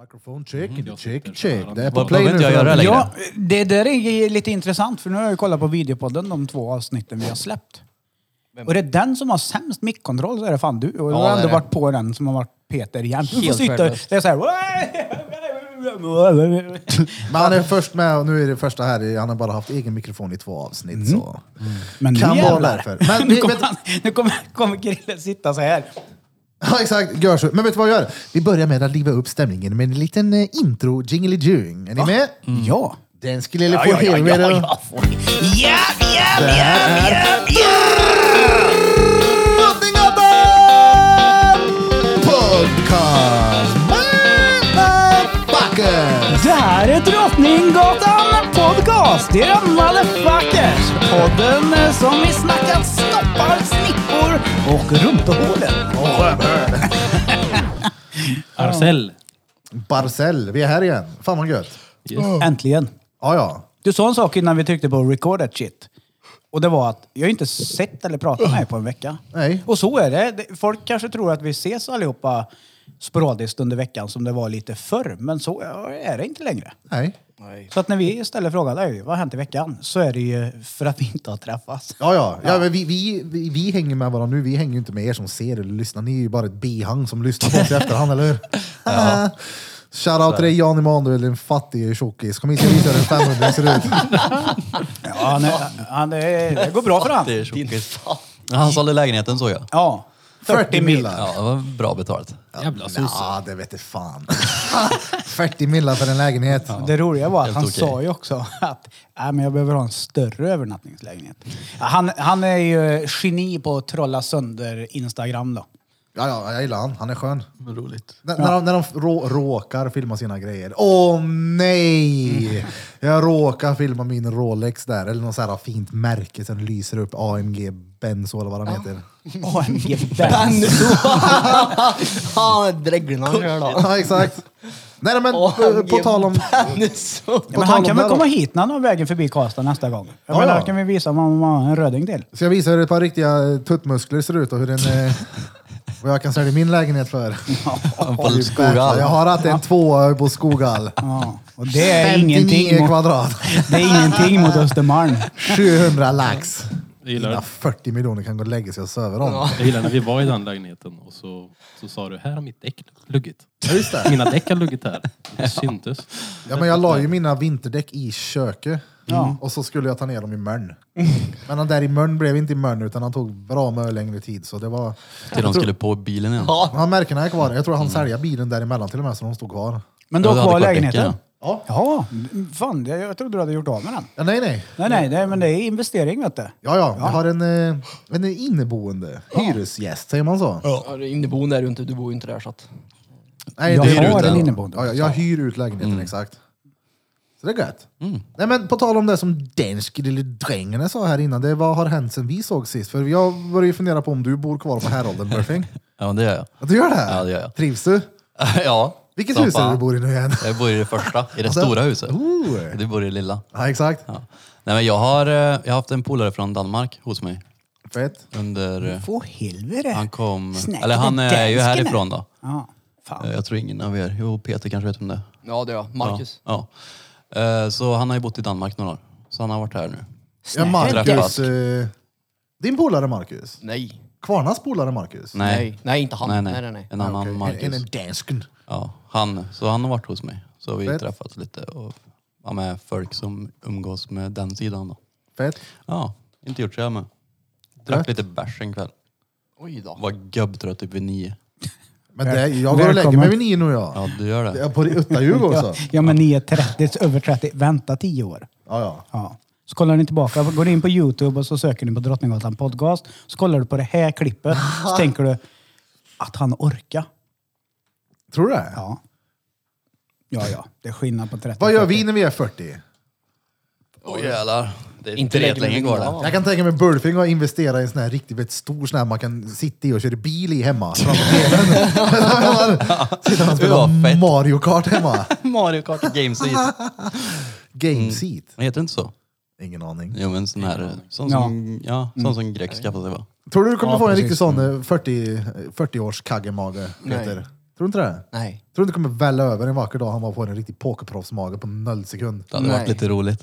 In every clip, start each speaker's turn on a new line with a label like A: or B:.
A: Mikrofon check,
B: Mhm.
A: check, check. Det är på
C: Vad
A: play nu.
C: behöver inte jag göra längre?
B: Ja, det där är lite intressant för nu har jag ju kollat på videopodden de två avsnitten vi har släppt. Och det är den som har sämst mickkontroll så är det fan du. Och du
D: Ja,
B: har
D: det
B: ändå
D: är
B: varit på den som har varit Peter igen. Du får
C: Helt
B: sitta,
C: värdelöst.
B: det är så här...
A: Men han är först med och nu är det första här. i- Han har bara haft egen mikrofon i två avsnitt. Så.
B: Mhm. Mm. Men nu
A: Kan vara
B: jävlar.
A: därför. Men Mm.
B: nu
A: vi-
B: kommer,
A: vet-
B: han, nu kommer, kommer Krille sitta så här.
A: Ja, exakt. Gör så. Men vet du vad jag gör? Vi börjar med att liva upp stämningen med en liten eh, intro, jingly jing. Är ni med?
B: Ah. Mm. Ja.
A: Den skulle jag få helvete. Det här är Drottninggatan Podcast Motherfuckers!
B: Det här är Drottninggatan Podcast. Det är motherfuckers. Podden som vi snackat snoppar, snippor och rumpehålen.
C: Arcel.
A: Barcel, vi är här igen. Fan vad gött.
C: Yes.
B: Äntligen.
A: Ja, ja.
B: Du sa en sak innan vi tryckte på record that shit. Och det var att jag inte sett eller pratat med dig på en vecka.
A: Nej.
B: Och så är det. Det- Folk kanske tror att vi ses allihopa sporadiskt under veckan som det var lite förr. Men så är det inte längre.
A: Nej.
B: Så att när vi ställer frågan "Oj, vad har hänt i veckan? Så är det ju för att vi inte har träffats.
A: Ja, ja. ja men vi, vi, vi, vi hänger med varandra nu. Vi hänger ju inte med er som ser eller lyssnar. Ni är ju bara ett bihang som lyssnar på oss i efterhand, eller hur? Shoutout till dig Jan Emanuel, din fattige tjockis. Kom hit och visa hur en 500 ser ut.
B: Ja, han är, han är, det går bra för han.
D: Din fan.
E: Ja, Han sålde lägenheten såg jag.
B: Ja. 40 mil.
A: millar.
E: Ja, det var bra betalt.
C: Jävla sosse.
A: Ja, det vet jag fan. 40 millar för en lägenhet.
B: Det roliga var att
E: Helt
B: han
E: okej.
B: sa ju också att äh, men jag behöver ha en större övernattningslägenhet. Ja, Han, han är ju geni på att trolla sönder Instagram då.
A: Ja, ja, jag gillar han. Han är skön.
D: roligt.
A: N- När de, när de rå, råkar filma sina grejer. Åh nej!
B: Mm.
A: Jag råkar filma min Rolex där, eller något så här fint märke som lyser upp AMG Benzo eller vad de heter.
B: AMG Benz.
D: Han är dräglig när han kör då.
A: Ja, exakt. Nej, men
D: Och
A: eh, på tal om...
B: Ja, men
A: tal
B: han
A: om
B: kan
A: det
B: väl
A: då.
B: komma hit när han har vägen förbi Karlstad nästa gång. Jag
A: Ja,
B: menar,
A: ja.
B: då kan vi visa vad man har en röding till.
A: Ska jag visa hur ett par riktiga eh, tuttmuskler ser ut och hur en... eh, Vad jag kan sälja min lägenhet för.
E: Han
A: Oj,
E: på
A: jäklar. Jag
E: Skoghall.
A: har haft en tvåa på Skoghall.
B: Ja. Och det är
A: 59
B: ingenting mot,
A: kvadrat.
B: det är ingenting mot Östermalm.
A: 700 lax.
C: Jag gillar
A: Mina
C: det.
A: 40 miljoner kan gå och lägga sig och söva dem.
C: Jag gillar när vi var i den lägenheten och så, så sa du, här har mitt däck luggit.
A: Ja, just det.
C: Mina däck har luggit här. Det syntes.
A: Ja, men jag la ju mina vinterdäck i köket
B: Ja.
A: och så skulle jag ta ner dem i Mörn. Men han där i Mörn blev inte i Mörn utan han tog bra mycket längre tid. Så det var...
E: Till de skulle på bilen igen.
D: Ja.
A: Han märkena är kvar. Jag tror
B: Mm.
A: han säljer bilen däremellan till och med så de stod kvar.
B: Men då
E: Ja, det hade
B: kvar
E: kvar
B: lägenheten?
E: däcken,
B: Ja. Fan, jag, jag trodde du hade gjort av med den.
A: Ja, nej, nej.
B: Nej, nej, det, men det är investering vet du.
A: Ja, ja. Jag har en, eh, en inneboende hyresgäst, säger man så?
D: Ja, du är inneboende är du inte, du bor ju inte där så att...
A: Nej,
B: Jag
A: det-
B: har
A: hyr ut
B: en
A: den.
B: inneboende. Mm.
A: Ja, ja, jag hyr ut lägenheten, exakt. Så det är gött. Nej, men på tal om det som den lille drängen sa här innan, det är vad har hänt sen vi såg sist? För jag började ju fundera på om du bor kvar på Härolden, Murphy.
E: Ja, det gör jag.
A: Ja, du gör det?
E: Ja, det gör jag.
A: Trivs du?
E: Ja.
A: Vilket
E: som
A: hus är det
E: fan.
A: du bor i nu igen?
E: Jag bor i det första, i det
A: Alltså,
E: stora huset.
A: ooh.
E: Du bor i det lilla.
A: Ja, exakt.
E: Ja. Nej, men jag har, eh, jag har haft en polare från Danmark hos mig.
A: Fett.
E: Under, eh,
B: Få helvete.
E: han kom,
B: Snackar
E: eller han
B: med
E: är ju
B: dansken här.
E: härifrån då.
B: Ja, fan.
E: Eh, Jag tror ingen av er, jo Peter kanske vet om det
D: Ja, det är jag. Marcus.
E: Ja. ja. Eh, Så han har ju bott i Danmark några år. Så han har varit här nu.
A: Ja, Marcus.
E: Träffas.
A: Eh, din polare Marcus?
D: Nej.
A: Kvarnas polare Marcus?
D: Nej. Nej, inte han.
E: Nej,
D: nej,
E: nej.
D: nej. nej.
E: En annan
A: Ah, Okej,
E: Marcus.
A: En, en dansken.
E: Ja, han. Så han har varit hos mig. Så har vi
A: Fett.
E: träffats lite och var med folk som umgås med den sidan då.
A: Fett.
E: Ja, inte gjort så jag med.
A: Rätt.
E: Drack lite bärs en kväll.
D: Oj då.
E: Var gubbtrött typ vid nio.
A: Men det, jag går och lägger mig
B: Eh, Välkommen.
A: vid nio nu jag.
E: Ja, du gör det.
A: Ja. På Uttahjul också?
B: Ja, ja, men ni är 30, över 30. Vänta 10 år.
A: Ja, ja.
B: Ja. Så kollar ni tillbaka, går ni in på Youtube och så söker ni på Drottninggatan podcast. Så kollar du på det här klippet, så tänker du att han orkar.
A: Tror du det?
B: Ja. Ja, ja. Det är skillnad på 30
A: Vad gör vi när vi är 40?
E: Åh jävlar. Det är
D: Inte
E: inte rätt
D: lägger
E: länge
D: mig
E: kvar
D: vid
E: det.
D: nio.
A: Jag kan tänka mig Bulfing har investerat i en sån här riktigt vet, stor sån här man kan sitta i och köra bil i hemma. framför tvn. Sitter och
E: Det var
A: spelar
E: fett.
A: Mario Kart hemma.
E: Mario Kart Games Eat. Mm.
A: Game seat.
E: Heter det inte så?
A: Ingen aning.
E: Jo men sån här, eh, sån som, ja,
A: Mm.
E: sån som grek skaffade sig va?
A: Tror du du kommer
B: Ja,
A: få en
B: precis.
A: riktig sån eh, 40, 40 års kaggemage, Peter? Tror du inte det?
D: Nej.
A: Tror du inte det kommer välla över en vacker dag han var på en riktig pokerproffsmage på noll sekund?
E: Det hade
D: Nej.
E: varit lite roligt.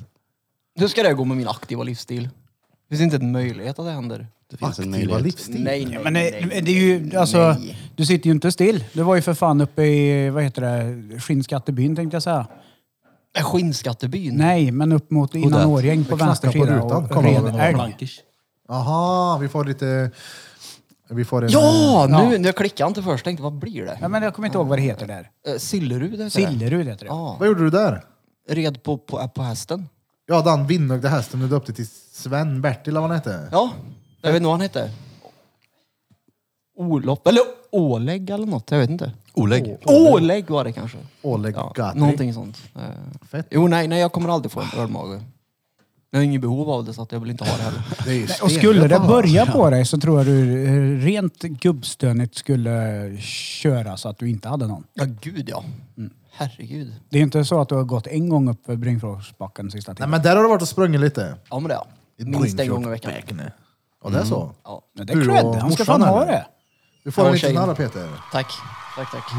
D: Hur ska det gå med min aktiva livsstil? Det finns inte en möjlighet att det händer.
E: Det finns en
A: Aktiva
E: möjlighet.
A: livsstil.
D: Nej, nej,
B: Men
D: nej.
B: det, det är ju, alltså,
D: Nej.
B: du sitter ju inte still. Du var ju för fan uppe i, vad heter det, Skinnskattebyn tänkte jag säga.
D: Skinnskattebyn.
B: Nej, men upp mot innan
E: Goddag.
B: Årjäng på
A: Det knackar
B: vänster
A: på
B: sida.
A: rutan.
B: och
A: Kolla vad
B: red
A: det var.
B: älg.
C: Blankers.
A: Aha, vi får lite... Vi får en... eh,
D: Ja, nu, nu klickade jag inte först. Tänkte, vad blir det?
B: Ja, men jag kommer inte ihåg vad det heter där.
D: Eh, Sillerud heter det.
B: Sillerud heter det.
D: Ja.
A: Vad gjorde du där?
D: Red på, på, på hästen.
A: Ja, den vinnögde hästen du döpte till Sven-Bertil, eller vad han hette.
D: Ja, jag vet inte vad han hette. Olof, eller Ålägg eller något. Jag vet inte.
E: Olägg.
D: Ålägg var det kanske.
A: Oleg
D: Ja,
A: Gatri.
D: någonting sånt. Eh,
A: Fett.
D: Jo, nej, nej, jag kommer aldrig få en ölmage. Jag har inget behov av det så att jag vill inte ha det heller.
A: Det är ju
B: Och skulle
A: stengött,
B: det
A: va?
B: börja på dig så tror jag du eh, rent gubbstönigt skulle köra så att du inte hade någon.
D: Ja, gud ja. Mm. Herregud.
B: Det är inte så att du har gått en gång upp för Bringfors-backen sista
A: Nej,
B: tiden.
A: men där har du varit och sprungit lite.
D: Ja, men det ja. Minst en gång i veckan. Mm.
A: Bräkne. Ja, det är så.
D: Ja.
B: Men det
A: Du
B: är
A: och
B: cred. Han ska
A: morsan,
B: fan ha
A: eller?
B: det.
A: Du får en
D: Ja,
A: liten
D: tjejen.
A: här Peter.
D: Tack. Tack, tack.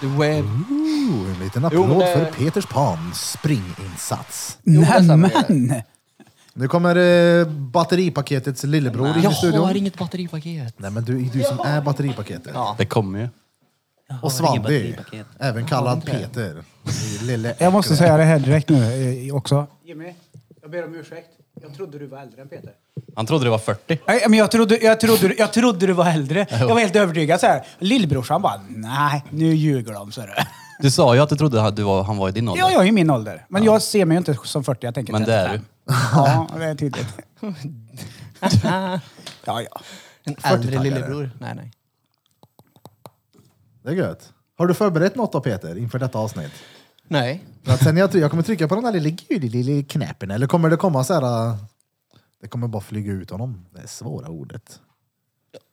D: The web.
A: Oh, en liten
D: Jo,
A: applåd
D: men det-
A: för Peters Pan springinsats.
D: Jo, det stämmer.
B: Nämen!
A: Nu kommer eh, batteripaketets lillebror in
D: Jag
A: i studion.
D: har inget batteripaket.
A: Nej, men du, du som är batteripaketet.
D: Ja.
E: Det kommer ju.
A: Och Svante, även kallad Peter. Lille
B: Jag måste säga det här direkt nu eh, också. Jimmy, jag ber om ursäkt. Jag trodde du var äldre än Peter.
E: Han trodde det var 40.
B: Nej, men jag trodde, jag trodde, jag trodde du var äldre. Jag var helt övertygad så här. Lillbrorsan bara, nej, nu ljuger de, så du.
E: Du sa ju att du trodde att du var, han var i din ålder.
B: Ja, jag är i min ålder. Men jag ser mig ju inte som 40, jag tänker
E: Men det är
B: 35. Ja, det är tydligt. Ja, ja.
D: En äldre
A: 40-taggare.
D: lillebror. Nej, nej.
A: Det är gött. Har du förberett något då Peter inför detta avsnitt?
D: Nej.
A: För att sen jag, jag kommer trycka på den där lilla gula lilla knäppen eller kommer det komma så här... äh, Det kommer bara flyga ut honom. Det är svåra ordet.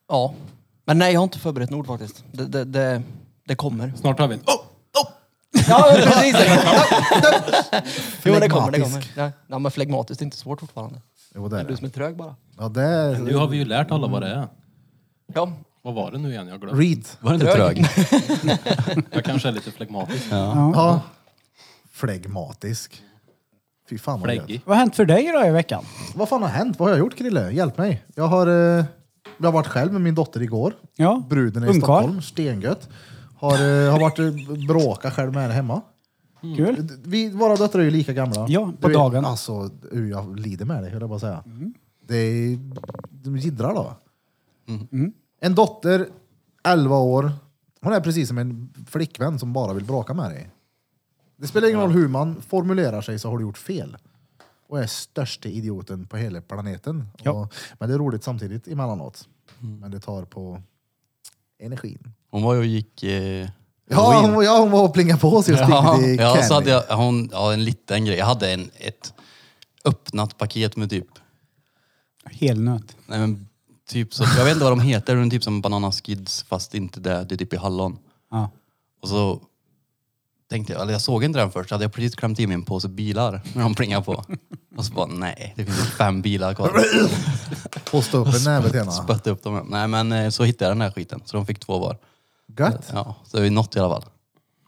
D: Ja. Men nej, jag har inte förberett något faktiskt. Det, det, det, det kommer.
C: Snart har vi en... Oh!
D: Ja, precis. jo, det kommer. Det
A: Flegmatisk.
D: kommer. Ja, ja, men flegmatiskt det är inte svårt fortfarande.
A: Jo, det
D: Det
A: är
D: är du som
A: det.
D: är trög bara.
A: Ja, det är...
C: Nu har vi ju lärt alla vad det är.
D: Ja.
C: Vad var det nu igen? Jag glömde.
A: Read.
E: Var det inte
D: Trög.
E: trög?
C: Jag kanske är lite flegmatisk.
A: Ja. Flegmatisk. Fy fan vad gött.
C: Fläggig.
B: Vad har hänt för dig då i veckan?
A: Vad fan har hänt? Vad har jag gjort Krille? Hjälp mig. Jag har, eh, jag har varit själv med min dotter igår.
B: Ja,
A: Bruden är i
B: ungkarl.
A: Stockholm. Stengött. Har, eh, har varit eh, bråka själv med henne hemma. Mm.
B: Kul.
A: Vi, våra döttrar är ju lika gamla.
B: Ja, på
A: du,
B: dagen. Mm.
A: Alltså, uh, jag lider med det, höll jag bara säga. Det är, de jiddrar då.
E: Mm.
B: Mm.
A: En dotter, 11 år. Hon är precis som en flickvän som bara vill bråka med dig. Det spelar ingen roll hur man formulerar sig så har du gjort fel. Och är största idioten på hela planeten.
B: Ja.
A: Och, men det är roligt samtidigt emellanåt.
E: Mm.
A: Men det tar på energin.
E: Hon var ju och gick... Eh,
A: Ja, hon, ja, hon var och plingade på oss just
E: Ja,
A: i
E: ja, så
A: Canning.
E: hade jag hon, ja, en liten grej. Jag hade en, ett öppnat paket med typ,
B: Helnöt.
E: nej, men, typ så, jag vet inte vad de heter, men typ som bananaskids fast inte det, det är typ i hallon.
B: Ja.
E: Och så tänkte jag, eller jag såg inte den först, hade jag precis klämt i min påse bilar när de plingade på. Och så bara, nej, det finns ju fem bilar kvar.
A: Posta upp en näve till henne.
E: Spötte upp dem. Nej men eh, så hittade jag den här skiten, så de fick två var.
A: Gött!
E: Ja, så det är något i alla fall.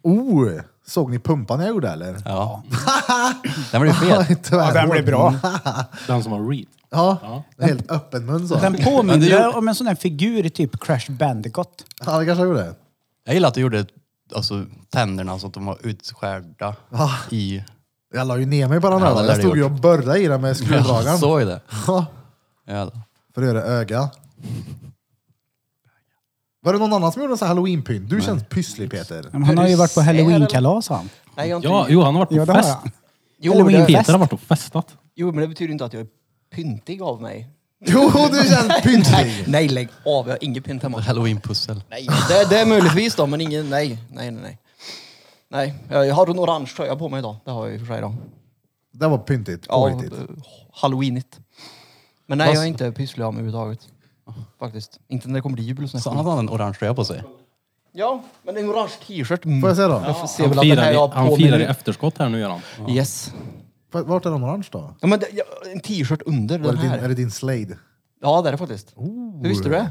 A: Oh, såg ni pumpan jag gjorde eller?
E: Ja. den blev fet.
A: Tyvärr.
B: den blev bra.
C: Den som har read.
A: Mm. Ja, helt öppen mun så.
B: Den
E: Men det
B: påminner
E: gjorde-
B: om en sån där figur i typ Crash Bandicoot.
A: Ja, det kanske jag gjorde.
E: Jag gillar att du gjorde alltså, tänderna så att de var utskärda i...
A: Jag la ju ner mig på den
E: Ja,
A: här.
E: det lär
A: Jag
E: du
A: stod ju och började i den med
E: Jag
A: skruvdragaren.
E: såg ju det.
A: Ja,
E: Jävlar.
A: För att göra öga. Var det någon annan som gjorde en sån här halloweenpynt? Du känns pysslig Peter.
B: Men Han har ju varit på halloweenkalas han.
D: Nej, jag har inte...
C: Ja, jo, han har varit
B: Ja,
C: på
B: det har
C: fest.
B: han.
D: jo,
B: halloween-
D: det,
C: Peter har varit och festat.
D: jo, men det betyder inte att jag är pyntig av mig.
A: Jo, du känns
D: Nej,
A: pyntlig!
D: nej lägg av. Jag har inget pynt hemma.
E: Halloween-pussel.
D: Nej, det, det är möjligtvis då, men ingen... Nej, nej, nej. Nej, nej jag jag har en orange tröja på mig idag. Det har jag i och för sig idag.
A: Det var pyntigt.
D: Ja,
A: Ja,
D: eh, halloweenigt. Men nej, jag är inte pysslig av mig överhuvudtaget. Faktiskt. Inte när det kommer till jul och sånt.
E: Så han hade en orange tröja på sig.
D: Ja, men en orange t-shirt.
A: Får jag se då?
D: Jag får se
C: Han
D: väl att den här
C: firar,
D: jag
C: i,
D: har på
C: han firar i
D: mig.
C: efterskott här nu gör han.
D: nu. Yes.
A: F- Vart är den orange då?
D: Ja, men det, ja, en t-shirt under
A: Är det
D: den
A: din, är
D: här.
A: det din slade?
D: Ja, det är det faktiskt. Hur visste du det?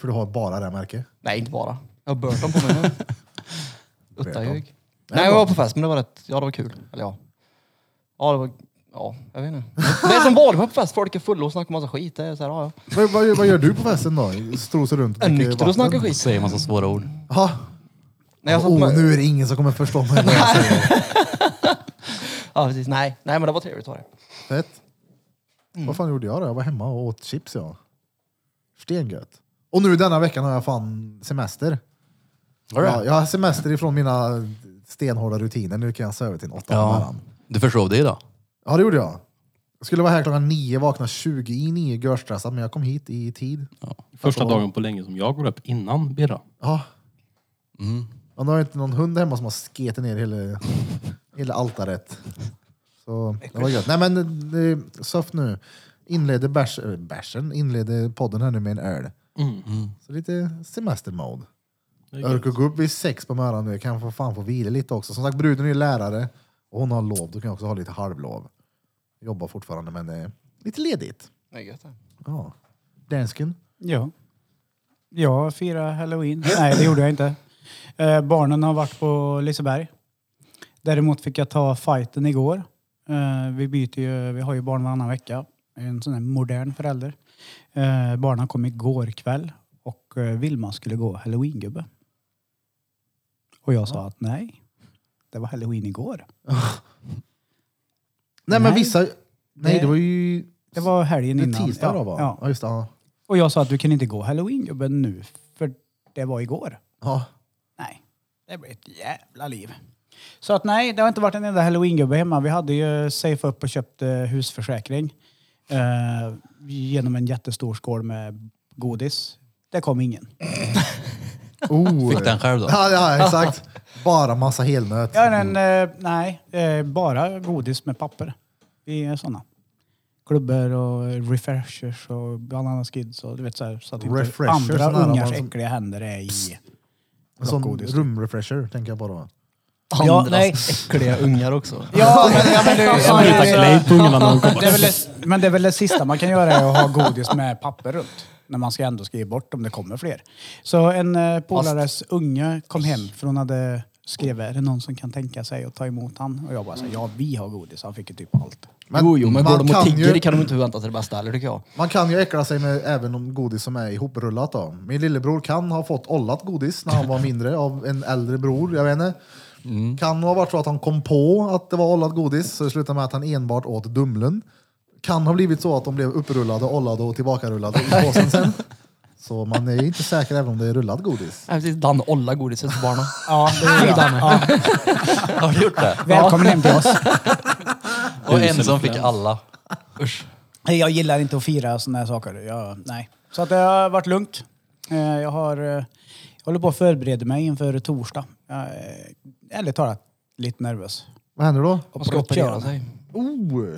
A: För du har bara det här märket.
D: Nej, inte bara. Jag har Burton på mig nu. Uttajug. Nej,
A: bra.
D: jag var på fest, men det var rätt... Ja, det var kul. Eller ja. Ja, det var... Ja, jag vet inte. Det är som vanligt på fest. Folk är fulla och snackar massa skit. Det är så här, ja, ja.
A: Vad, vad, vad gör du på festen då? Strosar runt och
D: Jag är
A: dricker
D: nykter och snackar
A: vatten?
E: Då
D: skit.
E: säger man så svåra ord.
A: Ja.
D: Nej, jag satt
A: Oh,
D: med...
A: nu är det ingen som kommer förstå mig. vad jag säger.
D: Ja, precis. Nej, nej, men det var trevligt var det.
A: Fett. Vad fan gjorde jag då? Jag var hemma och åt chips jag. Stengött. Och nu denna veckan har jag fan semester.
E: Var det?
A: Ja, jag har semester ifrån mina stenhårda rutiner. Nu kan jag sova till en åtta på
E: Ja.
A: morgonen.
E: Du försov dig idag?
A: Ja, det gjorde jag. Jag skulle vara här klockan nio, vakna 20 i nio, görstressad, men jag kom hit i tid.
C: Första dagen på länge som jag går upp innan Birra.
A: Ja. Och nu har jag inte någon hund hemma som har sketit ner hela, hela altaret. Så det var gött. Nej men eh, Soft nu inleder bärs, eh, bärsen, inleder podden här nu med en öl. Så lite semestermode. Jag orkar gå upp vid sex på morgonen nu. Jag kan få fan få vila lite också. Som sagt, bruden är ju lärare och hon har lov. Då kan jag också ha lite halvlov. Jobbar fortfarande men eh, lite ledigt.
D: Det är gött det.
A: Ja. Dansken.
B: Ja. Jag firade halloween. Nej, det gjorde jag inte. Eh, barnen har varit på Liseberg. Däremot fick jag ta fighten igår. Eh, vi, byter ju, vi har ju barn varannan vecka. Jag är En sån här modern förälder. Eh, barnen kom igår kväll och eh, Vilma skulle gå halloweengubbe. Och jag sa att nej, det var halloween igår.
A: Nej, men
B: Nej.
A: vissa... Nej,
B: Det-
A: det var ju...
B: Det var helgen
A: Det är
B: innan.
A: tisdag då va?
B: Ja.
A: Ja, just det. Ja.
B: Och jag sa att du kan inte gå halloweengubben nu för det var igår.
A: Ja.
B: Nej, det blir ett jävla liv. Så att nej, det har inte varit en enda halloweengubbe hemma. Vi hade ju safe upp och köpt eh, husförsäkring eh, genom en jättestor skål med godis. Det kom ingen.
A: Oh.
E: Fick den själv då?
A: Ja, ja, exakt. Bara massa helnöt.
B: Ja, men, eh, nej, eh, bara godis med papper. Vi är sådana. Klubbor och refreshers och banana skids och du vet så, här, så att inte
A: Refreshers, sådana här
B: andra
A: alltså.
B: ungars
A: man som-
B: äckliga händer är i.
A: En sån
B: Godis.
A: rumrefresher, tänker jag bara.
B: Ja,
D: Andras
B: nej.
D: äckliga ungar också.
B: Ja, men, ja, men du,
C: Jag lutar glade på ungarna och kommer.
B: Det är väl det, men det är väl det sista man kan göra är att ha godis med papper runt. När man ska ändå skriva bort om det kommer fler. Så en eh, polares unge kom hem för hon hade skrivit, är det någon som kan tänka sig att ta emot han? Och jag bara, så, här, ja vi har godis. Han fick ju typ allt.
A: Men
D: jo, jo, men
A: man
D: går de
A: kan
D: och tigger
A: ju-
D: det kan de inte förvänta sig det bästa heller tycker jag.
A: Man kan ju äckla sig med även om godis som är ihoprullat. Då. Min lillebror kan ha fått ollat godis när han var mindre av en äldre bror. Jag vet inte.
D: Mm.
A: Kan ha varit så att han kom på att det var ollat godis så det slutade med att han enbart åt Dumlen. Kan ha blivit så att de blev upprullade, ollade och tillbakarullade i påsen sen. Så man är ju inte säker även om det är rullat godis.
D: Nej, precis. Dan ollar godiset till barnen.
B: Ja, det är bra. ja.
E: Har du gjort det?
B: Välkommen hem till oss.
E: Och en som fick alla. Usch.
B: Nej, Jag gillar inte att fira sådana här saker. Jag, nej. Så att det har varit lugnt. Eh, Jag, har, eh, jag håller på att förbereda mig inför torsdag. Jag är ärligt talat lite nervös.
A: Vad händer då?
D: Man ska operera sig.
A: Oh!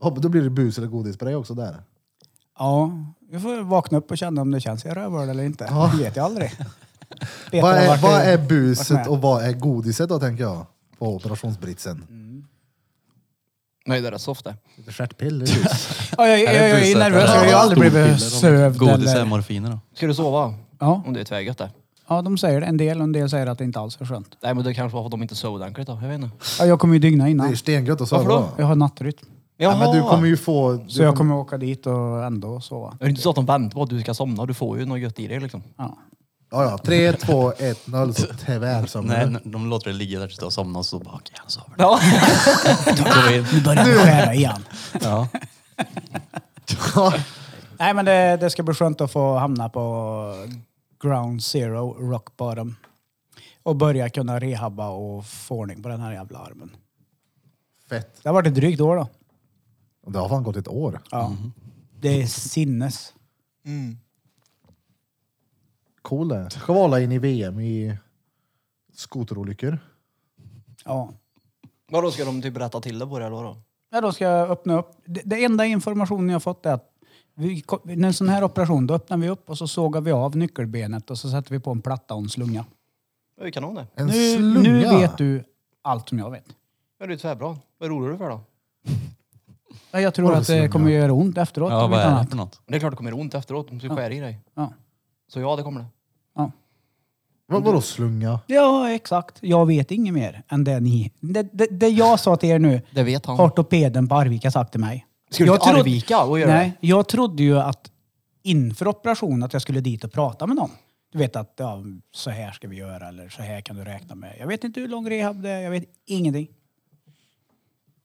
A: Ja, Då blir det bus eller godis på dig också där.
B: Ja, vi får vakna upp och känna om det känns i rövhålet eller inte.
A: Ja.
B: Det vet jag aldrig.
A: Vad
B: Peter har
A: är,
B: varit-
A: vad är
B: varit
A: buset
B: med.
A: och vad är godiset då tänker jag? På
B: Mm.
A: operationsbritsen.
D: Nej, det är rätt så ofta.
A: Lite stjärtpiller i bus.
B: Ja, jag, jag, jag, är ju
E: buset?
B: nervös. Jag har ju aldrig blivit sövd.
E: Godis är
B: Eller...
E: morfiner då.
D: Ska du sova?
B: Ja.
D: Om det är tvärgött det.
B: ja, de säger det. En del och en del säger att det inte alls är skönt.
D: Nej, men det kanske var för att de inte sov ordentligt då. Jag vet inte.
B: Ja, jag kommer ju dygna
A: Det är
B: innan.
A: stengött och så.
D: Varför då?
B: Jag har nattrytm.
A: Ja, men du kommer ju få... Du
B: Så jag kommer åka dit och ändå sova.
D: Är det inte så att de väntar på att du ska somna? Du får ju något gött i dig liksom.
B: Ja.
A: Ja, ja. 3, 2, 1, 0 så tvärsömnar
E: Nej,
A: du.
E: n- de låter det ligga där tills du har somnat och så bara okej, han sover.
D: Ja.
E: Går in.
B: Nu börjar det skära igen.
E: Ja.
B: Nej, men det, det ska bli skönt att få hamna på ground zero, rock bottom. Och börja kunna rehabba och få ordning på den här jävla armen.
A: Fett.
B: Det har varit ett drygt år då.
A: Och Det har fan gått ett år.
B: Ja. Det är sinnes.
A: Cool det. Schavala in i VM i skoterolyckor.
B: Ja.
D: Vadå, ska de typ rätta till det på det eller vadå?
B: Ja, då ska jag öppna upp. Det, det enda informationen jag fått är att vi, kom- när en sån här operation, då öppnar vi upp och så sågar vi av nyckelbenet och så sätter vi på en platta och en slunga.
D: Det är ju kanon det.
A: En
B: Nu,
A: slunga.
B: nu vet du allt som jag vet.
D: Ja, det är ju tvärbra. Vad roar du för då?
B: Ja, Jag tror
A: Vadå
B: att det
A: slunga?
B: kommer göra ont efteråt.
E: ja,
B: om
E: vad
B: inte
E: är det
B: annat.
E: för något?
D: Det är klart det kommer göra ont efteråt. De ska skära i dig.
B: Ja.
D: Så ja, det kommer det.
A: Vad, vadå slunga?
B: Ja, exakt. Jag vet inget mer än det ni... Det, det, det jag sa till er nu
D: Det vet han.
B: har ortopeden på Arvika sagt till mig.
D: Ska du
B: Jag
D: till
B: trodde-
D: Arvika och göra
B: Nej, jag trodde ju att inför operationen att jag skulle dit och prata med någon. Du vet att ja, så här ska vi göra eller så här kan du räkna med. Jag vet inte hur lång rehab det är, jag vet ingenting.
D: det?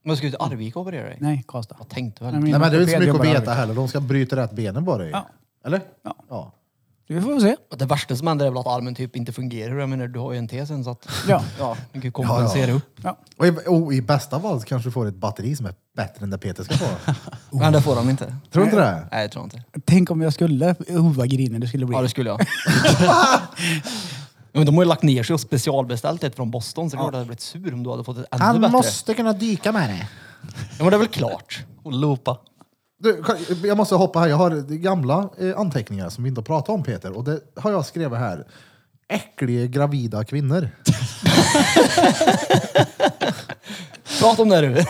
D: Men ska du till Arvika och operera dig?
B: Nej, Karlstad.
D: Jag tänkte väl.
B: Nej, min
A: Nej, men det är inte så mycket
B: ortoped
A: att
B: jobbar i
A: veta
B: Arvika.
A: heller. De ska bryta rätt benen bara ju.
B: Ja.
A: Eller?
B: Ja.
A: ja.
B: Vi får väl se.
D: Det värsta som händer är väl att armen typ inte fungerar. Jag menar, du har ju en T sen så att...
B: Ja.
D: Ja, du kan ju kompensera upp.
A: Och i, och i bästa fall så kanske du får ett batteri som är bättre än det Peter ska få.
D: Men det får han inte.
A: Tror du inte det?
D: Nej, jag tror inte.
B: Tänk om jag skulle... Oh, vad grinig det skulle bli.
D: Ja, det skulle jag. Ja, Men de har ju lagt ner sig och specialbeställt ett från Boston så det är klart att jag hade blivit sur om du hade fått ett ännu bättre.
A: kunna dyka med det.
D: Ja, men det är väl klart.
E: Och loopa.
A: Du, kan- jag måste hoppa här. Jag har gamla eh, anteckningar som vi inte har pratat om Peter. Och det har jag skrivit här. Äckliga gravida kvinnor.
D: Prata om det du.
A: Nej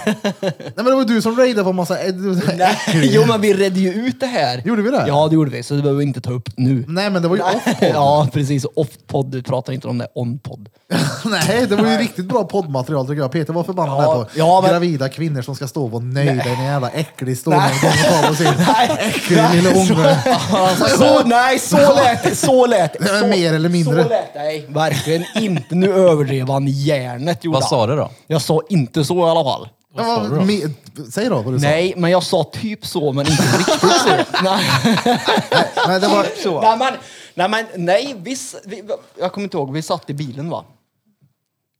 A: men det var ju du som raidade på en massa... Nej.
D: jo men vi redde ju ut det här.
A: Gjorde vi det?
D: Ja det gjorde vi, så det behöver vi inte ta upp nu.
A: Nej men det var ju off
D: ja precis, off-podd. Du pratar inte om det, on-podd.
A: Nej, det var ju riktigt bra poddmaterial tycker jag. Peter var förbannad
D: Ja,
A: här på
D: ja, men-
A: gravida kvinnor som ska stå och vara nöjda i en jävla äcklig stol när de kommer fram och sin äckliga
D: nej,
A: lilla
D: så-
A: unge.
D: så, nej, så lät det. Så lät det.
A: Det är
D: Så-
A: mer eller mindre.
D: Så lät det. Nej, verkligen inte. Nu överdrev han järnet. gjorde
E: Vad sa
D: han.
E: du då?
D: Jag sa inte så i alla fall.
A: Ja, vad- me- Säg då vad du
D: Nej, men jag sa typ så, men inte riktigt så. nej.
A: sa. Nej, det var...
D: Nej, men, nej, men, nej vi, s- vi, jag kommer inte ihåg. Vi satt i bilen, va?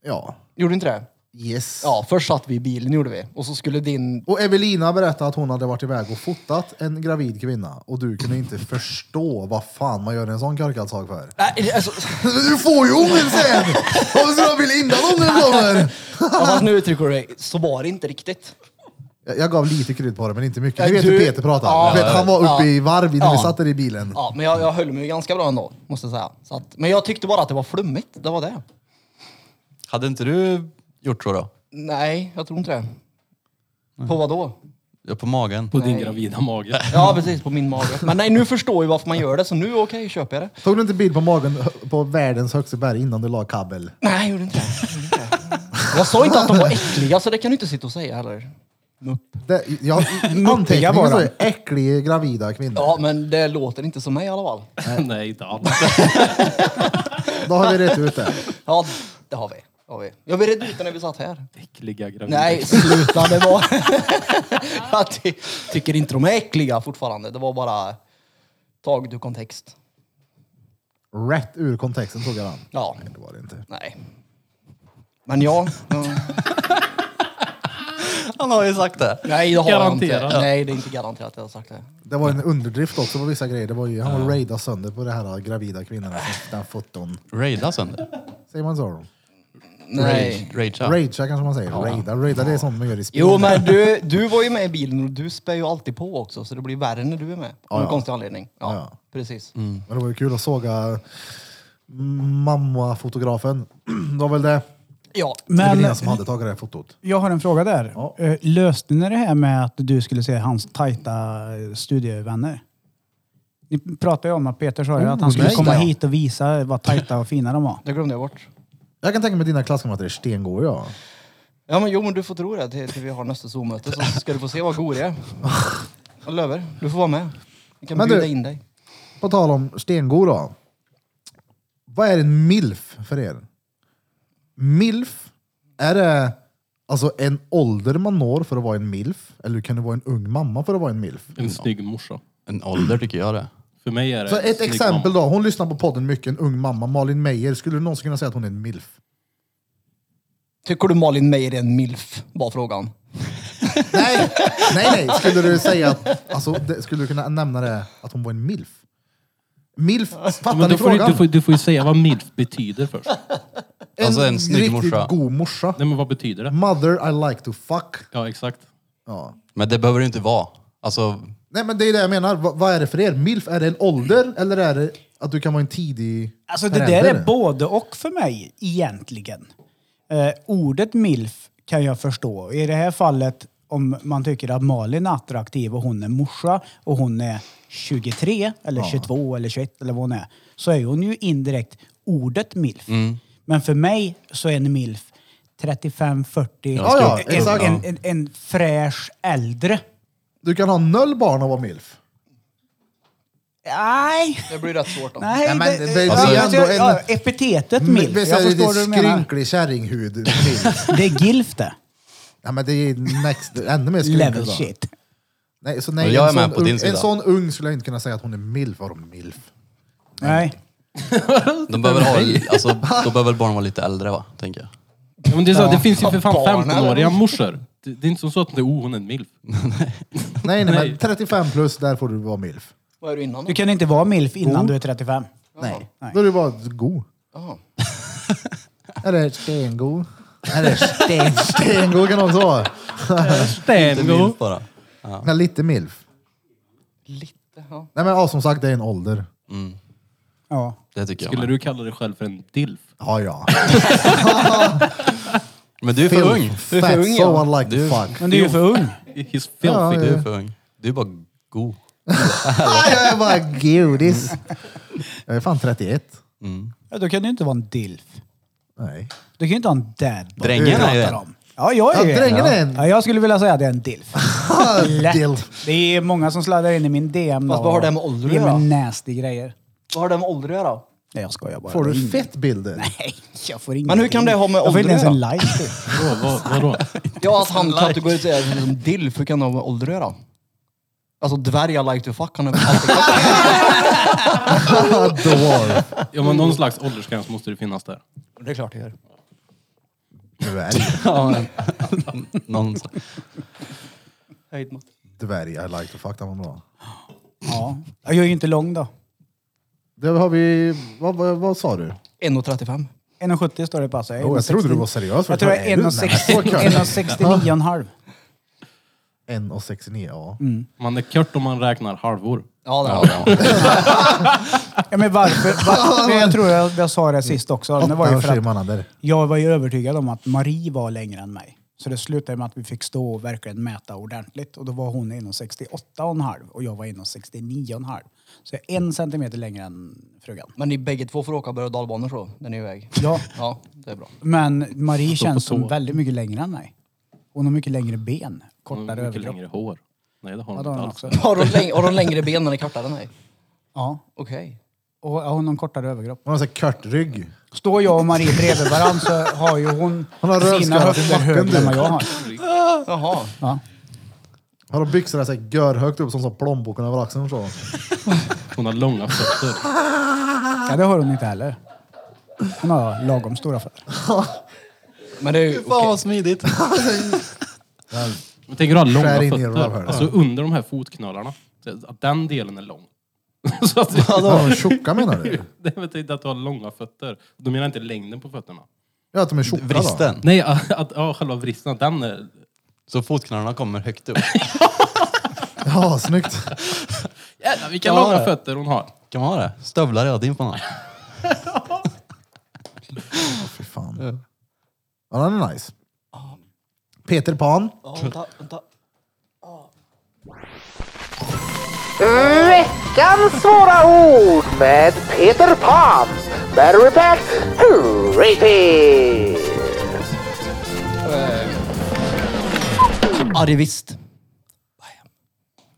A: Ja.
D: Gjorde inte det?
A: Yes.
D: Ja, först satt vi i bilen, gjorde vi. Och så skulle din...
A: Och Evelina berättade att hon hade varit iväg och fotat en gravid kvinna och du kunde inte förstå vad fan man gör en sån korkad sak för.
D: Nej, alltså,
A: Du får ju ungen sen! Varför ska du ha bild innan ungen kommer?
D: ja, fast nu uttrycker du dig. Så var det inte riktigt.
A: Jag, jag gav lite krydd på det, men inte mycket.
D: Nej,
A: Ni vet
D: du-
A: hur Peter pratar.
D: Ja.
A: du vet, han var uppe
D: Ja.
A: i varv när vi
D: Ja.
A: satt där i bilen.
D: Ja, men jag, jag höll mig ganska bra ändå, måste jag säga. Så att, men jag tyckte bara att det var flummigt, det var det.
E: Hade inte du gjort så då?
D: Nej, jag tror inte det. På vad då?
E: Ja, På magen?
C: På din
D: Nej.
C: gravida mage.
D: Ja, precis, på min mage. Men nej, nu förstår jag varför man gör det, så nu okej, köper jag det.
A: Tog du inte bild på magen hö- på världens högsta berg innan du la kabel?
D: Nej, jag gjorde inte det. Jag gjorde inte det. Jag sa inte att de var äckliga, så det kan du inte sitta och säga heller.
A: Det, jag, anteckningen
B: var
A: så
B: de.
A: är äcklig gravida kvinnor.
D: Ja, men det låter inte som mig i alla fall.
C: Nej, inte alls.
A: Då har vi rätt ut det.
D: Ja, det har vi. Det har vi. Jag vill reda ut det när vi satt här.
C: Äckliga gravida
D: Nej, sluta. Det var... jag ty tycker inte de är äckliga fortfarande. Det var bara tag du kontext.
A: Rätt ur kontexten tog jag den.
D: Ja,
A: Det var det inte.
D: nej. Men ja. ja.
E: Han har ju sagt det.
D: Nej, det har jag
C: Garanterat.
D: inte. Nej, det är inte garanterat att jag har sagt det.
A: Det var en underdrift också på vissa grejer. Det var ju, han var raidade sönder på det här gravida kvinnorna. som- Den foton.
E: Raida sönder?
A: Säger man så?
D: Nej.
E: Ragea?
A: Raidea kanske man säger. Raida, raida det är sånt man gör i spel.
D: Jo, men du, du var ju med i bilen och du spär ju alltid på också, så det blir värre när du är med. Av
A: ja.
D: en konstig anledning. Ja,
A: Ja, Mm. ja.
D: precis.
A: Men det var ju kul att såga mamma-fotografen. Det var väl det.
D: Ja.
A: det var
B: Men
A: väl den som hade tagit det här fotot.
B: jag har en fråga där.
A: Ja.
B: Eh, Löste ni det här med att du skulle se hans tajta eh, studievänner? Ni pratade ju om att Peter sa ju att han skulle
A: Mm. nej.
B: komma
A: Ja.
B: hit och visa vad tajta och fina de var.
D: Det glömde jag bort.
A: Jag kan tänka mig att dina klasskamrater är stengoda. Ja.
D: Ja, men jo, men du får tro det till, till vi har nästa Zoom-möte så ska du få se vad god jag är. Och Löver, du får vara med. Vi kan
A: Men
D: bjuda
A: du-
D: in dig.
A: På tal om stengod då. Vad är en milf för er? Milf, är det alltså en ålder man når för att vara en milf? Eller kan du vara en ung mamma för att vara en milf?
C: En snygg morsa.
E: En ålder tycker jag det.
C: För mig är det
A: Så
C: en
A: ett
C: snygg
A: exempel
C: mamma.
A: då, hon lyssnar på podden mycket, en ung mamma, Malin Meijer. Skulle du någonsin kunna säga att hon är en milf?
D: Tycker du Malin Meyer är en milf? Var frågan.
A: Nej, nej, nej. Skulle du säga att, alltså, det, skulle du kunna nämna det, att hon var en milf? Milf, fattar
C: Men
A: ni
C: du, får, ju-
A: frågan?
C: du, får, du får ju säga vad milf betyder först.
E: Alltså en snygg
A: riktigt
E: morsa.
A: god morsa.
C: Nej, men vad betyder det?
A: Mother I like to fuck.
C: Ja, exakt.
A: Ja.
E: Men det behöver det ju inte vara. Alltså,
A: Nej men det är det jag menar. Va, vad är det för er? Milf, är det en ålder eller är det att du kan vara en tidig
B: Alltså det där
A: förälder?
B: är både och för mig egentligen. Eh, ordet milf kan jag förstå. I det här fallet om man tycker att Malin är attraktiv och hon är morsa och hon är 23 eller 22 eller 21 eller vad hon är, så är hon ju indirekt ordet milf.
A: Mm.
B: Men för mig så är en milf 35, 40,
A: Ja, ja,
B: en,
A: exakt.
B: en, en, en fräsch äldre.
A: Du kan ha noll barn och vara milf.
B: Nej,
D: Det blir rätt svårt då.
B: nej.
A: men det- det är ju
B: ja,
A: ändå
B: jag- ja,
A: en-
B: epitetet milf.
A: det
B: Jag
A: är
B: förstår hur du
A: lite
B: menar.
A: skrynklig kärringhud. milf.
B: Det är gilf det.
A: ja, men det är next, ännu mer
B: Level
A: skrynkligt. va?
B: shit.
A: Nej, så nej,
E: Och jag
A: en
E: är
A: sån
E: med på din
A: ung- En
E: sida.
A: sån ung skulle jag inte kunna säga att hon är milf. Vadå milf?
B: Nej.
E: De behöver, ha, alltså, då behöver väl barn vara lite äldre va, tänker jag.
C: Ja, men det, är så, det finns ju för fan
D: Barn,
C: 15-åriga morsor. Det, det är inte som så att det är oh, hon är en milf.
A: Nej, nej, men
C: Nej.
A: 35 plus, där får du vara milf.
D: Vad är du innan då?
B: Du kan inte vara milf innan du är 35.
A: Nej.
B: Nej.
A: Då är du bara god.
D: Jaha.
A: Eller stengod. Eller sten, stengod kan de också vara.
C: Stämgo.
E: Milf bara.
A: Nej, lite milf.
D: Lite, ja.
A: Nej, men ja, som sagt, det är en ålder.
B: Ja.
E: Det tycker jag
C: Skulle
E: med.
C: du kalla dig själv för en dilf?
A: Ja, ja.
E: Men du är för ung.
A: Du är för ung,
D: ja.
A: so unlike the
E: Du-
A: fuck.
B: Men du är ju för ung.
C: He's filthy.
A: Ja,
E: Du är för ung. Du är bara god.
A: Nej, jag är bara godis. Jag är fan 31.
B: Ja, då kan du inte vara en dilf.
A: Nej.
B: Du kan ju inte ha en dad. bod.
E: Drängen
B: Du
E: är
B: pratar
E: ju en.
B: om. Ja, jag är
A: Ja,
B: ju
A: drängen är en.
B: Ja, jag skulle vilja säga att jag är en dilf.
A: Dilf.
B: Det är många som sladdar in i min DM.
D: Fast
B: då
D: vad har
B: och
D: det med ålder att
B: ger mig
D: göra?
B: nasty grejer.
D: Vad har det med ålder att göra?
B: Nej, jag skojar bara.
A: Får
B: Det är
A: du
B: inget.
A: fettbilder?
B: Nej, jag får inget.
D: Men hur kan det ha med
B: Jag får inte
D: ålder
B: ens
D: att göra?
B: en like. typ. till.
C: Vadå, vad, vadå?
D: Ja, att han kategoriserar sig som dilf, hur kan det ha med ålder att göra? Alltså dvärgar like to fuck, han är alltid
A: Dwarf.
C: Ja, men någon slags åldersgräns måste det finnas där.
D: Det är klart det gör.
A: Dvärg.
E: Någon,
D: Höjd mot.
A: Dvärg, I like to fuck. Den var bra.
B: Ja. Jag är ju inte lång då.
A: Det har vi... Vad, vad, vad sa du?
D: 1,35.
B: 1,70 står det på. Alltså. är
A: Jo, jag trodde
B: 1,60.
A: du var seriös.
B: Jag tror jag är
A: Är du? Nej, så
B: 1,60
A: kul.
B: 1,69,5.
A: 1,69 ja.
B: Mm,
C: Man är kört om man räknar halvor.
D: Ja, det
E: ja, ja.
B: Ja, men varför? varför? Men Jag tror jag, jag sa det sist också. Men Det var ju för
A: Åtta
B: att
A: sjömannader.
B: Jag var ju övertygad om att Marie var längre än mig. Så det slutade med att vi fick stå och verkligen mäta ordentligt. Och då var hon inom 68,5 och jag var inom 69,5. Så jag är en centimeter längre än frugan.
D: Men ni bägge två får åka berg och dalbanor så, när ni är iväg.
B: Ja,
D: Ja, det är bra.
B: men Marie
C: Stå på
B: känns som
C: tå.
B: väldigt mycket längre än mig. Hon har mycket längre ben,
C: Hon har
B: kortare
C: Mm, mycket
B: överkropp.
C: längre hår. Nej, det har
B: Ja,
C: hon
B: det har
C: inte
B: hon
C: alls.
B: också.
D: Har de, läng- har de längre ben när ni kartar än mig?
B: Ja,
D: Okej.
B: och ja, hon har en kortare överkropp.
A: Hon har så här kört rygg.
B: Står jag och Marie bredvid varandra så har ju hon,
A: Hon har
B: sina
A: rövskallar till
B: höfter
A: backen,
B: högre än vad
A: du.
B: jag har.
D: Jaha.
B: Ja.
A: Har de byxorna så här görhögt upp som så plånboken över axeln och så.
C: Hon har långa fötter.
B: ja, det har hon inte heller. Hon har lagom stora fötter.
D: Men det är ju okej.
E: vad smidigt.
C: Men tänker du ha
A: Skär
C: långa
A: in i
C: fötter?
A: rövhålet.
C: Alltså under de här fotknölarna. Så Att den delen är lång. Så att det,
A: Vadå? Har de tjocka menar du?
C: det betyder att du har långa fötter. Då menar jag inte längden på fötterna.
A: Ja, att de är tjocka då.
E: Vristen.
C: Nej, att, att ja, själva vristen, att den är...
E: Så fotknölarna kommer högt upp.
A: Ja, snyggt.
C: Jävlar vilka
E: Ja,
C: långa
E: det.
C: fötter hon har.
E: Kan man ha det? Stövlar hela tiden på honom.
A: Fy fan. Ja, den är nice. Peter Pan.
D: Ja, vänta, vänta.
F: Veckans svåra ord med Peter Pan. Battery pack, repeat.
D: Arivist.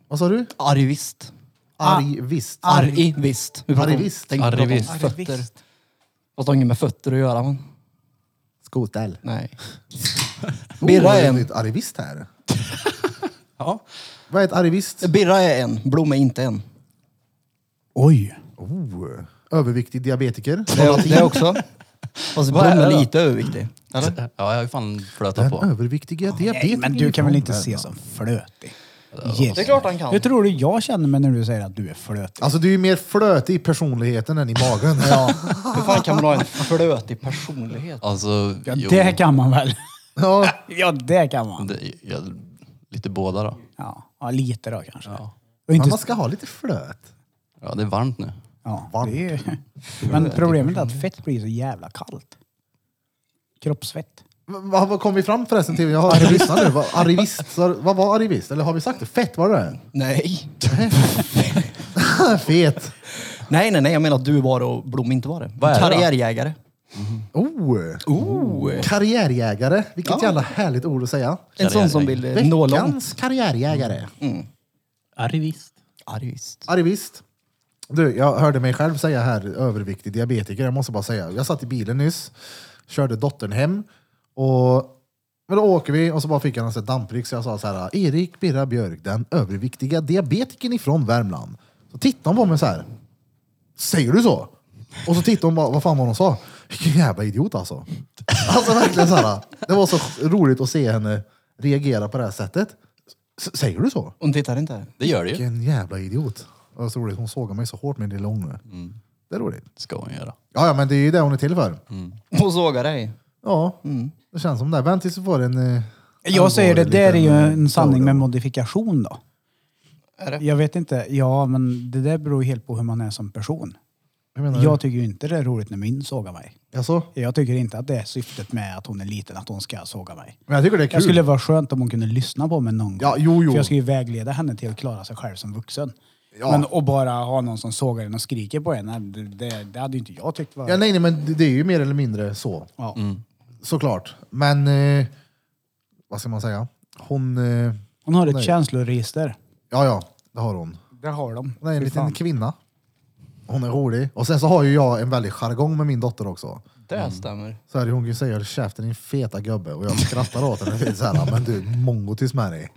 A: Vad sa du?
D: Arivist.
B: Ah.
A: Arg visst.
D: Arivist. Vi pratar om-
A: Arivist.
D: tänkte prata om
E: Arivist.
D: Fötter. Fast det har inget med fötter att göra. Men...
A: Skotel.
D: Nej.
A: Oh,
D: Birra
A: det
D: är
A: är
D: en.
A: ett arrivist här.
E: Ja.
A: Vad är ett arrivist?
D: Birra är en. Blom är inte en.
B: Oj!
A: Oh. Överviktig diabetiker.
D: Det är, det är också. Fast Blom är lite överviktig. Eller?
E: Ja, jag har ju fan flötat
A: Den
E: på.
A: överviktiga diabetiker.
B: Nej, men du kan väl inte se som flötig? Jesus.
D: Det är klart han kan.
B: Hur tror du jag känner mig när du säger att du är flötig?
A: Alltså du är ju mer flötig i personligheten än i magen.
D: Ja. Hur fan kan man ha en flötig personlighet?
E: Alltså,
B: Ja,
E: jo,
B: det kan man väl?
A: ja.
B: ja, det kan man.
E: det- jag, lite båda då.
B: Ja, ja lite då kanske.
E: Ja.
B: Och
A: Men
B: inte,
A: man ska ha lite flöt.
E: ja, det är varmt nu.
B: ja, det är, men problemet är att fett blir så jävla kallt. Kroppsfett.
A: Men Vad, vad kom vi fram förresten till? Jag har inte lyssnat nu. Vad, arrivist, sa- vad var arrivist? Eller har vi sagt det? Fett var det?
D: Nej.
A: Fet!
D: Nej, nej, nej. Jag menar att du var det och Blom inte var det.
E: Vad är det då?
D: Karriärjägare.
A: Oh.
D: Oh.
A: Karriärjägare, vilket
D: Ja.
A: jävla härligt ord att säga.
D: En sån som vill eh, nå långt.
A: Veckans karriärjägare.
C: Arrivist.
D: Argist.
A: Arrivist. Du, jag hörde mig själv säga här, överviktig diabetiker. Jag måste bara säga, jag satt i bilen nyss, körde dottern hem och men då åker vi och så bara fick jag en sån här damprick så jag sa så här, Erik Birra Björk, den överviktiga diabetikern ifrån Värmland. Så tittade hon på mig så här, säger du så? Och så tittade hon bara, vad fan var hon sa? Vilken jävla idiot alltså. Alltså verkligen så här, det var så roligt att se henne reagera på det här sättet. S- säger du så?
D: Hon tittar inte.
E: Det gör det ju.
A: Vilken jävla idiot. Det var så roligt. Hon såg mig så hårt med din lång nu.
B: Mm.
A: Det är roligt.
E: Det ska hon göra.
A: Ja, ja, men det är ju det hon är till för.
B: Mm.
D: Hon sågar dig.
A: Ja, det känns som det. Vänta tills du får en... eh,
B: Jag säger det,
A: allvarlig
B: där är ju
A: liten, eh,
B: en sanning med
A: showdown.
B: modifikation då.
D: Är det?
B: Jag vet inte, ja men det där beror ju helt på hur man är som person.
A: Jag menar,
B: Jag tycker ju inte det är roligt när min sågar mig.
A: Alltså,
B: Jag tycker inte att det är syftet med att hon är liten, att hon ska såga mig.
A: men jag tycker det är kul.
B: Jag skulle vara skönt om hon kunde lyssna på mig någon gång.
A: Ja, jo, jo.
B: För jag ska ju vägleda henne till att klara sig själv som vuxen.
A: Ja.
B: Men att bara ha någon som sågar en och skriker på en, nej, det, det, det hade ju inte jag tyckt var...
A: Ja, nej, Mm. nej, men det- det är ju mer eller mindre så.
B: Ja.
A: Såklart. Men, eh, vad ska man säga? Hon... Eh,
B: Hon har ett
A: Nej.
B: känsloregister.
A: ja, ja, det har hon.
B: Där har de.
A: Hon är en
B: Fy
A: liten
B: fan.
A: kvinna. Hon är rolig. Och sen så har ju jag en väldig jargong med min dotter också.
D: Det stämmer.
A: Så här, hon kan ju säga "Håll käften din feta gubbe och jag skrattar åt henne. Det är Så här, men du, mongotis med dig.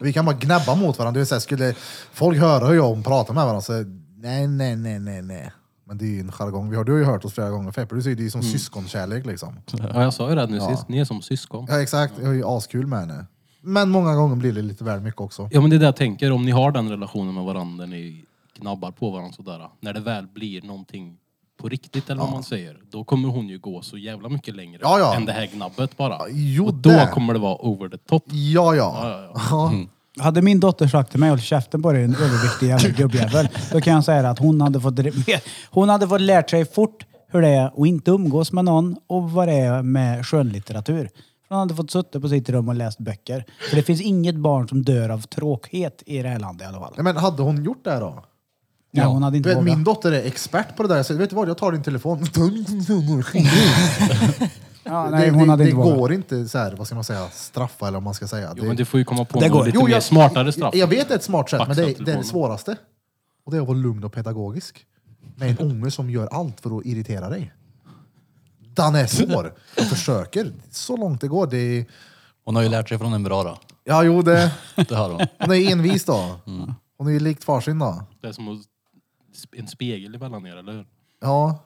A: Vi kan bara gnäbba mot varandra. Du vet, så här, skulle folk höra hur jag och hon pratar med varandra så nej, nej, nej, nej, nej. Men det är ju en jargong. Vi har, du har ju hört oss flera gånger Feppe, du säger det är ju som syskonkärlek liksom.
C: Ja, jag sa ju det nu sist. Ni är som syskon.
A: Ja exakt, jag har ju askul med henne. Men många gånger blir det lite väl mycket också.
C: Ja men det är det jag tänker, om ni har den relationen med varandra, ni knabbar på varandra sådär. När det väl blir någonting på riktigt eller vad man säger, då kommer hon ju gå så jävla mycket längre
A: Ja, ja.
C: än det här gnabbet bara.
A: jo,
C: och då
A: det.
C: kommer det vara over the top.
A: Ja, ja.
C: Ja,
A: ja.
B: Hade min dotter sagt till mig håll käften på dig en överviktig jävla gubbjävel. Då kan jag säga att hon hade fått, hon hade fått lärt sig fort hur det är att inte umgås med någon och vad det är med skönlitteratur. Hon hade fått sitta på sitt rum och läst böcker. För det finns inget barn som dör av tråkighet i det här landet i alla fall.
A: Nej, men hade hon gjort det här då?
B: Nej, hon hade inte
A: du vet,
B: vågat.
A: min dotter är expert på det där. Så, vet du vad, jag tar din telefon.
B: ja, nej,
A: det
B: hon
A: det,
B: hade
A: det
B: inte vågat.
A: går inte så här, vad ska man säga, straffa eller vad man ska säga.
C: Jo, men du får ju komma på
B: Det går.
C: något lite
A: Jo,
C: mer smartare straff.
A: Jag, jag vet ett smart sätt, men
C: Faxa
A: det, är- det är det
C: telefonen.
A: svåraste. Och det är att vara lugn och pedagogisk. Med en unge som gör allt för att irritera dig. Den är svår. Jag försöker så långt det går. Det är,
E: Hon har ju lärt sig från en bra då.
A: ja, jo, det,
E: Det har hon.
A: hon är envis då.
C: Mm.
A: Hon är ju likt farsin då.
C: Det är som att sp- en spegel emellan er, eller hur?
A: Ja.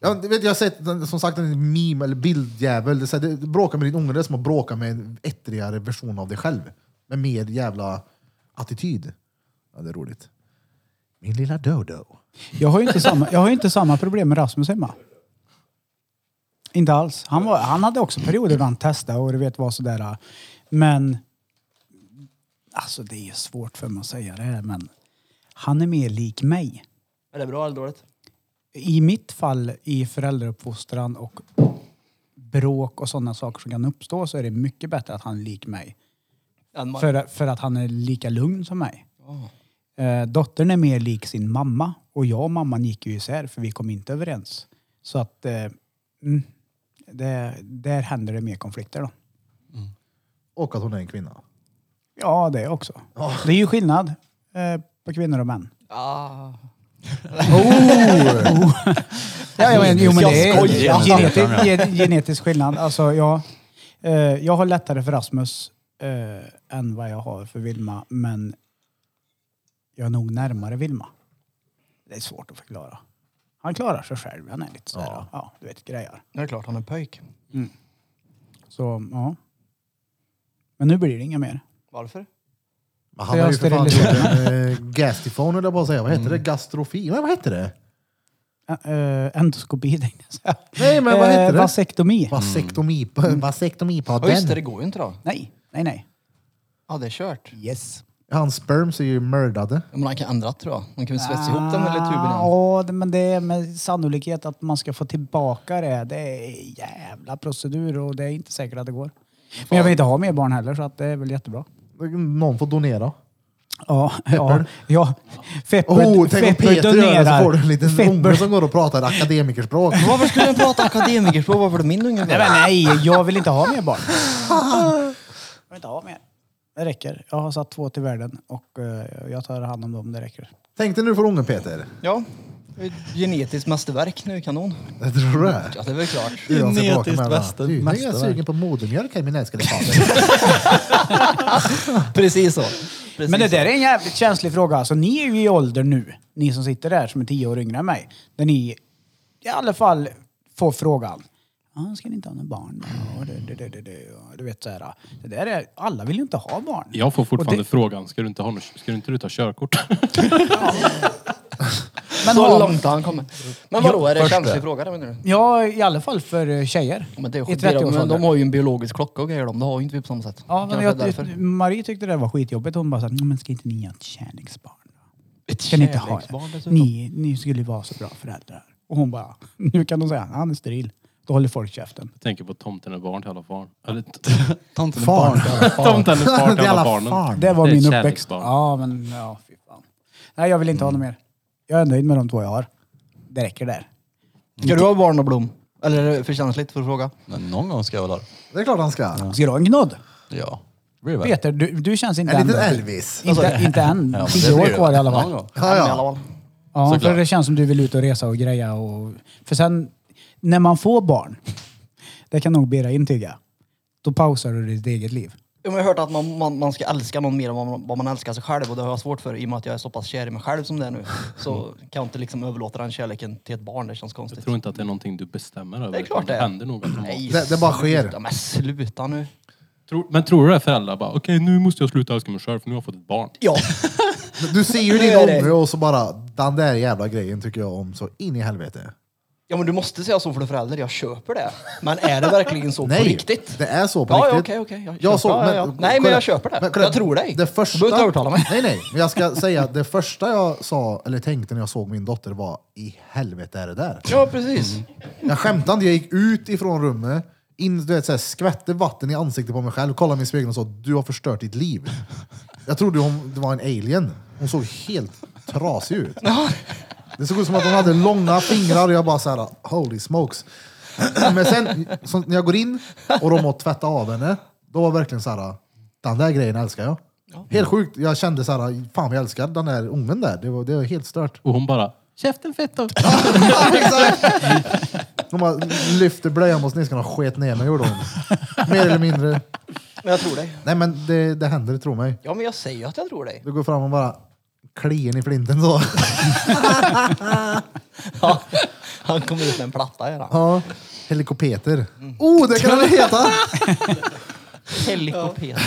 A: Jag, vet, jag har sett den- som sagt en meme eller bildjävel. Det är så här, det, bråka med din unge, det är som att bråka med en ettrigare version av dig själv. Med mer jävla attityd. Ja, det är roligt. Min lilla Dodo.
B: Jag har ju inte samma, jag har ju inte samma problem med Rasmus hemma. Inte alls. Han, var, han hade också perioder då han testade och du vet vad sådär. äh. Men, alltså det är svårt för mig att säga det här men han är mer lik mig.
D: Är det bra eller dåligt?
B: I mitt fall i föräldrauppfostran och bråk och sådana saker som kan uppstå så är det mycket bättre att han är lik mig.
D: En man.
B: För, för att han är lika lugn som mig. Eh, dottern är mer lik sin mamma och jag och mamman gick ju isär för vi kom inte överens. Så att eh, mm, det, där händer det mer konflikter då.
A: Och att hon är en kvinna.
B: Ja, det också. Det är ju skillnad eh, på kvinnor och män.
D: Ah. Oh.
B: Ja, jag men, jo, men
D: Jag
B: det är
D: skojar.
B: genetisk, gen- genetisk skillnad. Alltså, jag, eh, jag har lättare för Rasmus eh, än vad jag har för Vilma, men jag är nog närmare Vilma. Det är svårt att förklara. Han klarar sig själv. Han är lite sådär, ja. du vet, grejer.
D: Det är klart, han är pöjk.
B: Så, ja. Men nu blir det inga mer.
D: Varför?
A: Men
B: Så
A: han har ju
B: jag
A: för fan gjort
B: steriliserar
A: en eh, gastifon eller vad säga. Vad heter
B: Mm.
A: det? Gastrofi? Nej, vad heter det?
B: Ä- eh, endoskopi tänkte jag säga.
A: Nej, men vad heter
B: Eh, Mm.
A: det?
B: Vasektomi.
A: Vasektomi,
D: Ja just det, det
A: vasektomipodden.
D: går ju inte då.
B: Nej, nej, nej.
D: Ja, det är kört.
B: Yes.
A: Hans sperms är ju mördade.
D: Ja, Men han kan ändra tror jag. Man kan väl svetsa ihop dem eller tuben igen.
B: Ja, Ah, det- men det är med sannolikhet att man ska få tillbaka det. Det är jävla procedur och det är inte säkert att det går. Men jag vill inte ha mer barn heller så att det är väl jättebra.
A: Någon får donera.
B: Ja, ja, ja. Fepper,
A: Oh, tänk om
B: Fepper
A: Peter gör det så
B: donerar.
A: får du en liten unge
B: Fepper,
A: som går och pratar akademikerspråk.
D: Varför skulle jag prata akademikerspråk? Varför är det min unge?
B: Nej, men nej, jag vill inte ha mer barn. Jag vill inte ha mer. Det räcker. Jag har satt två till världen och eh, jag tar hand om dem. Det räcker.
A: Tänk dig nu får ungen Peter.
D: Ja. Genetiskt mästerverk nu, kanon.
A: Jag tror det.
D: Ja, det är väl klart.
A: Genetiskt bästa. Du, nu är jag sugen på modermjölk här min älskade fader.
D: Precis så. Precis
B: Men det
D: så.
B: där är en jävligt känslig fråga. Alltså, ni är ju i ålder nu, ni som sitter där som är tio år yngre än mig. Där ni i alla fall får frågan. Ah, ska ni inte ha några barn? Och det, det, det, det, det. och Du vet så här. Det där är, alla vill ju inte ha barn.
C: Jag får fortfarande
B: Och det-
C: frågan, ska du inte, ha, något- ska du inte du ta körkort?
B: Men
D: Så
B: har-
D: långt han kommer. Men vadå, är det en
E: först
D: känslig
E: det.
D: fråga? det Menar du?
B: Ja, i alla fall för eh, tjejer.
D: Men det är
B: I
D: skit, de,
B: 30-årsåldern.
D: men de har ju en biologisk klocka och grejer de. Det har ju inte vi på samma sätt.
B: Ja, men
D: Kanske
B: jag,
D: därför.
B: Marie tyckte det där var skitjobbigt. Hon bara såhär, men ska inte ni ha ett kärleksbarn?
D: Ett
B: Ska ni inte ha
D: kärleksbarn
B: det?
D: dessutom.
B: Ni, ni skulle ju vara så bra föräldrar. Och hon bara, nu kan de säga, han är steril. Då håller folk käften.
C: Jag tänker på tomten är barn till alla barn. Eller t-
E: Tomten är
D: Ah.
A: Barn.
E: barn.
C: tomten är barn till alla barnen.
A: farn.
B: Det var
C: Det är ett
B: min uppväxt.
C: kärleksbarn.
B: Ja, men ja, fy fan. Nej, jag vill inte ha något mer. Jag är nöjd med de två jag har. Det räcker där.
D: Ska du ha barn och blom? Eller är det för känsligt för att fråga?
E: Men någon gång ska jag väl ha det.
A: Det är klart han ska.
B: Ska du ha en gnodd?
E: Ja. Blir det väl?
B: Peter, du, du känns inte
A: En
B: än
A: liten
B: där.
A: Elvis.
B: Inte, inte än.
E: Ja, men
B: Tio
E: det blir
B: år
E: det.
B: kvar i alla fall.
E: Någon gång.
A: Ja,
D: Men i alla
A: ja.
D: fall.
B: Ja,
E: Såklart.
B: för det känns som du vill ut och resa och greja. Och... För sen, när man får barn, det kan nog Bera intyga, då pausar du ditt eget liv.
D: Ja, men Jag har hört att man, man, man ska älska någon mer än vad man, vad man älskar sig själv och det har jag svårt för i och med att jag är så pass kär i mig själv som det är nu. Så
A: Mm.
D: kan jag inte liksom överlåta den kärleken till ett barn, det känns konstigt.
C: Jag tror inte att det är någonting du bestämmer över.
D: Det är
C: utan
D: klart det
C: det
D: är.
C: händer något.
D: Nej,
A: Det- det bara sker.
D: sluta. Men sluta nu.
C: Tror- Men tror du det är föräldrar bara, okej nu måste jag sluta älska mig själv för nu har jag fått ett barn.
D: Ja,
A: Du ser ju
D: Nu
A: din
D: är det-
A: unge och så bara, den där jävla grejen tycker jag om så in i helvete.
D: ja men du måste säga så för du är förälder, jag köper det. Men är det verkligen så på
A: Nej,
D: riktigt?
A: det är så på
D: Ja, ja,
A: riktigt.
D: okej, okej. Jag
A: Jag
D: köper-
A: såg,
D: ja, ja, ja. Nej, men
A: kolla-
D: jag köper det.
A: kolla,
D: Jag tror dig.
A: Det
D: Du
A: första,
D: behöver inte övertala mig.
A: Nej, nej. Men jag ska säga att det första jag sa, eller tänkte när jag såg min dotter var i helvete är det där?
D: Ja, precis.
A: Jag skämtade inte, jag gick ut ifrån rummet, in, du vet, så här, skvätte vatten i ansiktet på mig själv, kollade mig i spegeln och sa du har förstört ditt liv. Jag trodde hon det var en alien. Hon såg helt trasig ut. Det såg ut som att hon hade långa fingrar och jag bara så här, holy smokes. Men sen så, när jag går in och de har tvättat av henne, då var verkligen så här, den där grejen älskar jag. Helt sjukt, jag kände så här, fan jag älskar den där ungen där. Det var, det var helt stört.
C: Och hon bara, käften fetto!
A: Ja, exakt. De bara lyfte blöjan på sniskan och sket ner mig gjorde hon. Mer eller mindre.
D: Men jag tror dig.
A: Nej men det, det händer, tro mig.
D: Ja, men jag säger ju att jag tror dig.
A: Du går fram och bara kliar i flinten så.
D: Ja. Han kommer ut med en platta gör han.
A: Ja. Helikopeter. Oh, det kan det heta!
D: Helikopeter.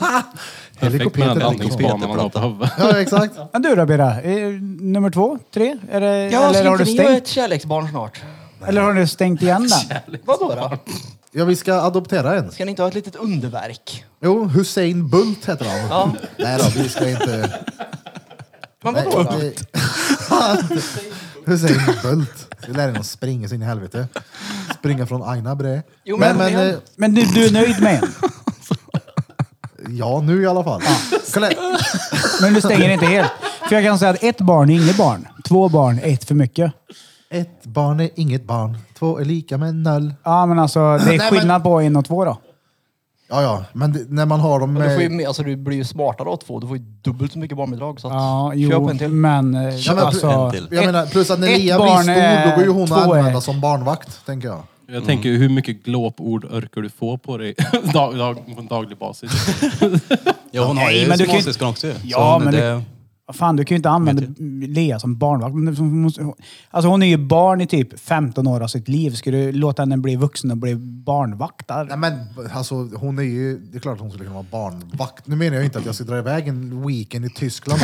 C: Perfekt med den
A: Helikopeter.
C: landningsbanan man har på huvudet.
A: Ja, exakt.
B: Men du då Bera, Eh, nummer två, tre? Är det,
D: Ja,
B: eller,
D: ska
B: har du
D: inte ni vara ett
B: stängt,
D: kärleksbarn snart?
B: eller har du stängt igen den?
D: Vadå då?
A: Ja, vi ska adoptera en.
D: Ska ni inte ha ett litet underverk?
A: Jo, Hussein Bult heter han.
D: Ja.
A: Nej då, vi ska inte...
D: Men
A: Nej,
D: vadå då?
A: vi- Hussein Bult. Vi lär honom springa så in i helvete. Springa från Aina Bre.
D: Jo, men- men-
A: eh,
B: Men du, du är nöjd med en?
A: Ja, nu i alla fall. Kolla,
B: Men du stänger inte helt? För jag kan säga att ett barn är inget barn. Två barn är ett för mycket.
A: ett barn är inget barn, två är lika med noll.
B: Ja, men alltså det
A: Nej,
B: är
A: men-
B: skillnad på en och två då.
A: Ja, ja, men det, när man har dem
D: Du, får ju,
A: med...
D: mer- alltså, du blir ju smartare av två. Du får ju dubbelt så mycket barnbidrag. Så att,
B: Ja, jo,
D: köp en till.
B: men eh,
A: Ja, men-
B: alltså...
E: en till.
A: Jag menar, plus att när
B: ett
A: Lia blir
B: barn
A: stor,
B: är-
A: då går ju hon att
B: två är-
A: använda som barnvakt, tänker jag.
C: Jag tänker hur mycket glåpord orkar du få på dig dag, dag, på en daglig basis?
E: Ja, hon har
B: Nej,
E: ju
B: men du kan ju-
E: småsyskon också ju. Så
B: Ja,
E: hon-
B: men
E: det...
B: Vad Fan, du kan ju inte använda Lea som barnvakt. Men hon måste- Alltså hon är ju barn i typ 15 år av sitt liv. Ska du låta henne bli vuxen och bli barnvakt
A: Nej
B: där?
A: men alltså, hon är ju... Det är klart att hon skulle kunna vara barnvakt. Nu menar jag inte att jag ska dra iväg en weekend i Tyskland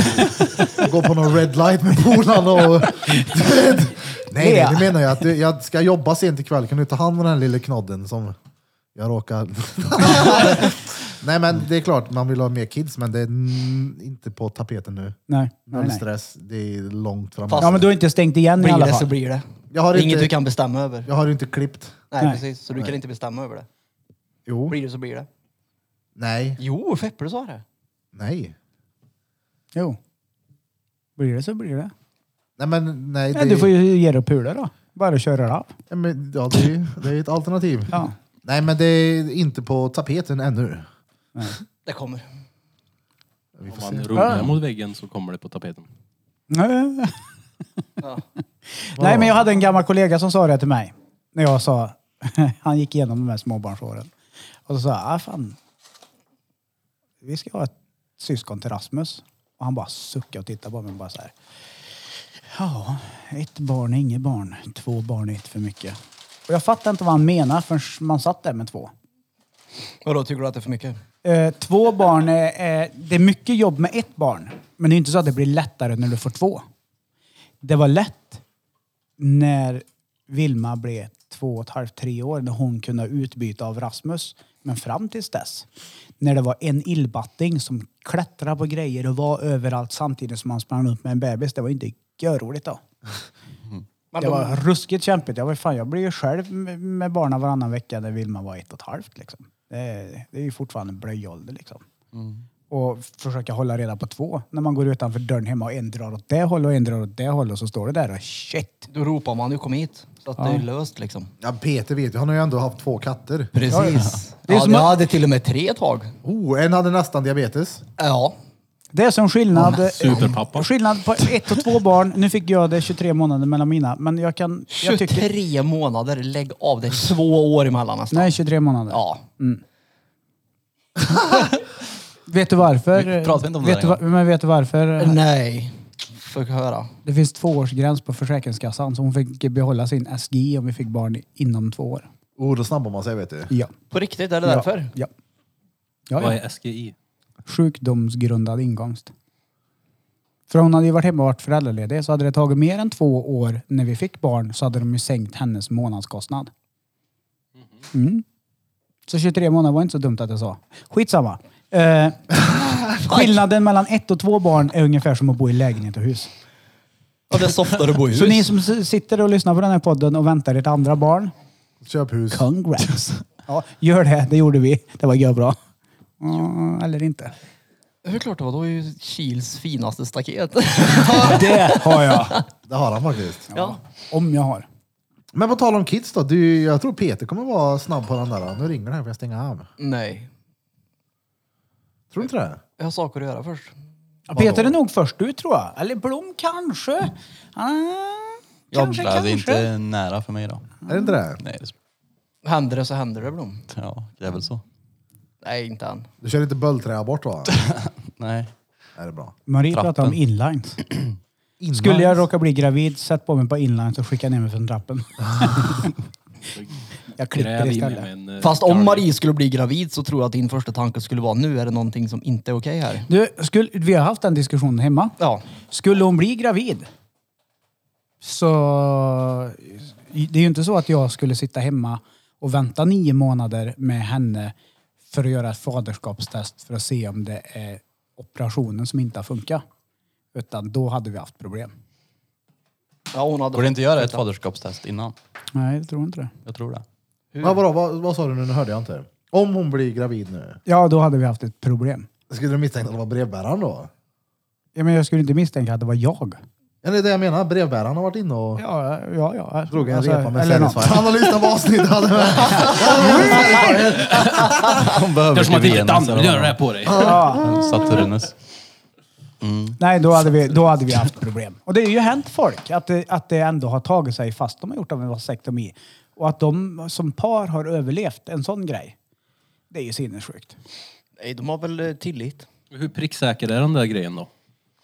A: och gå på någon red light med polarna och... Du vet. Nej, nej, nu menar jag att du, jag ska jobba sent ikväll. Kan du ta hand om den här lilla knodden som jag råkar... nej men det är klart, man vill ha mer kids, men det är n- inte på tapeten nu.
B: Nej. nej,
A: Noll
B: nej.
A: stress, det är långt fram.
D: Fast-
B: Ja, men du har inte stängt igen i
D: Blir
B: alla
D: det så
B: fall.
D: blir det.
A: Jag har
D: Det är
A: inte-
D: Inget du kan bestämma över.
A: Jag har ju inte klippt.
D: Nej,
B: Nej.
D: precis. Så du kan inte bestämma över det.
A: Jo.
D: Blir det så blir det.
A: Nej.
D: Jo, Feppe du sa det.
A: Nej.
B: Jo. Blir det så blir det.
A: Nej men nej. Det,
B: Ja, du får ju ge dig och pula då. Bara köra det av.
A: ja, men, ja, det, är ju- det är ju ett alternativ.
B: Ja.
A: Nej men det är inte på tapeten ännu.
D: Det kommer.
A: Vi får
C: Om man
A: se.
C: rullar mot väggen så kommer det på tapeten.
B: Nej.
D: Ja.
B: Nej, men jag hade en gammal kollega som sa det till mig. När jag sa, han gick igenom de här småbarnsåren. Och så sa jag, ah, fan. Vi ska ha ett syskon till Rasmus. Och han bara suckade och tittade på mig och bara så här. Ja, ett barn är inget barn. Två barn är ett för mycket. Och jag fattade inte vad han menade förrän man satt där med två.
D: Och då tycker du att det är för mycket?
B: Eh, två barn, är, är, det är mycket jobb med ett barn. Men det är inte så att det blir lättare när du får två. Det var lätt när Vilma blev två och ett halvt, tre år, när hon kunde ha utbyte av Rasmus. Men fram tills dess, när det var en illbatting som klättrade på grejer och var överallt samtidigt som han sprang upp med en bebis, det var inte görroligt då. Det
D: Men de-
B: var ruskigt kämpigt. Jag, var, fan, jag blev ju själv med med barnen varannan vecka när Vilma var ett och ett halvt. Liksom. Det, är, det är ju fortfarande blöjålder. Liksom.
E: Mm.
B: Och försöka hålla reda på två. När man går utanför dörren hemma och en drar åt det hållet och en drar åt det hållet och så står det där och shit.
D: Då ropar man ju kom hit. Så att det är löst liksom.
A: Ja, Peter vet ju, han har ju ändå haft två katter.
D: Precis.
B: Det är
D: Ja,
B: som
D: jag
B: att-
D: hade till och med tre tag.
A: Oh, en hade nästan diabetes.
D: Ja.
B: Det är som skillnad,
C: Superpappa.
B: skillnad på ett och två barn. Nu fick jag det 23 månader mellan mina. Men jag kan... Jag
D: 23
B: tycker,
D: månader, lägg av. Det är två år emellan nästan.
B: nej, 23 månader.
D: Ja.
B: Vet du varför?
E: Vi pratar inte om det
B: vet du,
E: här
B: va- men vet du varför?
D: Nej. Får jag höra.
B: Det finns tvåårsgräns på Försäkringskassan så hon fick behålla sin SGI om vi fick barn inom två år.
A: Oh, då snabbar man sig vet du.
B: Ja.
D: På riktigt, är det
B: Ja.
D: därför?
B: ja.
C: Vad
B: ja, ja.
C: är SGI?
B: Sjukdomsgrundad inkomst. För hon hade ju varit hemma och varit föräldraledig så hade det tagit mer än två år när vi fick barn så hade de ju sänkt hennes månadskostnad.
D: Mm-hmm.
B: Mm. Så 23 månader var inte så dumt att jag sa. Skitsamma. Eh, skillnaden mellan ett och två barn är ungefär som att bo i lägenhet och hus.
D: Ja, det är softare att bo i hus.
B: Så ni som s- sitter och lyssnar på den här podden och väntar ert andra barn,
A: Köp hus.
B: Congrats. Ja, gör det. Det gjorde vi. Det var görbra. Mm, eller inte.
D: Det är klart det var. Det var ju Kils finaste staket.
B: Det har jag.
A: Det har han faktiskt.
D: ja.
B: Om jag har.
A: Men på tal om kids då. Du, jag tror Peter kommer vara snabb på den där. Nu ringer den här för jag stänga av.
D: Nej.
A: Tror du inte det?
D: Jag har saker att göra först.
B: Peter är nog först ut tror jag. Eller Blom kanske. Ah, kanske,
E: Ja, det
B: kanske.
E: är inte nära för mig idag.
A: Är det inte det?
E: Nej, det är,
D: Händer det så händer det Blom.
E: ja, det är väl så.
D: Nej, inte än.
A: Du kör inte böldträ bort va?
E: Nej.
A: är det bra?
B: Marie pratar om
E: Trappen. Mm.
B: inlines.
A: Innan-
B: Skulle jag råka bli gravid, sätt på mig på inlines och skicka ner mig från trappen. jag klipper
C: Gräv i mig med
B: istället.
C: en... eh,
D: Fast om
C: galge.
D: Marie skulle bli gravid så tror jag att din första tanke skulle vara nu är det någonting som inte är okej här.
B: Du, skulle, vi har haft den diskussionen hemma.
D: Ja.
B: Skulle hon bli gravid så... Det är ju inte så att jag skulle sitta hemma och vänta nio månader med henne för att göra ett faderskapstest för att se om det är operationen som inte har funkat. Utan då hade vi haft problem.
D: ja hon hade...
E: Borde inte göra ett faderskapstest innan?
B: Nej, jag tror inte det.
E: Jag tror det.
A: Men vadå, vad, vad sa du nu? Nu hörde jag inte. Om hon blir gravid nu,
B: Ja, då hade vi haft ett problem.
A: skulle du misstänka att det var brevbäraren då?
B: Ja, men jag skulle inte misstänka att det var jag.
A: Ja, det är det jag menar. Brevbäraren har varit inne och
B: Ja, ja, ja.
A: drog en
B: Alltså,
A: repa med
B: eller något.
A: Satisfyer. Han har lyssnat på avsnittet. Han är-
E: Hon behöver
C: Kanske Mattias
E: Venus,
D: alltså.
C: Damm vill
E: eller
C: göra
E: vad
C: det här på dig.
E: det var. Saturnus.
B: Nej, då hade, vi, då hade vi haft problem. Och det har ju hänt folk att det, att det ändå har tagit sig fast de har gjort av en vasektomi. Och att de som par har överlevt en sån grej. Det är ju sinnessjukt.
D: Nej, de har väl eh, tillit.
C: Hur pricksäker är den där grejen då?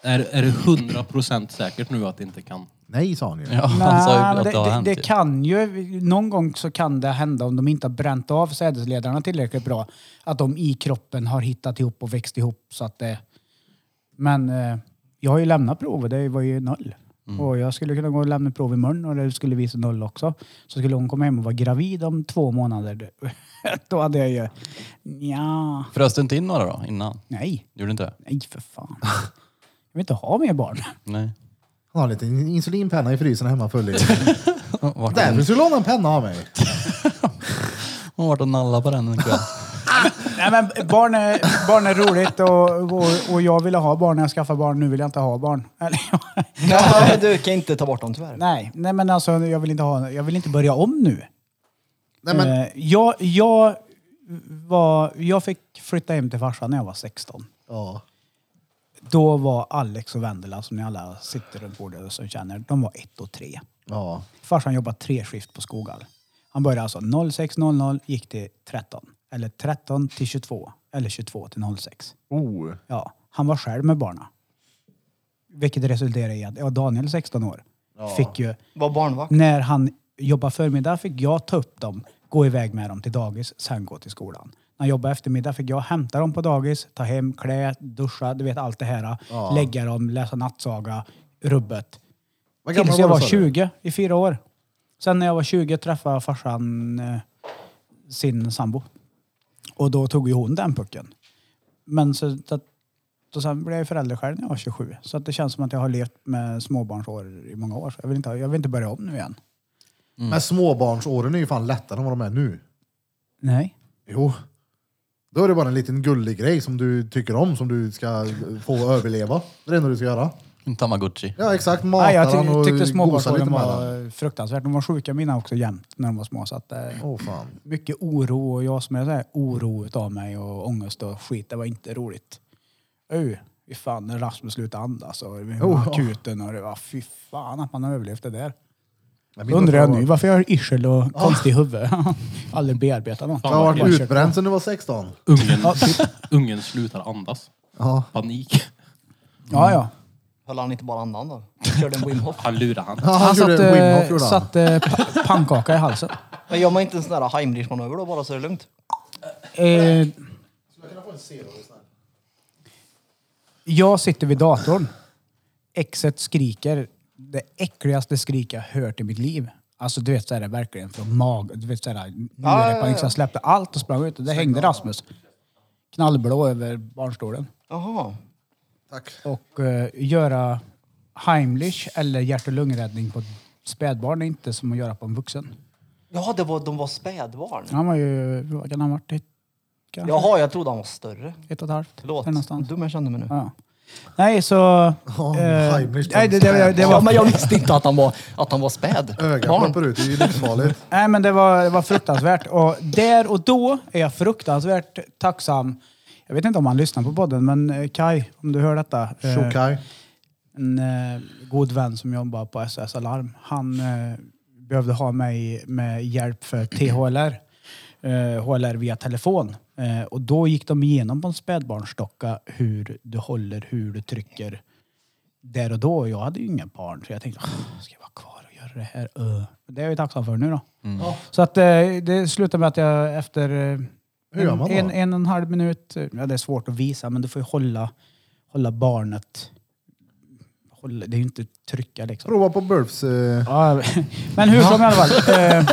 C: Är, är det 100% säkert nu att det inte kan?
A: Nej, sa han ju.
E: Ja, han sa ju
B: men
E: att
B: det,
E: det har
B: det,
E: hänt.
B: det
E: ju.
B: kan ju, någon gång så kan det hända om de inte har bränt av sädesledarna tillräckligt bra. Att de i kroppen har hittat ihop och växt ihop så att det... Men eh, jag har ju lämnat provet, det var ju noll.
E: Mm.
B: Och jag skulle kunna gå och lämna prov imorgon och det skulle visa noll också. Så skulle hon komma hem och vara gravid om två månader. då- Då hade jag ju... ja,
E: Frös du inte in några då innan?
B: Nej.
E: Gjorde du inte det?
B: Nej för fan. Jag vill inte ha mer barn.
E: Nej.
A: Han har lite insulinpenna i frysen hemma full i.
E: Hon vart
A: Därför skulle du låna en penna av mig.
E: hon vart och nallade på den en kväll.
B: Nej, men barn, är, barn är roligt och, och, och jag ville ha barn när jag skaffade barn. Nu vill jag inte ha barn. Eller,
D: Nej, du kan inte ta bort dem tyvärr.
B: nej, nej, men alltså jag vill inte, ha, jag vill inte börja om nu.
A: Nej, men,
B: Eh, jag, jag, var, jag fick flytta hem till farsan när jag var 16.
A: ja.
B: Då var Alex och Vendela, som ni alla sitter runt bordet och känner, de var ett och tre.
A: Ja.
B: Farsan jobbade tre skift på Skoghall. Han började alltså 06.00, gick till 13. Eller 13 till 22. Eller 22 till 06.
A: Oh.
B: Ja, han var själv med barna. Vilket resulterade i att ja, Daniel, 16 år, fick ju...
D: Var barnvakt.
B: När han jobbade förmiddag fick jag ta upp dem, gå iväg med dem till dagis, sen gå till skolan. När jag jobbade eftermiddag fick jag hämta dem på dagis, ta hem, klä, duscha, du vet allt det här. Lägga dem, läsa nattsaga, rubbet.
A: Vad gammal
B: Tills jag
A: du,
B: var
A: sa du?
B: 20, i fyra år. Sen när jag var 20 träffade farsan eh, sin sambo. Och då tog ju hon den pucken. Men så att, och sen blev jag förälder själv när jag var 27. Så att det känns som att jag har levt med småbarnsår i många år. Så jag, vill inte, ha- jag vill inte börja om nu igen.
A: Men småbarnsåren är ju fan lättare än vad de är nu.
B: Nej.
A: Jo. Då är det bara en liten gullig grej som du tycker om, som du ska få överleva. Det är det enda du ska göra.
E: En Tamagotchi.
A: Ja, exakt. Mata
B: Nej, jag
A: den
B: ty-
A: och
B: tyckte
A: gosa lite
B: småbarnsåren
A: med den.
B: var fruktansvärt. De var sjuka mina också jämt när de var små. Så att, eh,
A: Åh fan.
B: mycket oro och jag som är så här oro utav mig och ångest och skit. Det var inte roligt. Öj, fy fan när Rasmus slutade andas och vi var
A: Oh, ja.
B: akuten och det var fy fan att man har överlevt det där.
A: Jag
B: Då
A: minns Ah.
B: undrar
A: att
B: jag
A: var-
B: nu varför jag har yrsel och konstig huvud. Aldrig bearbetat något.
A: Jag har varit utbränd sedan du var 16.
C: Ungen, ungen slutar andas.
A: Ja.
C: Panik.
B: Ja, ja.
D: Höll han inte bara andan då? Körde en Wim Hof.
C: Han lurar han.
A: Ja,
B: Han
A: gjorde
B: satt,
A: Wim Hof,
B: eh,
A: gjorde han.
B: satt eh, pa- pannkaka i halsen.
D: Men gör man inte en sån där Heimlich-manöver då bara så är det lugnt?
B: Eh, jag sitter vid datorn. Exet skriker det äckligaste skrik jag hört i mitt liv. Alltså du vet så är det verkligen från mag... Du vet så här,
D: ja, ja.
B: njurepaniken. Så jag släppte allt och sprang ut. Och det hängde Rasmus. Knallblå över barnstolen.
D: Jaha.
A: Tack.
B: Och eh, göra Heimlich eller hjärt och lungräddning på ett spädbarn är inte som att göra på en vuxen.
D: Ja, det var, de var spädbarn.
B: Han var ju... Vad kan han ha varit? Ett, kanske?
D: Jaha, jag trodde han var större.
B: Ett och ett halvt?
D: Förlåt.
B: där någonstans.
D: Dum jag kände mig nu.
B: Ja. Nej, så...
A: Ja,
B: eh,
A: Heimlich
B: nej, det, det, det, det
D: Ja,
B: var,
D: men jag visste inte att han var, att han var späd.
A: Ögat
D: Barn.
A: ploppar ut, det är ju livsfarligt.
B: nej, men det, var, det var fruktansvärt. Och där och då är jag fruktansvärt tacksam. Jag vet inte om han lyssnar på podden, men eh, Kai, om du hör detta. eh,
A: Tjockaj.
B: en eh, god vän som jobbar på SOS Alarm. Han eh, behövde ha mig med hjälp för THLR. Eh, HLR via telefon. Eh, och då gick de igenom på en spädbarnsdocka hur du håller, hur du trycker. Där och då. Jag hade ju inga barn så jag tänkte, "Åh, ska jag vara kvar och göra det här? Öh." Det är jag ju tacksam för nu då. Så att eh, det slutade med att jag efter eh,
A: Hur gör
B: en,
A: man då?
B: en, en och en halv minut, eh, ja det är svårt att visa men du får ju hålla, hålla barnet hålla, det är ju inte trycka liksom.
A: Prova på burps. Eh,
B: Ja, men hur som i alla fall. Eh,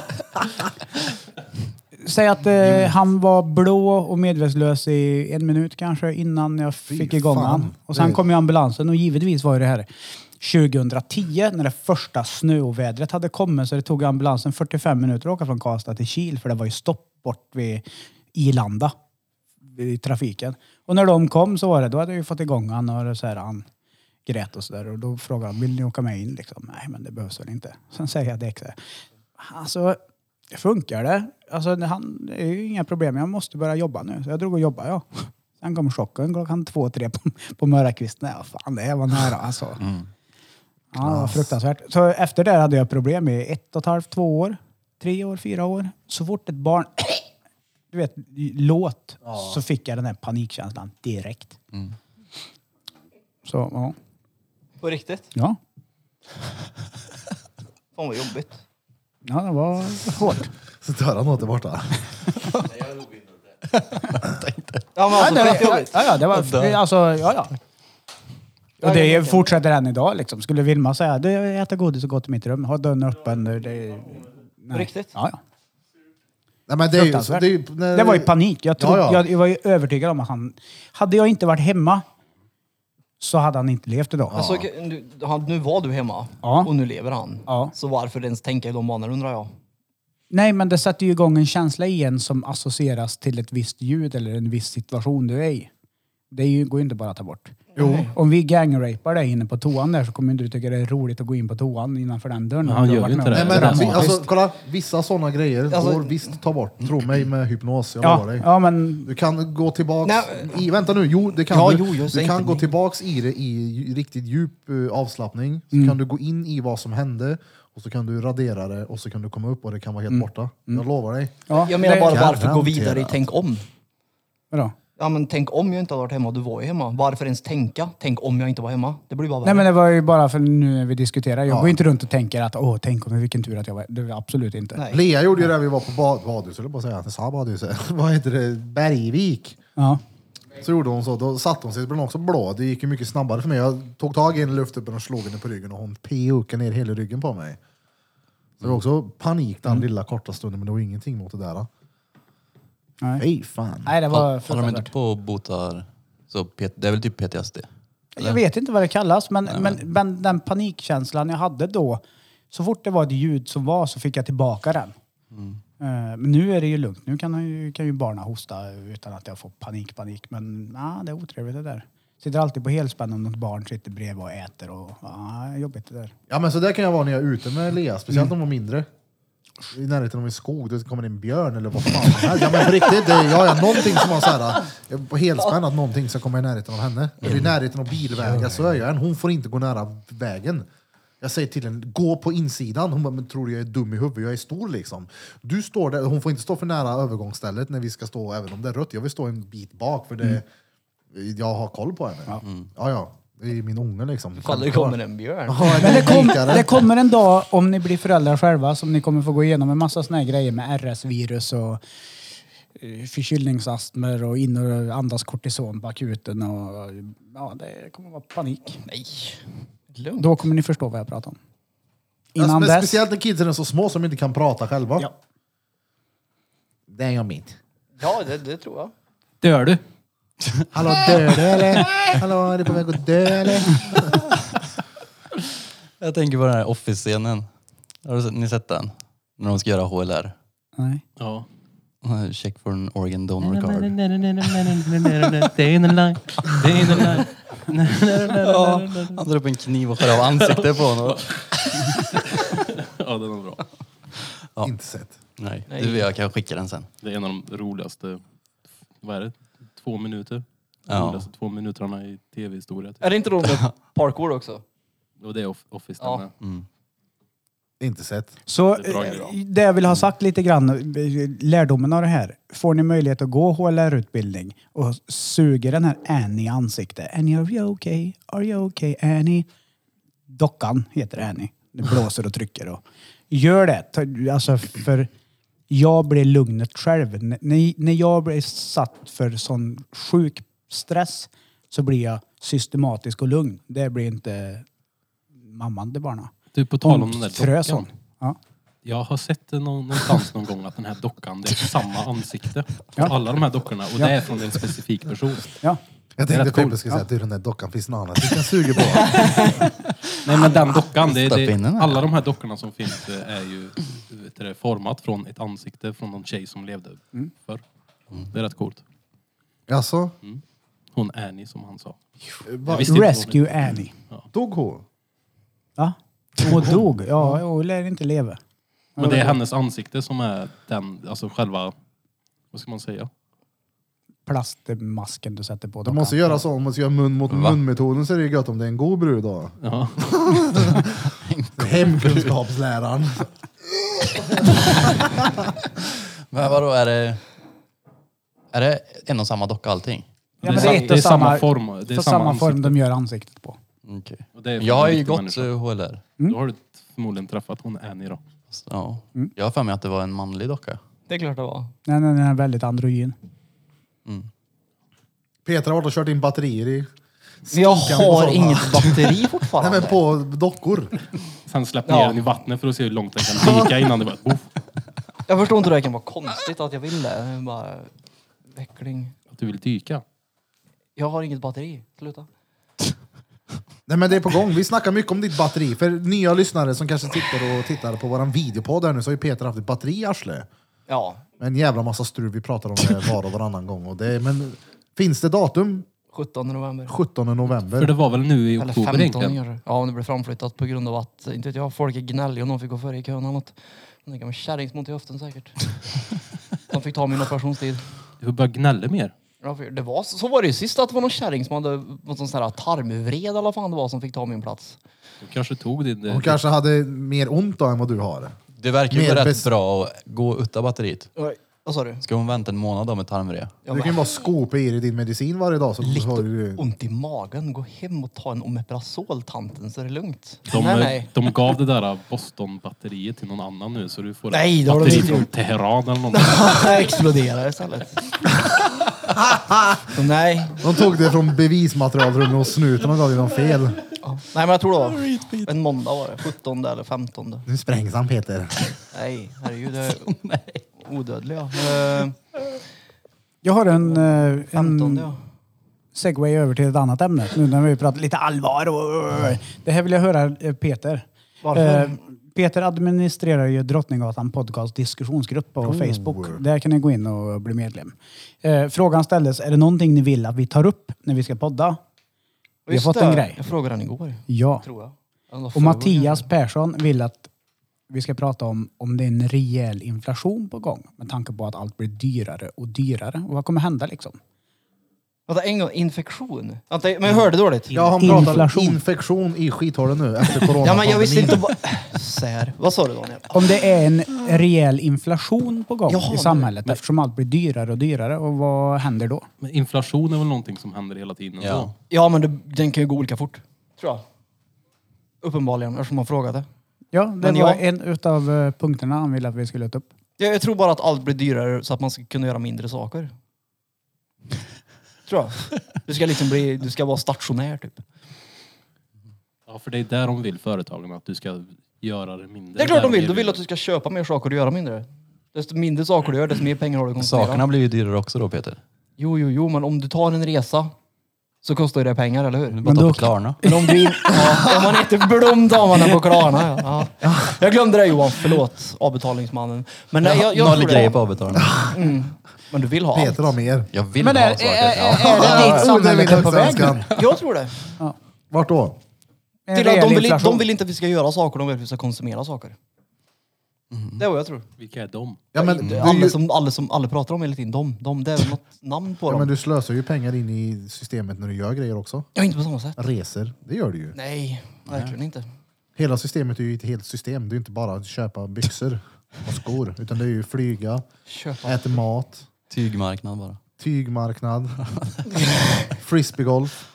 B: säg att eh, han var blå och medvetslös i en minut kanske innan jag fick igång
A: fan.
B: han. Och sen
A: Det-
B: kom ju ambulansen och givetvis var ju det här 2010 när det första snöovädret hade kommit så det tog ambulansen 45 minuter att åka från Karlstad till Kil för det var ju stopp bort vid Ilanda i trafiken. Och när de kom så var det, då hade jag ju fått igång han och så här, han grät och sådär. Och då frågade han, vill ni åka med in? Liksom, Nej, men det behövs väl inte. Sen säger jag det. så här, Alltså, funkar det? Alltså, det- han, det är ju inga problem. Jag måste börja jobba nu. Så jag drog och jobbade, ja. Sen kom chocken klockan två, tre på, på Mörakvisten. Ja, fan, det här var nära alltså. Ja, det var fruktansvärt. Så efter det hade jag problem i ett och ett halvt, två år. Tre år, fyra år. Så fort ett barn du vet, låt så fick jag den här panikkänslan direkt. Så, ja.
D: På riktigt.
B: Ja,
D: Fan vad jobbigt.
B: ja det var hårt.
A: så dör han åt det borta.
D: Ja, men alltså,
B: ja,
D: fett
B: det var,
D: jobbigt.
B: ja, ja, det var det- alltså, ja, ja. Och det är- fortsätter än idag liksom. Skulle Vilma säga, du jag äter godis och gå till mitt rum, ha dörren öppen. Det, är- nej.
D: Riktigt?
B: Ja, ja.
A: Nej, men det, är ju, så, det, är ju, när-
B: Det var ju panik. Jag, trodde,
A: Ja, ja.
B: Jag, jag var ju övertygad om att han... Hade jag inte varit hemma så hade han inte levt idag.
D: Alltså, okej, nu, han, nu var du hemma
B: Ja.
D: och nu lever han.
B: Ja.
D: Så varför ens tänka i de banorna undrar jag.
B: Nej, men det sätter ju igång en känsla igen som associeras till ett visst ljud eller en viss situation du är i. Det är ju, går ju inte bara att ta bort. Jo. Om vi gangrapar dig inne på toan där så kommer ju inte du tycka det är roligt att gå in på toan innanför den dörren.
C: Men han
B: Du har
C: gör
B: varit
C: ju inte
B: med om
C: det.
A: Nej, men, vi,
B: dramatiskt.
A: alltså, kolla, vissa sådana grejer
D: Alltså-
A: går visst ta bort. Tro mig med hypnos, jag lovar
B: ja,
A: dig.
B: ja, men
A: Du kan gå tillbaks
D: Nej.
A: i, vänta nu, jo det kan
D: Ja,
A: du.
D: jo, jag
A: du
D: säger
A: kan
D: inte
A: gå
D: nej.
A: tillbaks i det i ju- riktigt djup eh, avslappning, så
D: Mm.
A: kan du gå in i vad som hände och så kan du radera det och så kan du komma upp och det kan vara
D: Mm.
A: helt borta. Jag lovar dig.
B: ja,
D: Jag menar
B: det-
D: bara
A: Garanterat.
D: varför gå vidare i tänk om?
B: Vadå?
D: Ja men tänk om jag inte hade varit hemma och du var ju hemma. Varför ens tänka? Tänk om jag inte var hemma. Det blir bara värre.
B: Nej men det var ju bara för nu när vi diskuterar. Jag går inte runt och tänker att åh, tänk om vilken tur att jag var Det var absolut inte.
D: Nej.
A: Lea gjorde ju det när vi var på bad, badhus, eller bara säga, sa badhuset, vad heter det, Bergvik.
B: Ja.
A: Så gjorde hon så, då satte hon sig, så blev hon också blå. Det gick ju mycket snabbare för mig. Jag tog tag i en luftuppen och slog henne på ryggen och hon pukade ner hela ryggen på mig. Så det var också panik den lilla korta stunden, men det var ingenting mot det där.
B: Nej.
A: Fy fan.
B: Nej, det var
E: Håller de inte
B: fruktansvärt.
E: på och botar... Så P- det är väl typ PTSD?
B: Jag vet inte vad det kallas, men, men, men den panikkänslan jag hade då. Så fort det var ett ljud som var så fick jag tillbaka den. Eh, Men nu är det ju lugnt. Nu kan, han ju- kan ju barna hosta utan att jag får panik, panik. Men nah, det är otrevligt det där. Sitter alltid på helspänn om något barn sitter bredvid och äter och ah, jobbigt det där.
A: Ja men så där kan jag vara när jag är ute med Lea, speciellt om hon var mindre. I närheten av en skog, då kommer det en björn eller vad fan som helst. Ja men på riktigt, det är, ja, ja, någonting som har såhär, på helspänn att någonting ska komma i närheten av henne. Eller i närheten av bilvägar, så är jag en. Hon får inte gå nära vägen. Jag säger till henne, gå på insidan. Hon bara, men tror du jag är dum i huvudet? Jag är stor liksom. Du står där, hon får inte stå för nära övergångsstället när vi ska stå, även om det är rött. Jag vill stå en bit bak för det, jag har koll på henne. Ja, ja. Det är min unge liksom.
D: Ifall det kommer en björn.
A: Ja,
B: Men det, kom,
A: dykare.
B: det kommer en dag om ni blir föräldrar själva som ni kommer få gå igenom en massa såna här grejer med RS-virus och eh, förkylningsastmer och in och andas kortison på akuten och ja, det kommer vara panik.
D: Nej. Lugnt.
B: Då kommer ni förstå vad jag pratar om.
A: Ja,
B: Innan
A: spe-
B: dess,
A: Speciellt när kidsen är så små som inte kan prata själva.
B: Ja.
A: Det är jag mitt.
D: Ja det, det tror jag.
C: Dör du?
A: Hallå, dör du eller? Hallå, är du på väg att dö eller?
E: Jag tänker på den här Office-scenen. Har du sett- ni sett den? När de ska göra HLR.
B: nej.
C: Ja.
E: Check for an organ donor card.
C: Day in the line, day in the line.
E: Ja, han drar upp en kniv och skär av ansiktet på honom.
C: Ja, den var bra.
A: Inte sett.
E: Nej, du jag kan skicka den sen.
C: Det är en av de roligaste, vad är det, två minuter? De
E: Ja.
C: roligaste två minuterna i tv-historia. Typ.
D: Är det inte roligt med parkour också?
C: Och det är off- Office
D: Ja.
C: den med.
A: Inte sett.
B: Så
C: Det är bra grejer,
B: eh, det jag vill ha sagt lite grann, eh, lärdomen av det här. Får ni möjlighet att gå HLR-utbildning och suger den här Annie i ansiktet. Annie, are you okay? Are you okay, Annie? Dockan heter Annie. Det blåser och trycker och... Gör det! Ta- Alltså, för jag blev lugnet själv. N- När, när jag blev satt för sån sjuk stress så blir jag systematisk och lugn. Det blir inte mamman det barna.
C: Du, på tal om den där
B: frös hon.
C: dockan.
B: Ja.
C: Jag har sett det någon, någonstans någon gång att den här dockan, det är samma ansikte på alla de här dockorna. Och det är från en specifik
B: Ja.
C: person.
A: Jag
C: Det är
A: tänkte
C: rätt
A: Peppe
C: coolt.
A: skulle säga att du den där dockan finns någon annan. Du kan suga på.
C: Nej men den dockan, det,
E: Stoppa
C: det,
E: in den här.
C: alla de här dockorna som finns eh, är ju vet du, det, format från ett ansikte från någon tjej som levde förr. Det är rätt coolt.
A: Alltså,
C: Hon Annie som han sa.
A: vad-
C: Jag visste inte vad hon
B: Rescue
C: hette.
B: Annie.
A: dog hon?
B: Va? Hon dog. Ja, hon lär inte leva.
C: Men det är hennes ansikte som är den, alltså själva, vad ska man säga?
B: Plastmasken du sätter på
A: Du
B: dockan.
A: måste göra så, om man ska göra mun mot mun-metoden så är det ju gött om det är en god brud då.
C: Ja.
A: Hemkunskapsläraren.
E: Men vadå, är det... Är det en och samma docka allting?
B: Ja, men det
C: Det är sa-
B: är, ett
C: det
B: och
C: är samma
B: samma
C: form, det är
B: för
C: samma
B: samma form
C: ansikte.
B: de gör ansiktet på.
E: Okej.
C: Och det är
E: Jag har ju
C: riktig
E: gått
C: människa.
E: eh, HLR.
C: Då har du förmodligen träffat hon Annie då.
E: Så, Ja. Jag har för mig att det var en manlig docka.
D: Det är klart det var.
B: Nej, nej, den är väldigt androgyn.
A: Petra har varit och kört in batterier i...
D: Men jag
A: skinkan och sådana.
D: har inget batteri
A: Nej
D: fortfarande.
A: men på dockor.
C: Sen släpp
D: Ja.
C: ner den i vattnet för att se hur långt den kan dyka innan det bara... Oof,
D: Jag förstår inte hur det kan vara konstigt att jag vill det. det. är Bara veckling.
C: att du vill dyka.
D: Jag har inget batteri. Sluta.
A: Nej men det är på gång. Vi snackar mycket om ditt batteri. För nya lyssnare som kanske sitter och tittar på våran videopodd här nu så har ju Peter haft ett batteri i arslet.
D: Ja,
A: En jävla massa strul. Vi pratar om det var och varannan gång. Och det, men finns det datum?
D: 17 november.
A: 17
C: För det
A: november.
C: var väl nu i
D: Eller
C: oktober
D: 15
C: egentligen?
D: gör det. Ja, om det blev framflyttat på grund av att, inte vet jag, folk är gnälliga och någon fick gå före i kön eller något. Den gamla kärring som ont i höften säkert. De fick ta min operationstid.
C: Du får börja gnälla mer.
D: Ja, för Det var, så så var det ju sist att det var någon kärring som hade någon sån här tarmvred eller vad fan det var som fick ta min plats.
C: Du kanske tog din...
A: Hon kanske hade mer ont då än vad du har.
E: Det verkar ju
A: Mer
E: gå rätt
A: bes-
E: bra att gå utan batteriet.
D: Vad sa du?
E: Ska hon vänta en månad då med tarmvred?
A: Du kan ju bara skopa i dig din medicin varje dag. Så
D: Lite
A: har du,
D: ont i magen. Gå hem och ta en Omeprazol tanten så är det lugnt.
C: De,
D: nej, nej.
C: de gav det där Boston-batteriet till någon annan nu så du får
D: Nej,
C: ett
D: det har de
C: batteri
D: inte
C: från
D: gjort.
C: Teheran eller någonting.
D: Exploderar istället. Så nej.
A: de tog det från bevismaterialrummet och snuten och gav dig dem fel.
D: Ja. nej, men jag tror det var en måndag var det. 17 eller 15.
A: Nu sprängs han Peter.
D: Nej, herregud. Jag är odödlig ja. Eh,
B: Jag har en, eh,
D: 15
B: en
D: ja.
B: segway över till ett annat ämne. Nu när vi pratar lite allvar. Och, det här vill jag höra eh, Peter.
D: Varför?
B: Eh, Peter administrerar ju Drottninggatan podcast diskussionsgrupp på
C: Oh.
B: Facebook. Där kan ni gå in och bli medlem. Eh, frågan ställdes, är det någonting ni vill att vi tar upp när vi ska podda? Vi har
D: Just
B: fått
D: det,
B: en grej.
D: Jag frågade den igår.
B: Ja.
D: Tror jag. Eller
B: Och
D: förra
B: Mattias
D: gången.
B: Persson vill att vi ska prata om om det är en rejäl inflation på gång med tanke på att allt blir dyrare och dyrare. Och vad kommer hända liksom?
D: Vänta en gång, infektion? Vänta, men jag hörde dåligt.
A: Ja, han pratar
B: Inflation.
A: inflation. infektion i skithålen nu efter corona.
D: Ja men jag visste inte vad... Sär. Vad sa du Daniel?
B: Om det är en rejäl inflation på gång
D: Jaha,
B: i samhället eftersom allt blir dyrare och dyrare. Och vad händer då?
C: Men inflation är väl någonting som händer hela tiden
E: Ja.
C: ändå?
D: Ja men det, den kan ju gå olika fort. Tror jag. Uppenbarligen eftersom man frågade.
B: Ja, det
D: Men
B: var
D: jag-
B: en utav eh, punkterna han ville att vi skulle ta upp.
D: Jag, jag tror bara att allt blir dyrare så att man ska kunna göra mindre saker. Tror jag. Du ska liksom bli, du ska vara stationär typ.
C: Ja, för det är där de vill företagen, att du ska göra det mindre.
D: Det är klart de vill.
C: Där
D: De vill att du ska köpa mer saker och göra mindre. Desto mindre saker du gör, desto mer pengar har du att konsumera.
E: Sakerna blir ju dyrare också då Peter.
D: Jo, jo, jo, men om du tar en resa så kostar ju det pengar, eller
E: Det är
D: hur?
E: bara att
B: då-
E: ta på Klarna.
D: Men om du in... ja, om man äter blom tar man den på Klarna. Ja. Ja. Jag glömde det Johan, förlåt avbetalningsmannen. Men, nej, jag, jag
E: Noll
D: tror det.
E: grejer på avbetalning.
D: men du vill ha allt.
A: Peter har mer.
E: Jag vill
B: Men
E: ha
B: är-
E: saker.
B: är-
E: ja.
B: är- det dit
A: Ja,
B: samhället
A: min
B: är på väg
A: högsta önskan.
D: Jag tror det.
A: Vart då?
B: En
D: Till att
B: rejäl
D: de, vill,
B: inflation.
D: de vill inte att vi ska göra saker, de vill att vi ska konsumera saker. Det är vad jag tror.
C: Vilka är de?
A: Ja, men, du, är
D: Alla
A: ju,
D: som, alla som alla pratar om hela tiden, de, de, det är väl något namn på
A: ja, men
D: dem.
A: du slösar ju pengar in i systemet när du gör grejer också.
D: Ja, inte på samma sätt.
A: Reser, det gör du ju.
D: Nej, verkligen inte.
A: Hela systemet är ju ett helt system. Det är ju inte bara att köpa byxor och skor. Utan det är ju flyga,
D: Köpa.
A: äta mat,
E: Tygmarknad bara.
A: tygmarknad, frisbeegolf.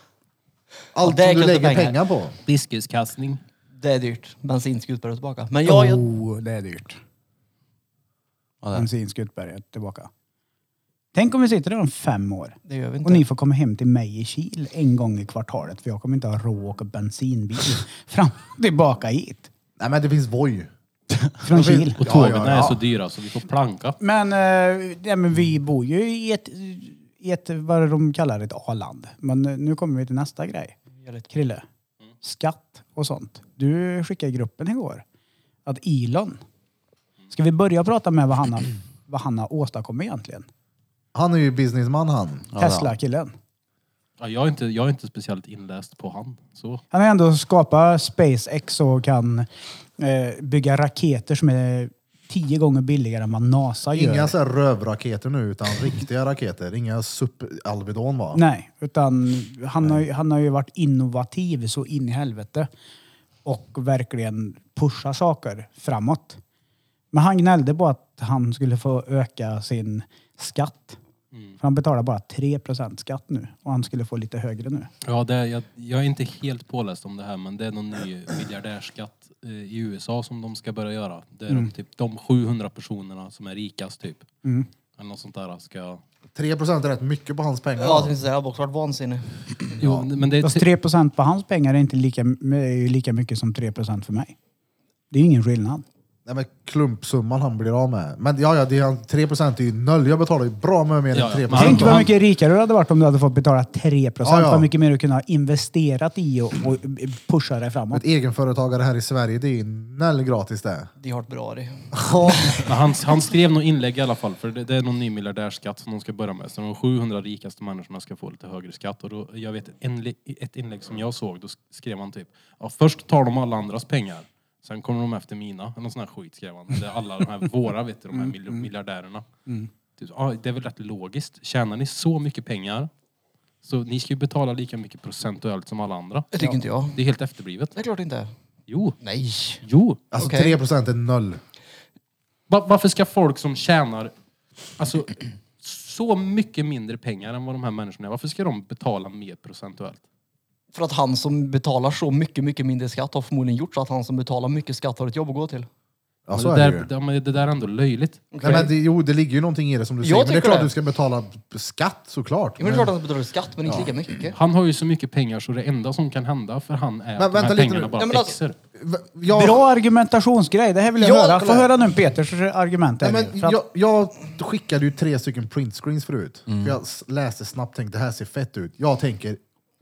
D: Ja,
A: Allt
D: det
A: som du
D: kostar
A: lägger
D: pengar.
A: pengar på.
C: Diskuskastning.
D: Det är dyrt. Bensin ska ut bara tillbaka. Men jag, jag,
B: Oh, det är dyrt.
E: Ja, det.
B: Bensinskutberget tillbaka. Tänk om vi sitter där om fem år
D: det gör vi
B: och
D: inte.
B: ni får komma hem till mig i Kil en gång i kvartalet för jag kommer inte ha råd att åka bensinbil fram och tillbaka hit.
A: Nej men det finns Voi.
B: Från Kil.
C: Och
A: Ja,
C: tågen
A: ja, ja.
C: är så dyra så vi får planka.
B: Men, eh, ja, men vi bor ju i ett, i ett, vad är det de kallar det, ett A-land. Men eh, nu kommer vi till nästa grej. Krille, skatt och sånt. Du skickade i gruppen igår att Elon, ska vi börja prata med vad han har, vad han har åstadkommit egentligen?
A: Han är ju businessman han.
E: Ja, det-
B: Tesla-killen.
C: Ja, jag, är inte, jag är inte speciellt inläst på han. Så.
B: Han har ändå skapat SpaceX och kan eh, bygga raketer som är tio gånger billigare än vad NASA gör.
A: Inga så här rövraketer nu utan riktiga raketer. Inga sup-Alvedon va?
B: Nej, utan han har, ju- han har ju varit innovativ så in i helvete. Och verkligen pushar saker framåt. Men han gnällde på att han skulle få öka sin skatt.
C: Mm.
B: För han betalar bara 3% skatt nu och han skulle få lite högre nu.
C: Ja, det, är- jag, jag är inte helt påläst om det här men det är någon ny miljardärskatt eh, i USA som de ska börja göra. Det är de, typ, de 700 personerna som är rikast typ. Eller något sånt där ska...
A: 3% är rätt mycket på hans pengar.
D: Ja, jag tänkte säga, jag har också varit vansinnig.
C: Jo, men det är
B: Fast 3% på hans pengar är, inte lika, är ju lika mycket som 3% för mig. Det är ju ingen skillnad.
A: Nej, men klumpsumman han blir av med. Men ja, ja, det är, 3% är ju noll. Jag betalar ju bra med mer
C: Ja,
A: än
C: ja.
A: 3%.
C: Men
B: Tänk
A: Och
B: vad
A: han-
B: mycket rikare du hade varit om du hade fått betala 3
A: Ja, ja.
B: Vad mycket mer du kunde ha investerat i och, och pusha dig framåt.
A: Ett egenföretagare här i Sverige, det är ju noll gratis det.
D: De har ett bra det.
C: Men han, han skrev något inlägg i alla fall, för det, det är någon ny miljardärsskatt som de ska börja med. Så de 700 rikaste människorna ska få lite högre skatt. Och då, jag vet en, li- ett inlägg som jag såg, då skrev han typ ja, först tar de alla andras pengar, sen kommer de efter mina. Någon sån här skit skrev han. Det är alla de här våra, vet du, de här mil- miljardärerna. Typ, ja, det är väl rätt logiskt. Tjänar ni så mycket pengar, så ni ska ju betala lika mycket procentuellt som alla andra.
D: Det tycker inte jag.
C: Det är helt efterblivet.
D: Det är klart inte.
C: Jo.
D: Nej.
C: Jo.
A: Alltså
D: Okej.
A: 3% är noll.
C: Va- Varför ska folk som tjänar alltså, så mycket mindre pengar än vad de här människorna är, varför ska de betala mer procentuellt?
D: För att han som betalar så mycket, mycket mindre skatt har förmodligen gjort så att han som betalar mycket skatt har ett jobb att gå till.
A: Ja,
C: Men
A: så
C: det,
A: är det ju.
C: där, det, men det där är ändå löjligt.
A: Nej, men det, jo, det ligger ju någonting i det som du säger. Men det är
D: tycker
A: klart
D: det.
A: du ska betala skatt såklart.
D: Ja, men det är klart att han betalar skatt, men inte lika mycket.
C: Han har ju så mycket pengar så det enda som kan hända för han är att de
A: vänta
C: här
A: lite
C: pengarna
A: nu.
C: bara
D: Ja, men alltså-
C: växer.
A: V- jag,
B: Bra argumentationsgrej, det här vill jag
A: Ja,
B: höra. Få
A: kolla.
B: höra nu Peters argument.
A: Nej,
B: här
A: men
B: nu, för att-
A: jag, jag skickade ju tre stycken printscreens förut. För jag s- läste snabbt tänkte det här ser fett ut. Jag tänker,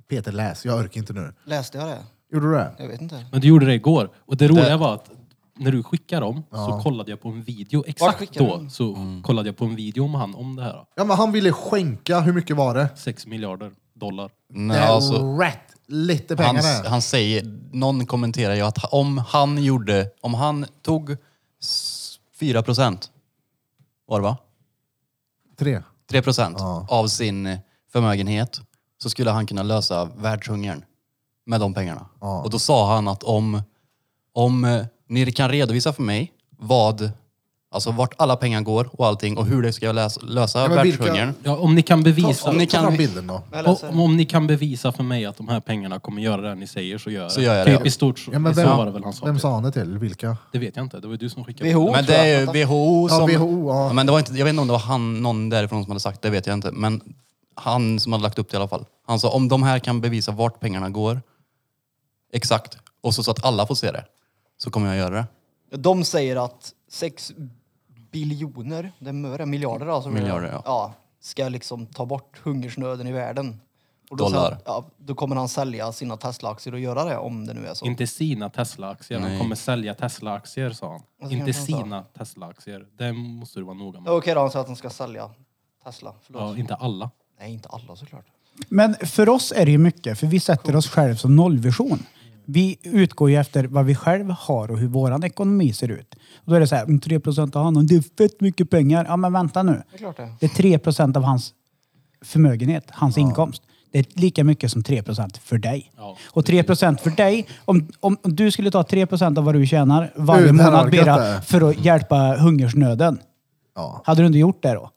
A: Peter läs, jag orkar inte nu.
D: Läste jag det?
A: Gjorde du det?
D: Jag vet inte.
C: Men du gjorde det igår. Och det roliga var att när du skickade dem så kollade jag på en video. Exakt
D: skickade
C: då
D: du?
C: så
A: Mm.
C: kollade jag på en video om han om det här.
A: Ja, men han ville skänka, hur mycket var det?
C: 6 miljarder dollar.
A: det
E: Nej,
A: är
E: alltså,
A: rätt lite pengar
E: han,
A: det.
E: han säger, någon kommenterar ju att om han gjorde, om han tog s- 4 procent, var det va?
A: Tre.
E: 3 procent av sin förmögenhet så skulle han kunna lösa världshungern med de pengarna. Och då sa han att om, om eh, ni kan redovisa för mig vad, alltså vart alla pengar går och allting och hur det ska lösa, lösa
A: Ja, men vilka-
E: världshungern.
C: Ja, om ni kan bevisa...
E: om ni
A: Ta
E: kan-
A: fram bilden då.
C: Om, om ni kan bevisa för mig att de här pengarna kommer göra det ni säger så gör jag
E: Så gör jag
C: typ
E: det.
C: i stort så,
A: Ja, men
C: så
A: vem,
C: var det väl han sa.
A: vem
C: typ.
A: sa han det till? Vilka?
C: Det vet jag inte, det var ju du som skickade.
D: WHO
E: Men det
D: tror jag.
E: är ju WHO
A: Ja,
E: som...
A: WHO, ja.
E: Men det var inte, jag vet inte om det var han, någon därifrån som hade sagt det, vet jag inte. Men han som hade lagt upp det i alla fall. Han sa om de här kan bevisa vart pengarna går, exakt, och så, så att alla får se det, så kommer jag göra det.
D: De säger att 6 biljoner, det är möre, miljarder alltså.
E: Miljarder, ja.
D: ska liksom ta bort hungersnöden i världen. Och
E: Dollar.
D: Sen, ja, då kommer han sälja sina Tesla-aktier och göra det om det nu är så.
C: Inte sina Tesla-aktier, han
E: Nej.
C: kommer sälja Tesla-aktier sa han.
D: Vad ska
C: Inte
D: han säga?
C: sina Tesla-aktier, det måste du vara noga
D: Ja,
C: med.
D: Okej då, han säger att han ska sälja Tesla. Förlåt.
C: Ja, inte alla.
D: Nej, inte alla såklart.
B: Men för oss är det ju mycket, för vi sätter oss själv som nollvision. Vi utgår ju efter vad vi själva har och hur våran ekonomi ser ut. Och då är det så här, "Mm, 3% av honom, det är fett mycket pengar. Ja men vänta nu.
D: Det är klart det.
B: Det är 3% av hans förmögenhet, hans inkomst. Det är lika mycket som 3% för dig.
C: Ja,
B: och 3% för dig, om, om du skulle ta 3% av vad du tjänar varje
A: Uh, det här
B: månad
A: var gött
B: Bera,
A: det.
B: för att hjälpa hungersnöden.
A: Ja.
B: Hade du inte gjort det då?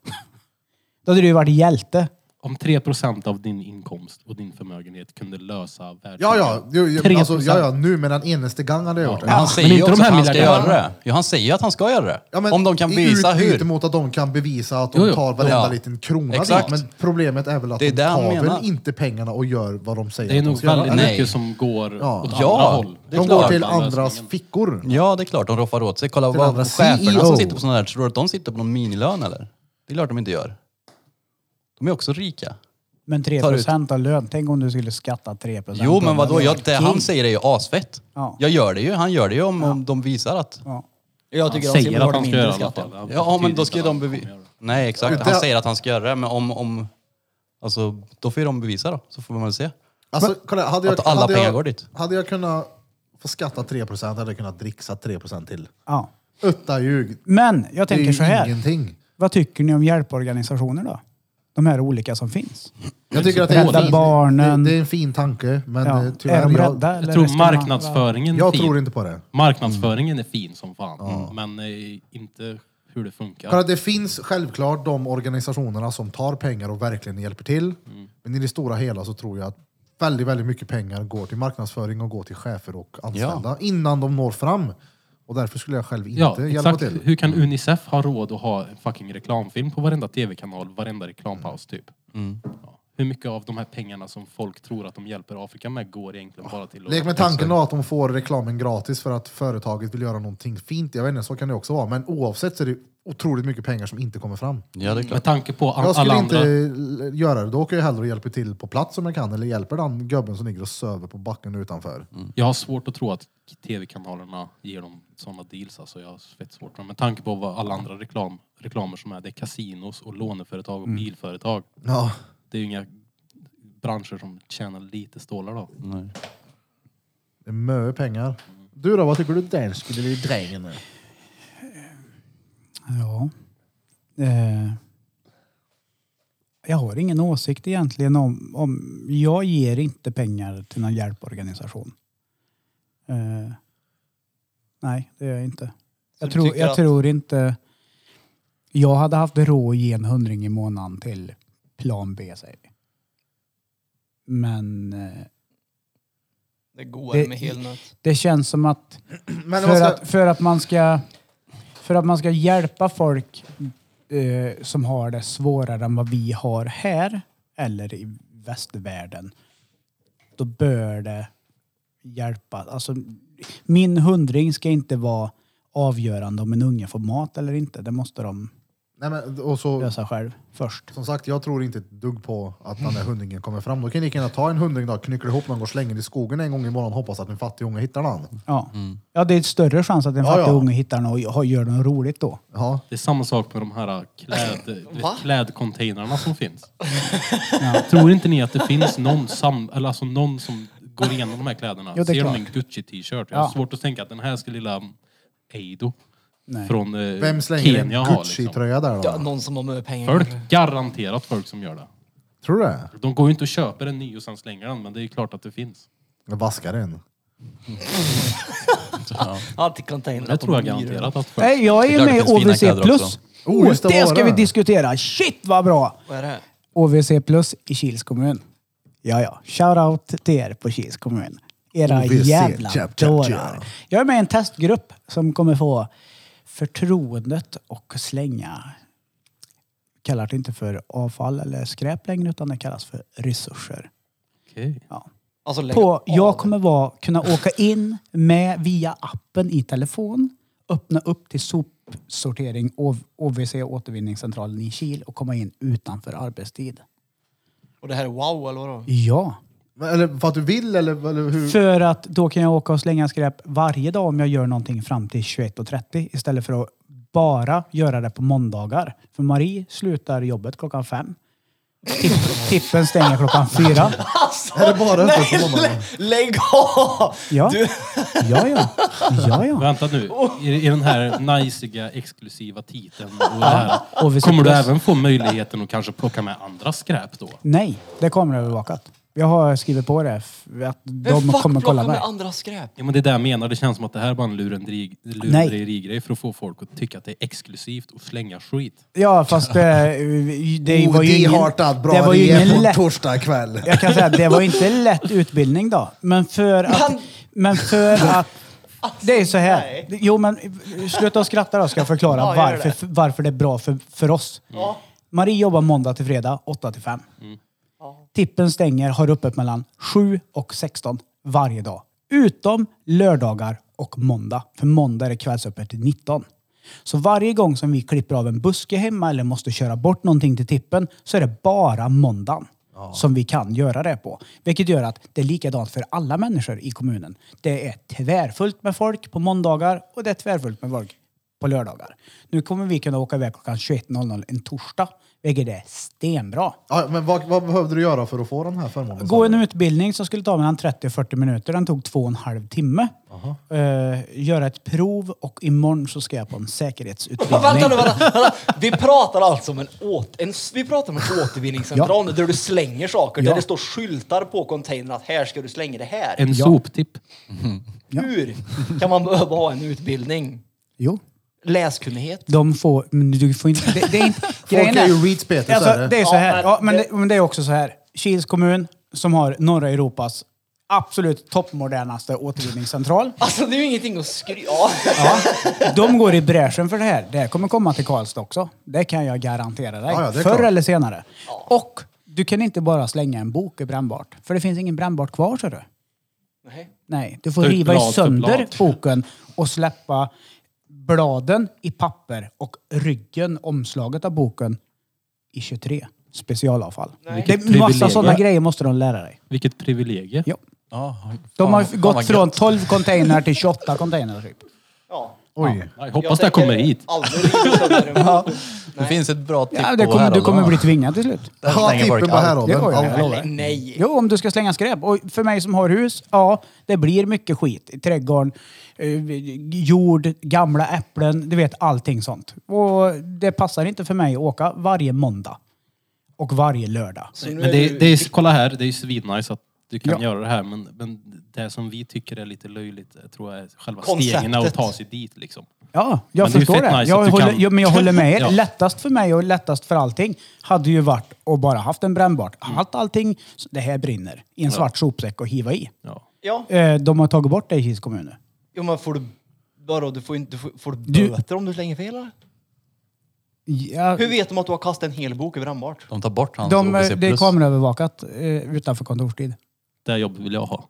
B: Då hade du ju varit hjälte.
C: Om 3% av din inkomst och din förmögenhet kunde lösa världen.
A: Ja, ja, jo, jo,
C: 3%.
A: alltså, ja, ja, nu med den enaste gång hade jag gjort
E: Men
A: det.
E: han säger
C: men
E: ju
C: inte de
E: också
C: här
E: att han ska
C: miljardärerna.
E: göra det. Ja, han säger ju att han ska göra det.
A: Ja, men
E: Om de kan
A: i
E: bevisa
A: utbyte
E: hur.
A: mot att de kan bevisa att
C: Jo,
A: de
C: jo.
A: tar varenda
E: Ja.
A: liten krona
E: Exakt.
A: dit. Men problemet är väl att
E: Det är
A: de
E: det han
A: tar
E: menar.
A: väl inte pengarna och gör vad de säger
C: Det är
A: att de
C: nog
A: ska göra,
C: väldigt
A: eller?
E: Nej.
C: mycket som går åt andra
E: Ja,
C: håll.
E: det är
A: De går
E: klart.
A: till
C: Lösningen.
A: andras fickor.
E: Ja, det är klart. De roffar åt sig. Kolla
A: Till andra E
E: vad cheferna
A: CEO.
E: som sitter på sådana där, tror du att de sitter på någon minilön eller? Det är klart de inte gör. De är också rika.
B: Men 3
E: Tar ut.
B: procent av lön, tänk om du skulle skatta 3 procent.
E: Jo, men vadå? Jag, det han säger är ju asfett.
B: Ja.
E: Jag gör det ju. Han gör det ju om, om de visar att...
D: Jag
C: Han
D: tycker han
C: säger
D: ska
C: att
D: ha
C: han ska göra
D: mindre
C: det i alla
D: skatt.
C: fall. Han
E: Ja, men
C: betyder
E: då ska ju
C: inte
E: de
C: att han kommer
E: bevisa...
C: göra det.
E: Nej, exakt.
A: Det-
E: Han säger att han ska göra det, men om... om alltså, då får ju de bevisa då. Så får man väl se.
A: Alltså, kolla, hade jag,
E: Att alla
A: hade
E: pengar
A: jag,
E: går dit.
A: Hade jag kunnat få skatta 3% hade jag kunnat dricksa 3% till.
B: Ja.
A: Utta ljug.
B: Men jag
A: Det är
B: tänker
A: ju
B: så här.
A: ingenting.
B: Vad tycker ni om hjälporganisationer då? De här olika som finns.
A: Jag tycker att det är, en
B: Rädda
A: fin,
B: barnen.
A: Det, det är en fin tanke, men
B: Ja.
A: eh, tyvärr,
B: är de
A: jag-
B: rädda? eller
C: Jag tror
B: ska man-
C: marknadsföringen är
A: Jag
C: fin.
A: tror inte på det. Mm.
C: Marknadsföringen är fin som fan, men eh, inte hur det funkar.
A: Kolla, det finns självklart de organisationerna som tar pengar och verkligen hjälper till.
B: Mm.
A: Men i det stora hela så tror jag att väldigt, väldigt mycket pengar går till marknadsföring och går till chefer och anställda innan de når fram. Och därför skulle jag själv inte
C: Ja,
A: hjälpa
C: exakt.
A: till. Mm.
C: Hur kan Unicef
A: Mm.
C: ha råd att ha en fucking reklamfilm på varenda tv-kanal, varenda reklampaus typ? Ja. hur mycket av de här pengarna som folk tror att de hjälper Afrika med går egentligen bara till att...
A: Lek med tanken då att de får reklamen gratis för att företaget vill göra någonting fint. Jag vet inte, så kan det också vara. Men oavsett så är det otroligt mycket pengar som inte kommer fram.
E: Ja, det är klart.
C: Med tanke på
A: Jag
C: all, alla
A: skulle
C: andra...
A: inte l- göra det. Då åker jag hellre och hjälper till på plats om jag kan. Eller hjälper den gubben som ligger och söver på backen utanför.
C: Jag har svårt att tro att tv-kanalerna ger dem sådana deals. Alltså jag har fett svårt med, med tanke på vad alla andra reklam, reklamer som är. Det är kasinos och låneföretag
A: Mm.
C: och bilföretag.
A: Ja.
C: Det är ju inga branscher som tjänar lite stålar då.
E: Nej.
A: Det är mycket pengar. Du då, vad tycker du den skulle bli drängen med?
B: Ja. Eh, jag har ingen åsikt egentligen om, om... Jag ger inte pengar till någon hjälporganisation. Eh, nej, det gör jag inte. Jag,
D: du
B: tror,
D: tycker
B: jag
D: att-
B: tror inte... Jag hade haft råd att ge en hundring i månaden till plan B, säger vi. Men eh,
D: Det går
B: Det-
D: med helnöt.
B: det känns som att
A: Men alltså,
B: för, att, för, att man ska, för att man ska hjälpa folk eh, som har det svårare än vad vi har här eller i västvärlden, då bör det hjälpa. Alltså, min hundring ska inte vara avgörande om en unge får mat eller inte. Det måste de
A: Nej, men, och så,
B: lösa själv först.
A: som sagt, jag tror inte ett dugg på att den där hundringen kommer fram. Då kan ni lika gärna ta en hundring då, knyckla ihop någon och slänga den i skogen en gång i månaden och hoppas att en fattig unge hittar den.
B: Ja.
E: Mm.
B: ja, det är ett större chans att
A: Ja,
B: en fattig
A: ja.
B: unge hittar något och gör något roligt då.
A: Ja.
C: Det är samma sak med de här äh, kläd, du vet,
D: Va?
C: klädcontainrarna som finns. Tror inte ni att det finns någon, sam, eller alltså någon som går igenom de här kläderna?
B: Jo, det är
C: Ser de
B: klart.
C: en Gucci-t-shirt? Jag
B: Ja.
C: har svårt att tänka att den här ska lilla Eido
B: Nej.
C: från eh,
A: Vem slänger
C: Kenya
A: en
C: ha. Liksom.
A: Gucci-tröja där då?
D: Ja, någon som har mycket pengar.
C: Folk, garanterat folk som gör det.
A: Tror du det?
C: De går ju inte och köper en ny och sen slänger den, men det är ju klart att det finns.
A: Jag vaskar den.
D: Alltid container.
C: Det tror jag garanterat att folk...
B: Nej, jag är
E: Det är
B: ju
E: klart
B: med
E: det
B: i
E: finns fina
B: OVC+.
E: kläder
B: Plus.
E: också.
A: Oh, just det,
B: det
A: var
B: ska
A: det.
B: vi diskutera! Shit vad bra!
D: Vad är det?
B: OVC plus i Kils kommun. Ja, ja. Shoutout till er på Kils kommun. Era
A: OVC,
B: jävla
A: tja, tja, tja.
B: dårar. Jag är med i en testgrupp som kommer få förtroendet och slänga kallar det inte för avfall eller skräp längre utan det kallas för resurser.
C: Okej.
B: Ja.
D: Alltså, lägg
B: På,
D: av.
B: jag kommer vara, kunna åka in med via appen i telefon, öppna upp till sopsortering ov- OVC återvinningscentralen i Kil och komma in utanför arbetstid.
D: Och det här är wow eller vadå?
B: Ja.
A: Men, Eller för att du vill eller, eller hur?
B: För att då kan jag åka och slänga skräp varje dag om jag gör någonting fram till 21.30 istället för att bara göra det på måndagar. För Marie slutar jobbet klockan fem. Tipp, tippen stänger klockan fyra.
A: är det bara öppet på måndagen?
D: Lä- lägg av!
B: Ja, ja, ja. ja, ja.
C: Vänta nu, i, i den här najsiga exklusiva titeln och det här,
B: Och vi
C: kommer du
B: sitter oss.
C: även få möjligheten att kanske plocka med andra skräp då?
B: Nej, det kommer övervakat. Jag har skrivit på det. f- Att
D: Vem
B: de
D: fuck
B: kommer kolla
D: plockar
B: mig.
D: med andra skräp?
C: Ja men det är det jag menar, det känns som att det här är bara en lurendri- lurendrejeri-grej för att få folk att tycka att det är exklusivt att slänga skit.
B: Ja, fast eh, det, det var ju ingen,
A: hartat bra
B: det var ju
A: rejäl
B: ingen
A: på en
B: lätt
A: torsdag kväll.
B: Jag kan säga att det var inte lätt utbildning då. Men för att... Men för att det är så här.
D: nej.
B: Jo, men sluta att skratta då ska jag förklara
D: Ja, gör det.
B: varför, varför det är bra för, för oss. Marie jobbar måndag till fredag, 8 till 5. Tippen stänger, har öppet mellan 7 och 16 varje dag. Utom lördagar och måndag. För måndag är det kvällsöppet till 19. Så varje gång som vi klipper av en buske hemma eller måste köra bort någonting till tippen så är det bara måndagen som vi kan göra det på. Vilket gör att det är likadant för alla människor i kommunen. Det är tvärfullt med folk på måndagar och det är tvärfullt med folk på lördagar. Nu kommer vi kunna åka iväg klockan 21.00 en torsdag, vilket är stenbra.
A: Ja, men vad, vad behövde du göra för att få den här förmånen?
B: Gå en utbildning som skulle ta mellan 30-40 minuter. Den tog två och en halv timme. Eh, göra ett prov och imorgon så ska jag på en säkerhetsutbildning.
D: Vänta nu, vänta, vänta. Vi pratar alltså om en, åt, en, vi pratar om en återvinningscentral där du slänger saker,
B: Ja.
D: där det står skyltar på containern att här ska du slänga det här.
C: En soptipp.
D: Hur kan man behöva ha en utbildning?
B: Jo.
D: Läskunnighet?
B: De får, men du får inte... Det, det är inte
A: Folk
B: grejen
A: är ju reeds Peter, så är
B: alltså,
A: det.
B: det är så
D: Ja,
B: här.
D: men
B: Ja, men,
D: det-
B: det, men det är också så här. Kils kommun som har norra Europas absolut toppmodernaste återvinningscentral.
D: Alltså det är ju ingenting att skryta ja.
B: Ja, de går i bräschen för det här. Det här kommer komma till Karlstad också. Det kan jag garantera dig.
A: Ja, ja, det är
B: Förr
A: klart.
B: eller senare. Och Du kan inte bara slänga en bok i brännbart. För det finns ingen brännbart kvar, ser du.
D: Nej.
B: Nej, du får
C: Ta ut
B: riva
C: blad för
B: sönder
C: blad.
B: boken och släppa bladen i papper och ryggen, omslaget av boken, i 23 specialavfall. Det är massa
C: privilegium.
B: sådana grejer måste de lära dig.
C: Vilket privilegium.
B: Ja.
E: Ja,
B: De har
E: fan,
B: gått
E: vad
B: från
E: gött.
B: 12 containrar till 28 containrar typ.
D: Ja.
A: Oj.
C: Jag
D: Jag
C: hoppas det
D: tänker
C: kommer hit.
D: Aldrig riva sönder en bok.
E: Det finns ett bra tipp
B: Ja,
E: på
B: det kommer, du
E: häromdagen.
B: kommer bli tvingad till slut.
A: Ja,
E: Den slänger
A: tippen
E: burk
A: på
E: allt.
B: Det var ju
A: häraden.
B: det.
D: Eller nej.
B: Jo, om du ska slänga skräp. Och för mig som har hus, ja, det blir mycket skit i trädgården, eh, jord, gamla äpplen, du vet allting sånt. Och det passar inte för mig att åka varje måndag och varje lördag.
D: Så nu
C: Men
D: är
C: det,
D: du-
C: det är, kolla här, det är ju svinnice att du kan
B: Ja.
C: göra det här men, men det som vi tycker är lite löjligt eh, tror jag är själva
D: Konceptet.
C: stegen att ta sig dit liksom.
B: Ja, jag
C: Men det är ju
B: förstår
C: fett
B: det.
C: nice
B: jag
C: att du
B: håller,
C: kan-
B: ja, men jag håller med er.
C: Ja.
B: Lättast för mig och lättast för allting hade ju varit att bara haft en brännbart. Allt allting, det här brinner, i en svart sopsäck och hiva i.
C: Ja.
D: Ja.
B: Eh, De har tagit bort det i Kils kommun nu.
D: Jo men får du... Vadå, du får, inte, du får, får du
B: Du-
D: böter om du slänger fel eller?
B: Ja,
D: Hur vet de att du har kastat en hel bok över brännbart?
E: De tar bort hans
B: de,
E: OBC+.
B: eh, det är kameraövervakat eh, utanför kontorstid.
C: Det här jobbet vill jag ha.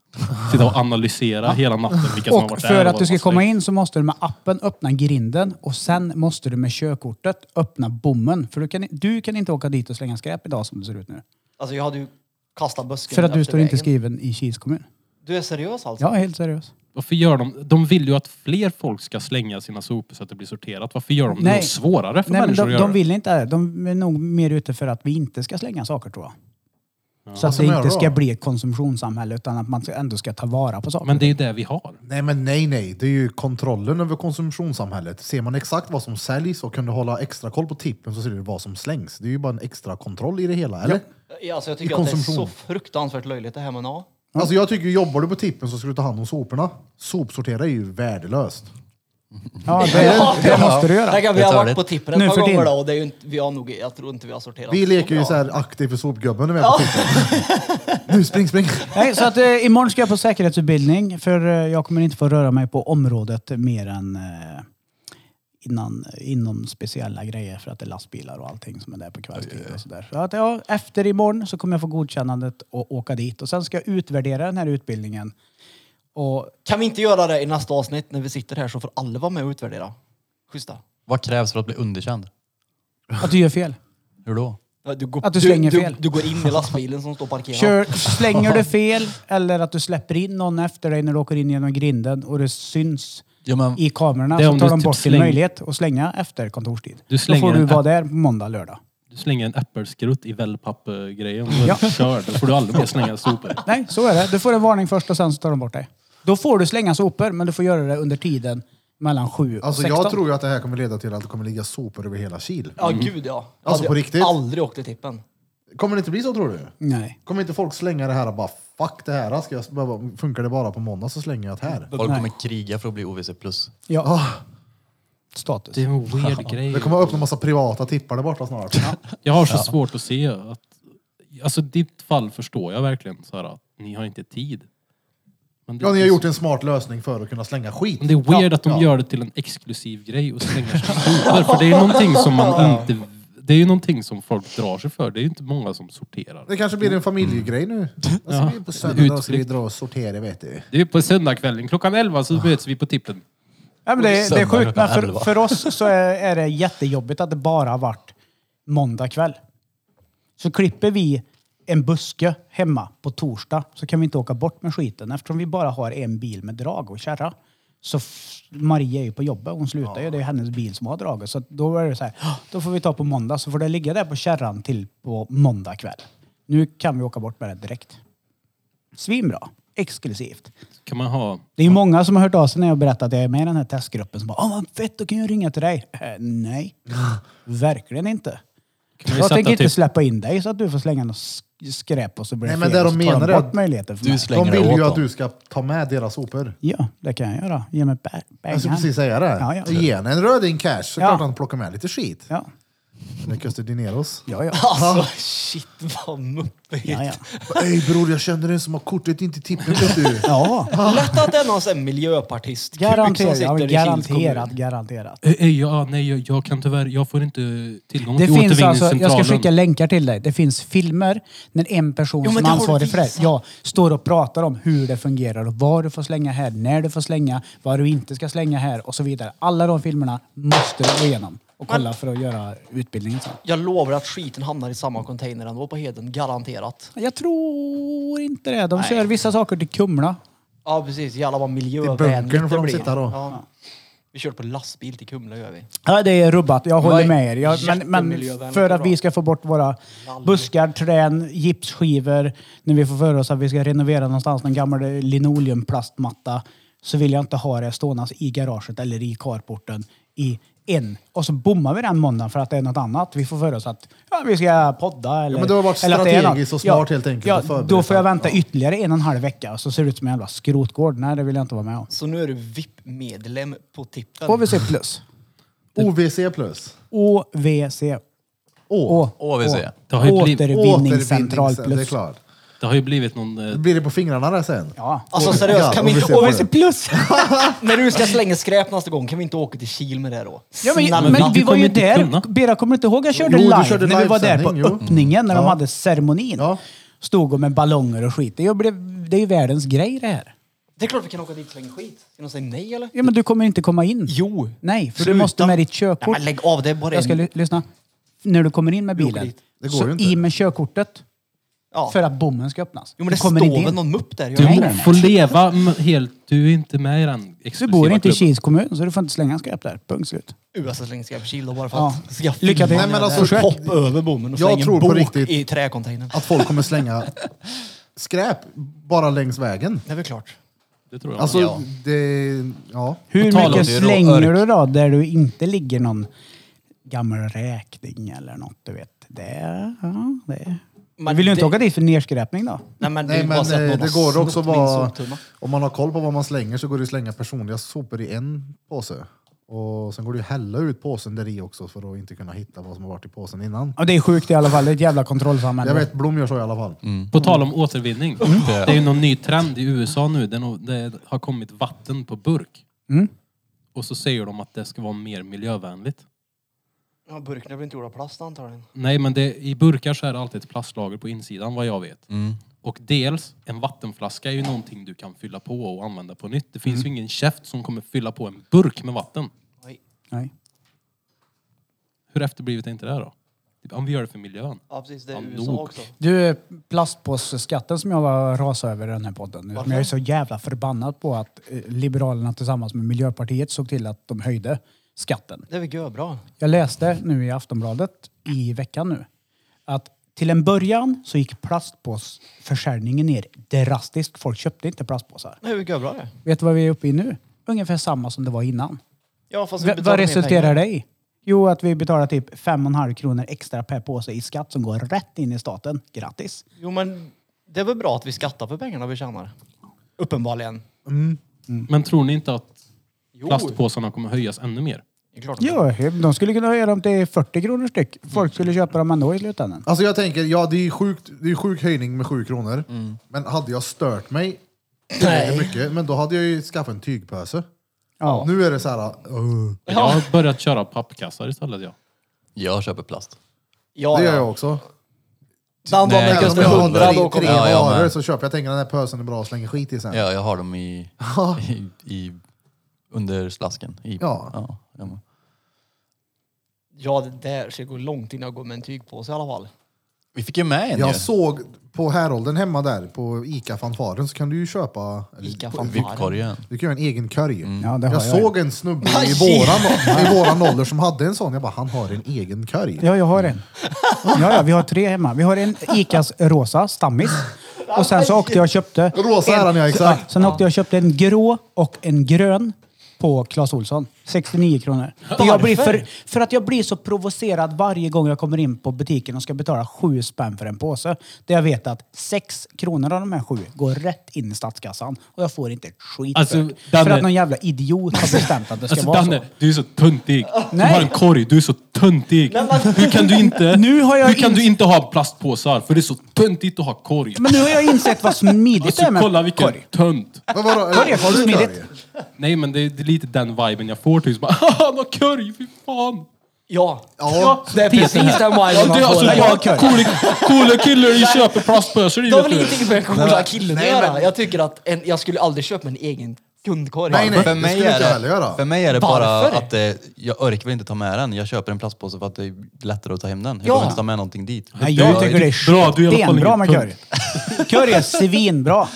C: Sitta och analysera hela natten vilka som har
B: Och
C: varit
B: för
C: där
B: att du ska
C: vad som
B: komma in så måste du med appen öppna grinden och sen måste du med körkortet öppna bommen. För du kan, du kan inte åka dit och slänga skräp idag som det ser ut nu.
D: Alltså jag hade ju kastat busken
B: För att du
D: efter
B: står inte
D: vägen.
B: skriven i Kils kommun.
D: Du är seriös alltså?
B: Jag är helt seriös.
C: Varför gör de... De vill ju att fler folk ska slänga sina sopor så att det blir sorterat. Varför gör de det
B: Nej.
C: något svårare för
B: Nej, men de,
C: människor att göra
B: de
C: det?
B: vill inte det. De är nog mer ute för att vi inte ska slänga saker tror jag. Så att
A: ska
B: det
A: man
B: inte
A: göra
B: ska
A: då?
B: bli ett konsumtionssamhälle utan att man ska- ändå ska ta vara på saker.
C: Men det är ju det vi har.
A: Nej men nej nej, det är ju kontrollen över konsumtionssamhället. Ser man exakt vad som säljs och kan du hålla extra koll på tippen så ser du vad som slängs. Det är ju bara en extra kontroll i det hela, eller?
D: Ja, Alltså jag tycker
A: I
D: att det är så
A: konsumtion.
D: fruktansvärt löjligt det här men ja.
A: Alltså jag tycker, jobbar du på tippen så ska du ta hand om soporna. Sopsortera är ju värdelöst.
B: Ja, det, det måste du göra.
D: Tänk att vi
E: Det
D: har
E: tar
D: varit
E: det.
D: på tippen ett
B: Nu
D: par
B: för
D: gånger
B: tiden.
D: då och det är ju inte, vi har nog, jag tror inte vi har sorterat.
A: Vi
D: så
A: leker ju
D: bra.
A: så här aktiv för sopgubben när vi är på tippen. Nu, spring, spring!
B: Nej, så att eh, imorgon ska jag på säkerhetsutbildning för eh, jag kommer inte få röra mig på området mer än eh, innan, inom speciella grejer för att det är lastbilar och allting som är där på kvällstid och sådär. Så att, ja, efter imorgon så kommer jag få godkännandet och åka dit och sen ska jag utvärdera den här utbildningen. Och
D: Kan vi inte göra det i nästa avsnitt när vi sitter här så får alla vara med och utvärdera? Schyssta.
E: Vad krävs för att bli underkänd?
B: att du gör fel.
E: Hur då?
D: Ja, går,
B: Att du slänger fel.
D: Du, du går in i lastbilen som står parkerad.
B: Kör, slänger du fel eller att du släpper in någon efter dig när du åker in genom grinden och det syns
E: Ja, men,
B: i kamerorna
C: Det är
B: så
C: om
B: tar
C: du
B: de
C: typ
B: bort din
C: släng-
B: möjlighet att slänga efter kontorstid.
C: Du
B: Då
C: slänger
B: får du
C: en
B: vara
C: app.
B: där måndag, lördag.
C: Du slänger en äppelskrutt i wellpappgrejen och ja. kör. Då får du aldrig mer slänga sopor.
B: Nej, så är det. Du får en varning först och sen så tar de bort dig. Då får du slänga sopor, men du får göra det under tiden mellan 7 och
A: Alltså
B: 16.
A: jag tror ju att det här kommer leda till att det kommer ligga sopor över hela Kil.
D: Ja,
B: Mm.
D: gud ja. Jag
A: Alltså,
D: hade
A: på riktigt?
D: aldrig åkt till tippen.
A: Kommer det inte bli så tror du?
B: Nej.
A: Kommer inte folk slänga det här och bara fuck det här, ska jag behöva, funkar det bara på måndag så slänger jag det här.
E: folk kommer kriga för att bli OVC+.
B: Ja.
A: Ah.
B: Status.
C: Det är en weird grej.
A: Det kommer öppna en massa privata tippar där borta snart.
C: Jag har så svårt att se att... Alltså ditt fall förstår jag verkligen så här, att ni har inte tid. Men det,
A: Ja, ni har gjort en smart lösning för att kunna slänga skit.
C: Men det är weird att de gör det till en exklusiv grej och slänger sina sopor. För det är ju någonting som man inte... Det är ju någonting som folk drar sig för. Det är ju inte många som sorterar.
A: Det kanske blir en familjegrej nu. Alltså, vi är på söndag och ska vi dra och sortera vet du.
C: Det är ju på söndagskvällen klockan 11 så möts vi på tippen.
B: Ja, men det, det är
E: Söndag
B: sjukt, men
E: klockan
B: för,
E: elva.
B: för oss så är, är det jättejobbigt att det bara har varit måndag kväll. Så klipper vi en buske hemma på torsdag så kan vi inte åka bort med skiten eftersom vi bara har en bil med drag och kärra. Så f- Maria är ju på jobbet, hon slutar ju. Det är hennes bil som har draget. Så att då är det så här, då får vi ta på måndag så får det ligga där på kärran till på måndag kväll. Nu kan vi åka bort med det direkt. Svinbra. Exklusivt.
C: Kan man ha...
B: Det är ju många som har hört av sig när jag berättat att jag är med i den här testgruppen som bara “Åh vad fett, då kan jag ringa till dig”. Äh, nej, verkligen inte.
C: Kan man ju
B: Jag tänker
C: sätta
B: inte
C: typ...
B: släppa in dig så att du får slänga något sk- skräp och så blir det
A: Nej, men
B: fel
A: det
B: och så
A: de
B: tar
A: menar
B: de
A: är
B: bort
A: att
B: möjligheten för
E: du
B: mig.
E: slä-
A: De
E: Slänger
A: vill
E: det åt
A: ju att
E: dem.
A: du ska ta med deras sopor.
B: Ja, det kan jag göra. Ge mig bä-
A: Jag skulle
B: bängan.
A: Alltså, precis säga det.
B: Ja, ja.
A: Ge henne en röding cash så
B: Ja.
A: klart han plockar med lite skit.
B: Ja.
A: Eller Custer Dineros.
B: Ja, ja.
D: Alltså shit vad muppigt.
B: ja, ja.
A: Ey bror, jag känner en som har kortet inte tippen vet du.
B: ja.
D: Lätt att det är någon sån här miljöpartist som
B: Garanterat, ja,
D: sitter i Kils
B: garanterat,
D: kommun.
B: garanterat.
C: Eh, eh, Ja, nej, jag, jag kan tyvärr, jag får inte tillgång
B: Det
C: till
B: finns alltså,
C: återvinningscentralen.
B: jag ska skicka länkar till dig. Det finns filmer när en person
D: Jo, men
B: som
D: det
B: är
D: har du
B: ansvarig för det
D: visat.
B: ja, står och pratar om hur det fungerar och vad du får slänga här, när du får slänga, vad du inte ska slänga här och så vidare. Alla de filmerna måste du gå igenom och kolla för att göra utbildningen sen.
D: Jag lovar att skiten hamnar i samma container ändå på Heden. Garanterat.
B: Jag tror inte det. De kör vissa saker till Kumla.
D: Ja precis, jävlar vad
A: I bunkern
D: miljövänligt
A: får
D: det
A: de
D: blir.
A: sitta då.
D: Ja. Vi körde på lastbil till Kumla gör vi.
B: Ja, det är rubbat. Jag håller
D: Nej,
B: med er. Jag, men, men
D: jättemiljövänligt
B: för
D: och
B: att
D: bra.
B: vi ska få bort våra buskar, trän, gipsskivor, när vi får för oss att vi ska renovera någonstans, någon gammal linoleumplastmatta, så vill jag inte ha det ståendes i garaget eller i carporten i en. Och så bommar vi den måndagen för att det är något annat. Vi får för oss att ja, vi ska podda eller...
A: men det har varit
B: eller att det är något.
A: strategiskt och smart helt enkelt att
B: Ja,
A: förbereda
B: då får jag vänta
A: sig.
B: ytterligare en och en halv vecka och så ser det ut som en jävla skrotgård. Nej, det vill jag inte vara med om.
D: Så nu är du VIP-medlem på tippen.
B: OVC plus.
A: OVC plus.
B: OVC.
A: Å.
B: Å.
E: OVC.
C: Det har ju blivit-
B: Återvinningscentral
A: Det är
B: plus.
A: klart.
C: Det har ju blivit någon... eh,
A: Blir det på fingrarna där sen?
B: Ja.
D: Alltså seriöst, kan vi
A: Ja,
D: inte
A: och vi
D: åka...
A: ser
B: plus!
D: När du ska slänga skräp nästa gång, kan vi inte åka till Kil med det då?
B: Ja,
D: Snälla.
B: men, men
C: vi
B: vi var
C: kommer
B: ju
C: inte kunna.
B: där. Bera kommer inte ihåg? Jag körde
A: Jo, du
B: live
A: körde
B: när vi var där på
A: livesändning, jo.
B: öppningen när de
A: Ja.
B: hade ceremonin.
A: Ja.
B: Stod och med ballonger och skit. Det, blev, det är ju världens grej det här.
D: Det är klart vi kan åka dit och slänga skit. Ska någon säga nej eller?
B: Ja, men du kommer inte komma in.
D: Jo.
B: Nej, för du
D: Sluta.
B: måste med ditt
D: Nej,
B: körkort.
D: men lägg av, det är bara
B: Jag ska
D: en...
B: ly- lyssna. När du kommer in med
D: åker
B: bilen,
D: dit.
A: Det går
B: så
A: ju inte.
B: i med körkortet
D: Ja.
B: för att bommen ska öppnas.
D: Jo men det
B: du kommer
D: står väl
B: in.
D: någon mupp där?
C: Du
D: gör
B: Nej,
D: det?
C: må,
B: nej, nej.
C: får leva m- helt... Du är inte med i den
B: Du
C: exklusiva
B: bor inte i
C: klubben.
B: Kils kommun så du får inte slänga skräp där. Punkt slut.
D: USA slänger skräp i Kil då bara för
B: Ja.
D: att... Ska
B: Lycka till.
D: filma
A: Nej, men
D: det
A: alltså,
D: där.
A: försök.
D: Hopp över bommen och
A: Jag
D: släng en
A: tror på
D: bok
A: riktigt.
D: i träcontainern.
A: Att folk kommer slänga skräp bara längs vägen.
D: Det är väl klart.
C: Det tror jag.
A: Alltså,
E: Ja.
A: det... Ja.
B: Hur
E: På tal om
B: mycket
E: det,
B: slänger
E: rå-
B: du då där du inte ligger någon gammal räkning eller något du vet? Det, ja, det.
D: Men
B: du vill ju inte
D: det-
B: åka dit för nedskräpning då?
D: Nej men,
A: Nej
D: är bara
A: men
D: så att
A: eh,
D: någon
A: det
D: har
A: går också
D: snott min
A: vara...
D: soptunna.
A: Om man har koll på vad man slänger så går det att slänga personliga sopor i en påse. Och sen går det att hälla ut påsen där i också för att inte kunna hitta vad som har varit i påsen innan.
B: Ja, det är sjukt i alla fall. Det är ett jävla kontrollsamhälle.
A: Jag vet, Blom gör så i alla fall.
D: Mm.
C: På tal om återvinning. Det är ju någon ny trend i USA nu. Det, är nog- det har kommit vatten på burk.
B: Mm.
C: Och så säger de att det ska vara mer miljövänligt.
D: Ja, burken blir inte gjord av plast antagligen.
C: Nej, men det, i burkar så är det alltid ett plastlager på insidan vad jag vet. Och dels, en vattenflaska är ju någonting du kan fylla på och använda på nytt. Det finns ju ingen käft som kommer fylla på en burk med vatten.
D: Nej.
B: Nej.
C: Hur efterblivet är inte det här då? Typ, Om vi gör det för miljön.
D: Ja precis, det är
C: Ja,
D: USA
C: nog.
D: också.
B: Du, plastpåseskatten som jag var rasar över i den här podden. nu, Som jag är så jävla förbannad på att eh, Liberalerna tillsammans med Miljöpartiet såg till att de höjde skatten.
D: Det är väl görbra.
B: Jag läste nu i Aftonbladet i veckan nu att till en början så gick plastpåsförsäljningen ner drastiskt. Folk köpte inte plastpåsar.
D: Det är väl görbra det.
B: Vet du vad vi är uppe i nu? Ungefär samma som det var innan.
D: Ja fast vi
B: V-
D: betalar
B: vad
D: mer
B: resulterar
D: pengar.
B: det i? Jo, att vi betalar typ 5,5 kronor extra per påse i skatt som går rätt in i staten. Grattis!
D: Jo men det är väl bra att vi skattar för pengarna vi tjänar. Uppenbarligen.
C: Men tror ni inte att
D: Jo.
C: plastpåsarna kommer höjas ännu mer?
D: Det är klart att-
B: Ja, de skulle kunna höja dem till 40 kronor styck. Folk skulle köpa dem ändå i slutändan.
A: Alltså jag tänker, ja det är ju sjukt, det är ju sjuk höjning med 7 kronor.
D: Mm.
A: Men hade jag stört mig tillräckligt mycket, men då hade jag ju skaffat en tygpåse.
B: Ja.
A: Nu är det så här, uh,
C: Jag har börjat köra pappkassar istället. Ja.
E: Jag köper plast.
D: Ja,
A: det gör
D: ja.
A: jag också.
D: Den dagen
E: Nej,
D: det
A: Även om
D: kostar
A: jag har
D: 100
A: tre,
D: då
A: tre
D: kommer
E: Ja, jag
A: varor
E: med.
A: så köper jag, tänker den här pösen är bra och slänger skit i sen.
E: Ja, jag har dem i, i, i under slasken. I,
A: Ja.
E: ja, ja, men.
D: Ja, det där ska gå långt innan jag går med en tygpåse i alla fall.
E: Vi fick ju med en
A: Jag
E: ju.
A: såg på Härolden hemma där, på Ica-fanfaren, så kan du ju köpa... eller-
D: Ica-fanfaren.
E: Vippkorgen.
A: Du kan göra en egen curry.
B: Ja, det
A: jag,
B: har jag.
A: såg en snubbe i
D: Aj!
A: våran, i våran ålder som hade en sån. Jag bara, han har en egen curry.
B: Ja, jag har en. Ja, ja, vi har tre hemma. Vi har en Icas rosa, stammis. Och sen så åkte jag och köpte...
A: Rosa är
B: en-
A: den, ja, exakt.
B: Sen åkte jag och köpte en grå och en grön på Clas Ohlson. 69 kronor. Jag blir för, för att jag blir så provocerad varje gång jag kommer in på butiken och ska betala sju spänn för en påse. Där jag vet att sex kronor av de här sju går rätt in i statskassan och jag får inte ett skit
C: Alltså,
B: för, det.
C: Danne-
B: för att någon jävla idiot har bestämt att det ska
C: Alltså
B: vara
C: Danne,
B: så.
C: du är så töntig. Du
B: Nej.
C: har en korg, du är så töntig. Hur kan du inte,
B: Nu har jag
C: hur kan
B: ins-
C: du inte ha plastpåsar? För det är så töntigt att ha korg.
B: Men nu har jag insett vad smidigt
C: alltså
B: det är med
C: kolla vilken
B: korg.
C: tönt.
A: Men vadå,
B: Korg är
A: har du
B: smidigt.
A: korg?
C: Nej men det är, det är lite den viben jag får. Typ. Bara, "Haha, Han har korg, fy fan.
D: Ja,
A: Ja.
D: det är precis den viben man
C: Ja, det är alltså
D: får.
B: jag har
C: bara
B: korg.
C: coola, coola killar i köper plastpåsar i.
D: Det har
C: vet
D: väl
C: du.
D: ingenting med coola killen att
A: Nej, men-
D: göra? Jag tycker att en, jag skulle aldrig köpa en egen kundkorg.
A: Nej, nej.
E: För
A: det
E: mig,
A: skulle
E: är
A: inte jag heller
E: det,
A: göra.
E: för mig är det
D: Varför?
E: bara att eh, jag orkar inte ta med den. Jag köper en plastpåse för att det är lättare att ta hem den. Jag
D: Ja.
E: behöver inte ta med någonting dit.
B: Nej, jag tycker det
C: Bra, du är
B: är
C: i alla fall
B: stenbra
C: ingen
B: med curry. Curry är svinbra.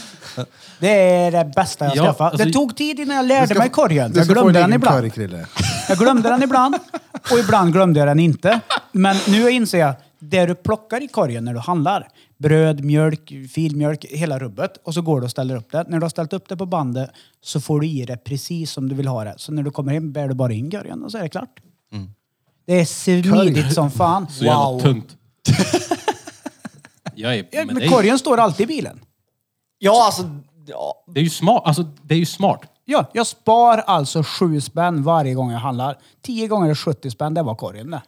B: Det är det bästa jag
C: Ja,
B: skaffat. Det
C: alltså-
B: tog tid innan jag
A: Du
B: lärde
A: ska-
B: mig korgen.
A: du
B: Jag
A: ska få
B: glömde
A: en
B: den
A: egen
B: ibland.
A: korg, Krille.
B: Jag glömde den ibland och ibland glömde jag den inte. Men nu inser jag, det du plockar i korgen när du handlar, bröd, mjölk, filmjölk, hela rubbet och så går du och ställer upp det. När du har ställt upp det på bandet så får du i det precis som du vill ha det. Så när du kommer hem bär du bara in korgen och så är det klart. Det är smidigt som fan.
C: Mm. Så jävla tunt. Jag är,
B: Ja,
C: men det,
B: Men
C: är,
B: korgen står alltid i bilen.
D: Ja, alltså... Ja.
C: det är ju smart. Alltså, det är ju smart.
B: Ja, jag spar alltså sju spänn varje gång jag handlar. Tio gånger är 70 spänn, det var korgen det.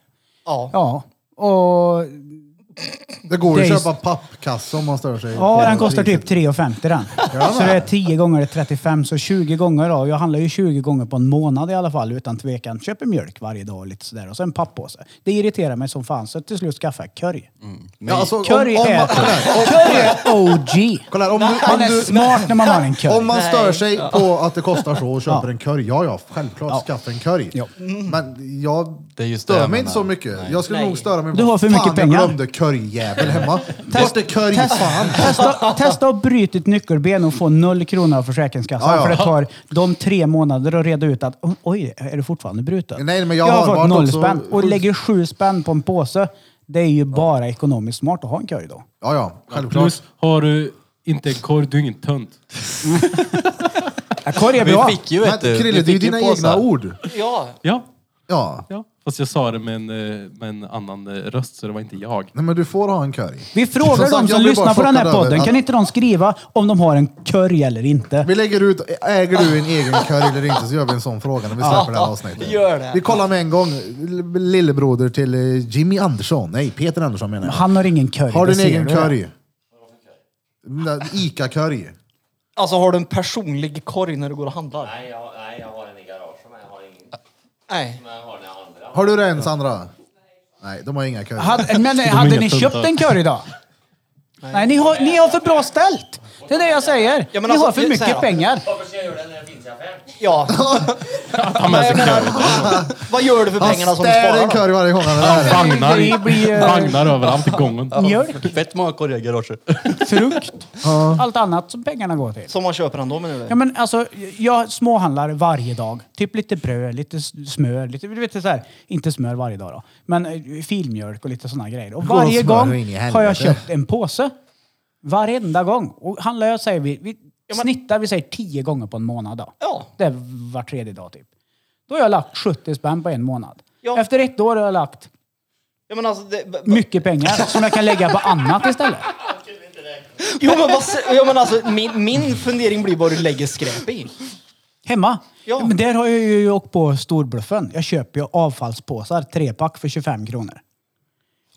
D: ja.
B: Ja. Och,
A: Det går ju
B: Det är
A: att köpa pappkasse om man stör sig. på
B: ja, den kostar typ
A: priset.
B: 3,50 den. Så det är 10 gånger är 35, så 20 gånger då. Jag handlar ju 20 gånger på en månad i alla fall utan tvekan. Köper mjölk varje dag och lite sådär. Och så en papppåse. Det irriterar mig som fan, så till slut skaffade jag curry.
A: Ja, alltså, om,
B: Curry
A: om,
B: är,
A: man- kolla här, om,
B: curry är OG.
A: kolla här, om, du,
B: Man är
A: om,
B: smart när man har en
A: du, om
B: curry.
A: man
D: Nej.
A: stör sig på att det kostar så och köper
B: Ja.
A: en curry, ja ja, självklart skaffa en curry.
B: Ja.
A: Men jag
E: Det är just det
A: stör
E: jag
A: mig inte så
E: menar.
A: mycket. Jag skulle
D: Nej.
A: nog störa mig på
B: Du har för
A: fan,
B: mycket pengar."
A: jag glömde curryjävel hemma. Vart är curry?
B: Test-
A: Fan!
B: Testa, testa att bryta ett nyckelben och få noll kronor av Försäkringskassan.
A: Ja, ja.
B: För det tar de tre månader att reda ut att "O- oj, är det fortfarande brutet?
A: Nej, men jag har
B: har fått
A: varit
B: noll
A: också-
B: spänn. Och lägger sju spänn på en påse. Det är ju bara ekonomiskt smart att ha en korg då.
A: Ja ja, självklart.
C: Plus, har du inte en korg, du är ingen tönt.
B: Ja, korg är
E: Vi
B: bra.
E: fick ju
A: Men
E: ett... eh, vi
A: Krille, det är ju
E: fick ju
A: dina
E: påsar.
A: egna ord.
D: ja.
C: Ja,
A: Ja.
C: ja. Fast jag sa det med en, eh, med en annan eh, röst, så det var inte jag.
A: Nej men du får ha en curry.
B: Vi
A: Som
B: frågar
A: sagt,
B: de
A: jag
B: som
A: blir
B: lyssnar
A: bara
B: på den här
A: chockad över
B: podden,
A: att-
B: kan inte de skriva om de har en korg eller inte?
A: Vi lägger ut, äger du en egen curry eller inte så gör vi en sån fråga när vi släpper det här avsnittet.
D: gör det.
A: Vi kollar med en gång, L- lillebroder till eh, Jimmy Andersson, nej Peter Andersson menar jag.
B: Han har ingen curry.
A: Har
B: det
A: du en
B: ser
A: egen
B: det.
A: curry? Den där Ica-curry.
D: Alltså har du en personlig korg när du går och handlar? Nej, jag, nej, jag har den i garaget men jag har ingen... Nej.
A: Har du det ens Sandra? Nej, de har inga curry.
B: Hade, men hade
C: inga
B: ni köpt
C: tuntar.
B: en curry då? Nej, ni, har, ni har för bra ställt. Det är det jag säger.
D: Ja, men
B: ni
D: alltså,
B: har för
D: så
B: mycket
D: här.
B: pengar.
D: Ja.
C: Ta med sig curry.
D: Vad gör du för
A: Han
D: pengarna som du
A: stär en
D: sparar då?
A: curry varje gång han är där.
C: Vagnar,
B: Det blir, eh,
C: vagnar överallt i gången.
B: Mjölk,
E: Fett många korgar i garaget.
B: frukt, allt annat som pengarna går till.
D: Som man köper ändå menar
B: Ja,
D: du?
B: men alltså, jag småhandlar varje dag. Typ lite bröd, lite s- smör, lite, du vet så här, inte smör varje dag då, men eh, filmjölk och lite sådana grejer. Och
A: går och
B: varje
A: smör
B: gång
A: in i
B: har jag
A: helvete.
B: köpt en påse. Varenda gång. Och handlar jag, säger vi, vi snittar vi säger tio gånger på en månad då.
D: Ja.
B: Det är var tredje dag typ. Då har jag lagt 70 spänn på en månad.
D: Ja.
B: Efter ett år har jag lagt
D: Ja, men alltså, det,
B: mycket pengar som jag kan lägga på annat istället.
D: jo, men, vad, sä- ja, men alltså, min, min fundering blir vad du lägger skräp i.
B: Hemma?
D: Ja.
B: Men där har jag ju åkt på storbluffen. Jag köper ju avfallspåsar, trepack för 25 kronor.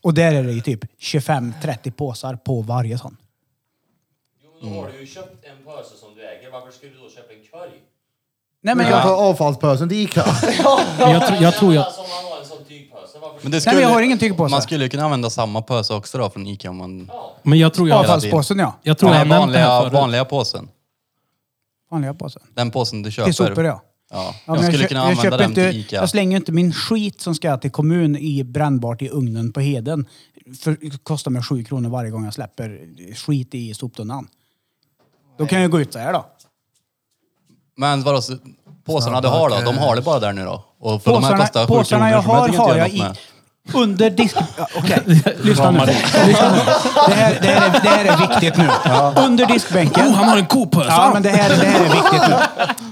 B: Och där är det ju typ 25-30 påsar på varje sån.
G: Jo, men då har du ju köpt en påse som du äger. Varför skulle du då köpa en korg?
A: Du
B: Nej men
A: kan ta
B: jag,
A: avfallspösen till Ica.
C: Men jag, tror- jag tror jag...
G: Alltså om man har en sån tygpåse, varför
E: Men det
B: Nej, men jag har ingen typ tygpåse.
E: Man skulle ju kunna använda samma påse också då från Ica om man...
C: Men jag tror jag...
B: avfallspåsen ja.
C: Jag tror
E: Den här
C: jag nämnt det här
E: vanliga,
C: förut.
E: vanliga påsen.
B: Vanliga påsen.
E: Den påsen du köper.
B: Till sopor ja.
E: Ja,
B: Ja,
E: jag
B: men
E: skulle
B: kö-
E: kunna använda
B: köper
E: den till
B: inte- alltså-
E: Ica.
B: Jag slänger ju inte min skit som ska till kommun i brännbart i ugnen på Heden. För, det kostar mig 7 kronor varje gång jag släpper skit i soptunnan. Då kan jag gå ut så här då.
E: Men vadå, så- påsarna du har då? De har det bara där nu då? Och för de här
B: Påsarna,
E: kostar 7
B: påsarna
E: kronor
B: jag
E: så jag
B: har
E: tänker inte
B: har
E: göra
B: jag
E: något
B: i...
E: med.
B: Under disk... Ja, Okej, lyssna nu. Lyssna nu. Det, här, det, här är, det här är viktigt nu. Under diskbänken.
C: Oh, han har en kopös!
B: Ja, men det här, det här är viktigt nu.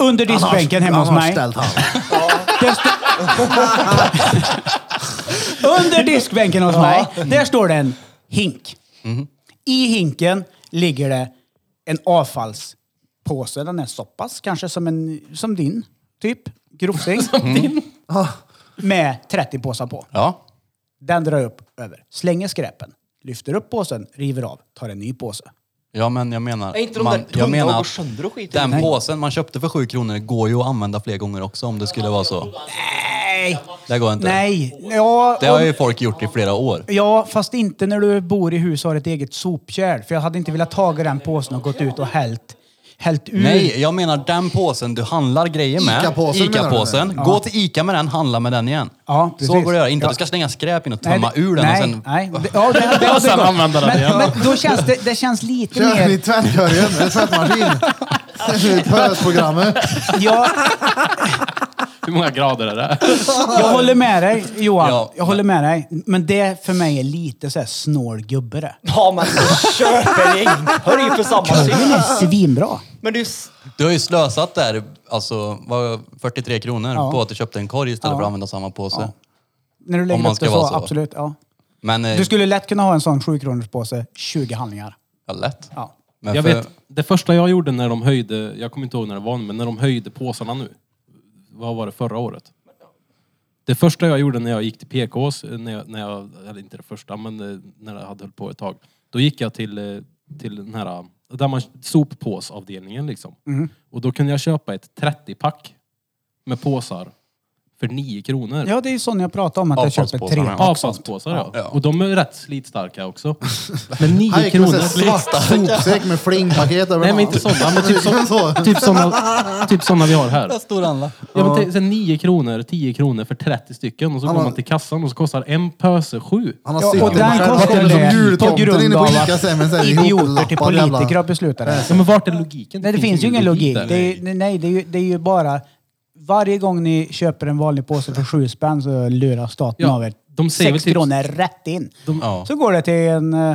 B: Under diskbänken hemma hos
A: Han har
B: mig.
A: ställt han.
B: Där stå- Under diskbänken hos mig, där står det en hink.
E: Mhm.
B: I hinken ligger det en avfallspåse. Den är så pass kanske som, en, som din, typ. Grovsing.
A: Ah,
B: Med 30 påsar på.
E: Ja.
B: Den drar jag upp över, slänger skräpen, lyfter upp påsen, river av, tar en ny påse.
E: Ja, men jag menar...
D: Är inte de där tunga
E: jag menar
D: och går
E: att
D: sönder och skit i?
E: Den
D: Nej.
E: påsen man köpte för 7 kronor går ju att använda fler gånger också om det skulle vara så.
B: Nej!
E: Det går inte.
B: Nej! Ja,
E: Det har ju folk gjort i flera år.
B: ja, fast inte när du bor i hus och har ett eget sopkärl. För jag hade inte velat ta den påsen och gått ut och hällt, hällt ur.
E: Nej, jag menar den påsen du handlar grejer med.
A: Ica-påsen menar du?
E: Ica-påsen. Gå till Ica med den, handla med den igen.
B: Ja, precis.
E: så går det att göra. Inte
B: Ja.
E: att du ska slänga skräp in och
B: Nej,
E: tömma
B: det-
E: ur den
B: nej,
E: och sen...
B: Nej, det, ja, det, det, det,
C: Och sen använda den
B: men,
C: igen.
B: Men då känns det, det känns lite
A: kör ni
B: mer...
A: tvättkorgen eller tvättmaskin? Pösprogrammet.
B: Jag,
C: Hur många grader är det?
B: jag håller med dig Johan.
E: Ja,
B: jag håller med dig. Men det för mig är lite så här snål gubbe det.
D: Ja men köper in! Hör ju för samma
B: Den
D: syn.
B: är svinbra.
D: Men det är ju... s-
E: Du har ju slösat där, alltså vad, 43 kronor
B: Ja.
E: på att du köpte en korg istället
B: Ja.
E: för att använda samma påse.
B: När du lägger
E: man
B: upp det
E: ska
B: så,
E: vara så.
B: absolut. Ja.
E: Men... eh,
B: Du skulle lätt kunna ha en sån 7 kronors påse, 20 handlingar.
E: Ja, lätt.
B: Ja.
E: Men
C: Jag
E: för-
C: vet, det första jag gjorde när de höjde, jag kommer inte ihåg när det var, men när de höjde påsarna nu. Vad var det förra året? Det första jag gjorde när jag gick till PKs, när jag, när jag eller inte det första, men eh, när jag hade hållit på ett tag. Då gick jag till, eh, till den här, där man, soppåsavdelningen liksom. Och då kunde jag köpa ett 30-pack med påsar för 9 kronor.
B: ja, det är ju sån jag pratar om, att jag köper tre.
E: Avfallspåsarna, ja.
C: Avfallspåsar ja. Och de är rätt slitstarka också. Men 9
A: Här gick en
C: kronor.
A: sån här svart sopsäck med flingpaket över
C: Nej
A: den.
C: men inte sådana, men typ, som, typ, såna, typ såna vi har här. Ja, men tänk, sen 9 kronor, 10 kronor för 30 stycken och så går
A: har-
C: man till kassan och så kostar en pöse 7.
A: Han har
B: Ja, och
A: suttit
B: den
A: själv och
B: kostar
A: kommit som
B: det på
A: jultomten
B: grund
A: inne
B: av
A: på Ica sen med så
B: att
A: här
B: idioter till
A: ihoplappad jävla-
B: politiker har beslutat det.
C: Ja, men vart är logiken?
B: Nej, det finns ju ingen logik.
C: där.
B: Det är, ju- nej, det är, ju, det är ju bara... Varje gång ni köper en vanlig påse för sju spänn så lurar staten
C: Ja,
B: av er.
C: de säger väl
B: Sex
C: typ-
B: kronor rätt in.
E: ja.
B: Så går det till en, eh,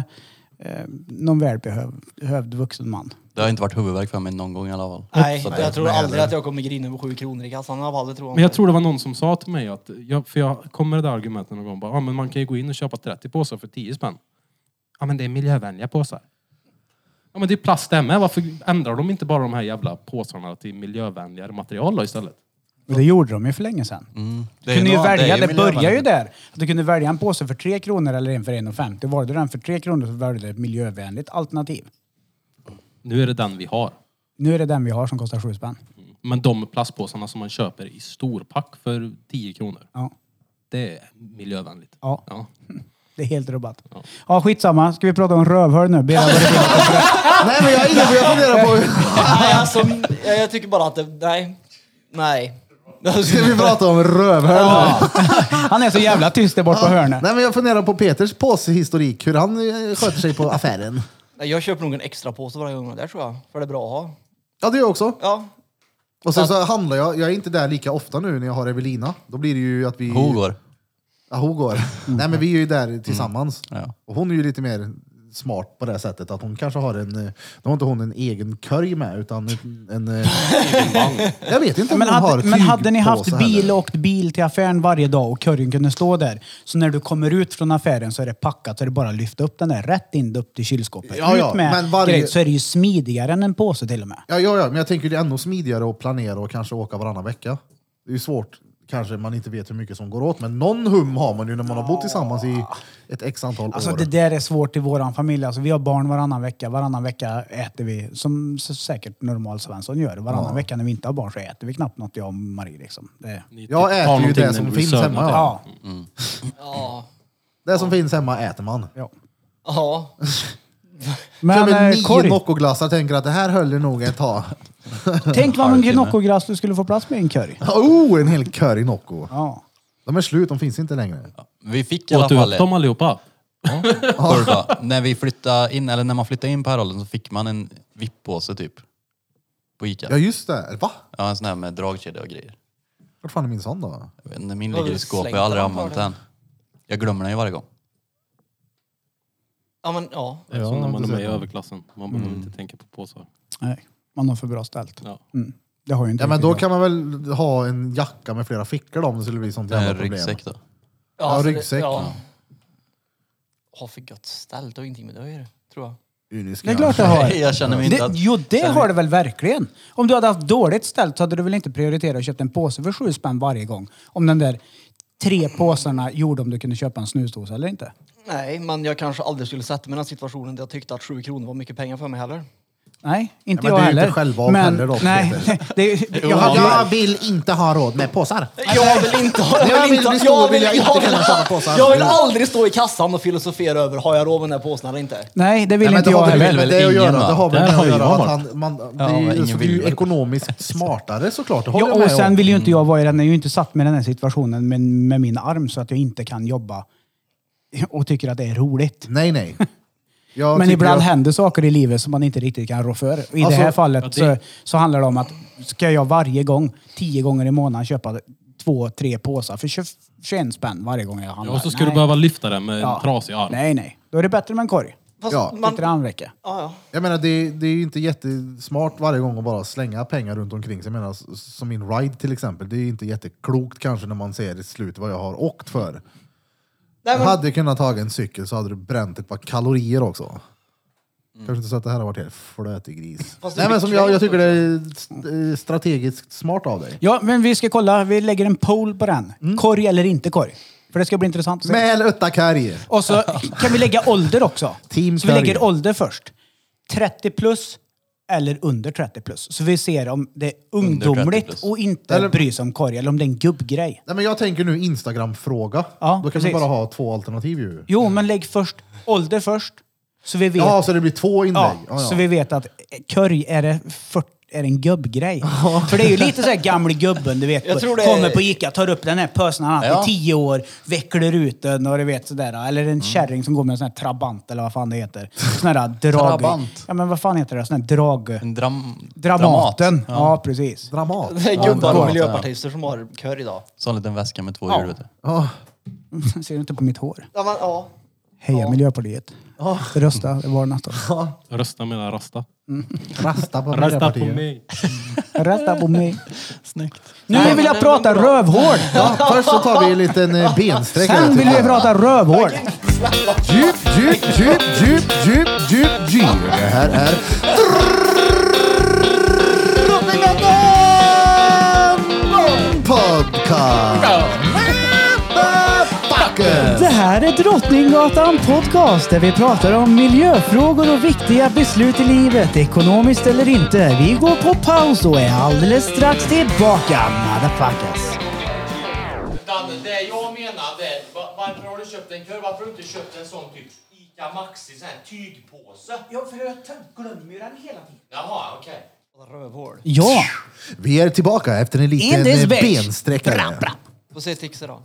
B: eh, någon välbehövd vuxen man.
E: Det har inte varit huvudvärk för mig någon gång i alla fall.
D: Nej,
E: Så att
D: jag
E: det-
D: tror aldrig att jag kommer grina över sju kronor i kassan. Jag aldrig tror jag
C: Men jag
D: inte.
C: tror det var någon som sa till mig att, jag, för jag kom med det där argumentet någon gång, bara, ah, men man kan ju gå in och köpa 30 påsar för 10 spänn. Ja men det är miljövänliga påsar. Ja men det är plast det här med, varför ändrar de inte bara de här jävla påsarna till miljövänligare material då istället?
B: Och det gjorde de ju för länge sedan.
E: Det är
B: Du kunde ju
E: nå-
B: välja,
E: är
B: det, börjar ju
E: miljövänligt.
B: där. Du kunde välja en påse för 3 kronor eller en för 1,50. Valde du den för 3 kronor så valde du ett miljövänligt alternativ.
C: Nu är det den vi har.
B: Nu är det den vi har som kostar 7 spänn.
C: Men de plastpåsarna som man köper i storpack för 10 kronor,
B: Ja,
C: det är miljövänligt.
B: Ja.
C: ja.
B: det är helt rubbat. Ja, skitsamma. Ska vi prata om rövhål nu? Bera, vad det är.
A: Nej men jag är inne på, jag funderar på,
D: Nej, alltså, jag, jag tycker bara att det, nej. Nej.
A: ska vi prata om rövhål?
B: Han är så jävla tyst där bort på hörnet.
A: Nej men jag funderar på Peters påsehistorik, hur han eh, sköter sig på affären.
D: Nej, Jag köper nog en extra påse varje gång, det tror jag. För det är bra att ha.
A: Ja det gör jag också.
D: Ja.
A: Och sen så handlar jag, jag är inte där lika ofta nu när jag har Evelina. Då blir det ju att vi...
E: Hon går.
A: Ja, hon går.
B: Mm.
A: Nej men vi är ju där tillsammans.
E: Ja.
A: Och hon är ju lite mer smart på det här sättet att hon kanske har en, eh, nu har inte hon en egen körj med utan en... en eh, jag vet inte om
B: Men
A: hon har
B: hade, men hade ni haft
A: tygpåse
B: bil
A: heller.
B: och åkt bil till affären varje dag och korgen kunde stå där, så när du kommer ut från affären så är det packat så är det bara att lyfta upp den där rätt in upp till kylskåpet.
A: Ja, ja,
B: ut med
A: men varje-
B: grejer, så är det ju smidigare än en påse till och med.
A: Ja, ja, ja, men jag tänker det är ännu smidigare att planera och kanske åka varannan vecka. Det är ju svårt, kanske man inte vet hur mycket som går åt, men någon hum har man ju när man har bott tillsammans i ett x antal
B: Alltså
A: år.
B: det där är svårt i våran familj. Alltså, vi har barn varannan vecka. Varannan vecka äter vi, som s- säkert normal svensson gör, varannan vecka när vi inte har barn så äter vi knappt något, jag och Marie. Liksom. Det...
A: Jag
C: Har
A: äter ju
C: någonting
A: det som
C: när du
A: finns
C: sömnar
A: hemma.
C: till.
A: Ja.
B: Ja.
D: Ja.
A: Det som finns hemma äter man.
B: ja.
D: Ja.
A: Men,
B: Men
A: Köper
B: eh,
A: nio
B: korg,
A: Noccoglassar tänker att det här höll ju nog ett tag.
B: tänk vad mycket Noccoglass du skulle få plats med i en korg.
A: Oh, en hel kör i Nocco.
B: Ja.
A: De är slut, de finns inte längre.
E: Vi fick i alla
C: Åt du
E: fall
C: upp dem allihopa?
E: förr då. När vi flyttade in, eller när man flyttade in på Härolden så fick man en VIP-påse typ. På Ica.
A: Ja just det, va?
E: Ja, en sån här med dragkedja och grejer.
A: Vart fan är min sån då?
E: Jag vet inte, Min
D: Har
E: ligger
D: du
E: i skåpet,
D: slängt
E: jag har aldrig
D: den på
E: använt
D: den?
E: den. Jag glömmer den ju varje gång.
D: Ja men ja.
C: Det är som när man är
A: precis.
C: med i överklassen. Man behöver inte tänka på påsar.
B: Nej, man har för bra ställt. Mm.
C: Ja.
B: Det har ju inte
A: Ja men
B: riktigt
A: då
B: jag.
A: kan man väl ha en jacka med flera fickor då om det skulle bli sånt
E: Det är
A: jävla
E: en
A: problem.
E: ryggsäck då.
D: Ja,
A: Ja,
D: alltså det-
A: ryggsäck.
D: Ja. Har för gött ställt och ingenting med det att göra, tror jag.
B: Det är klart det har.
E: Jag känner mig inte
B: Det,
E: att...
B: jo, det har det väl verkligen. Om du hade haft dåligt ställt så hade du väl inte prioriterat att köpa en påse för sju spänn varje gång. Om den där tre påsarna gjorde om du kunde köpa en snusdosa eller inte.
D: Nej, men jag kanske aldrig skulle sätta mig i den här situationen där jag tyckte att 7 kronor var mycket pengar för mig heller.
B: Nej, inte
A: Ja, men det är ju
B: jag heller.
A: inte självvalt heller då,
B: nej, det, är- jag hade,
A: Jag vill inte ha råd med påsar.
D: Jag vill inte ha...
A: jag vill bli stor vill jag inte kunna köpa påsar.
D: jag vill aldrig stå i kassan och filosofera över har jag råd med den här påsen eller inte.
B: nej, det vill
A: Nej, men
B: inte
A: det
B: jag
A: har väl
B: heller.
A: med det att
E: Ingen,
A: göra.
E: va?
A: Det har väl
C: Där
A: med
C: har
A: att
C: ju
A: göra
C: jag
A: att
C: varit.
A: han, man, det
E: men
A: är ju, så
E: ingen
A: det är
E: vill
A: ju
E: väl.
A: ekonomiskt smartare såklart. Det håller
B: Ja,
A: jag
B: och
A: med
B: sen
A: om. Mm.
B: vill ju inte jag vara i den, jag är ju inte satt med den här situationen med, med min arm så att jag inte kan jobba och tycker att det är roligt.
A: Nej, nej. Jag
B: Men
A: tycker
B: ibland
A: att-
B: händer saker i livet som man inte riktigt kan rå för. I
A: Alltså,
B: det här fallet
C: ja, det-
B: så, så handlar det om att ska jag varje gång, tio gånger i månaden, köpa två, tre påsar för 20, 21 spänn varje gång jag handlar?
C: Och så ska
B: Nej.
C: du behöva lyfta den med
B: Ja.
C: en trasig arm.
B: Nej, nej. Då är det bättre med en korg.
D: Fast
A: Ja.
D: man...
B: Bättre handräcke.
D: Ja, ja.
A: Jag menar, det, det är ju inte jättesmart varje gång att bara slänga pengar runt omkring sig. Jag menar, s- som min ride till exempel, det är ju inte jätteklokt kanske när man ser i slut vad jag har åkt för.
D: Nej,
A: Jag
D: men,
A: hade kunnat ta en cykel så hade du bränt ett par kalorier också.
B: Mm.
A: Kanske inte så att det här har varit helt flötig gris.
D: Fast det är
A: Nej, men som
D: bekvämt
A: jag, jag tycker det är st- eh, strategiskt smart av dig.
B: Ja, men vi ska kolla. Vi lägger en poll på den.
A: Mm.
B: Korg eller inte korg. För det ska bli intressant att se.
A: Mäl utta karg!
B: Och så kan vi lägga ålder också.
A: Team
B: så vi
A: Sverige.
B: lägger ålder först. 30 plus eller under 30 plus. Så vi ser om det är ungdomligt
E: plus.
B: och inte
A: Eller-
B: bry sig om korg eller om det är en gubbgrej.
A: Nej, men jag tänker nu Instagram-fråga.
B: Ja,
A: Då kan
B: precis.
A: vi bara ha två alternativ ju.
B: Jo, men lägg först ålder först. Så vi vet,
A: Ja, så det blir två inlägg.
B: ja,
A: Ja, ja.
B: Så vi vet att korg är det 40 är det en gubbgrej. För det är ju lite så här gamle gubben, du vet.
D: Jag tror det är-
B: Kommer på Ica, tar upp den här pösen han har haft i
E: Ja.
B: tio år, vecklar ut den och du vet sådär. Eller en kärring som går med en sån här trabant eller vad fan det heter. Sån här drag...
E: Trabant.
B: Ja men vad fan heter det? Sån här drag...
E: En dram...
B: Dramaten.
E: Dramat.
B: Ja, precis.
A: Dramat.
D: det är
E: Ja,
D: gubbar
E: bra.
D: och miljöpartister som har kör idag.
E: Så en liten väska med två hjul. vet du.
A: Ja.
B: Ser du inte på mitt hår?
D: Ja, men, ja.
B: Heja Miljöpartiet. Rösta, det var nästa.
C: Rösta medan rasta.
A: Rasta på
C: Rösta på
A: Miljöpartiet.
C: mig.
B: Rösta på mig.
E: Snyggt.
B: Nu vill jag prata rövhål!
A: Ja, först så tar vi en liten eh, bensträck. här,
B: Sen
A: tycker
B: vill vi
A: jag.
B: prata rövhål!
A: Djup, djup, djup, djup, djup, djup, djup. Det här är Drottninggatan Podcast. Motherfucker.
B: Det här är Drottninggatan Podcast där vi pratar om miljöfrågor och viktiga beslut i livet, ekonomiskt eller inte. Vi går på paus och är alldeles strax tillbaka, motherfuckers.
G: Danne, det jag menar det är, va- varför har du köpt en korv? Varför har du inte köpt en sån typ Ica Maxi, sån här tygpåse?
B: Ja, för jag glömmer ju den hela tiden.
G: Jaha, okej.
D: Rövhål.
B: Ja,
A: Vi är tillbaka efter en
B: In
A: liten
B: this
A: eh,
B: bitch.
A: bensträckare.
D: Får se Tix idag.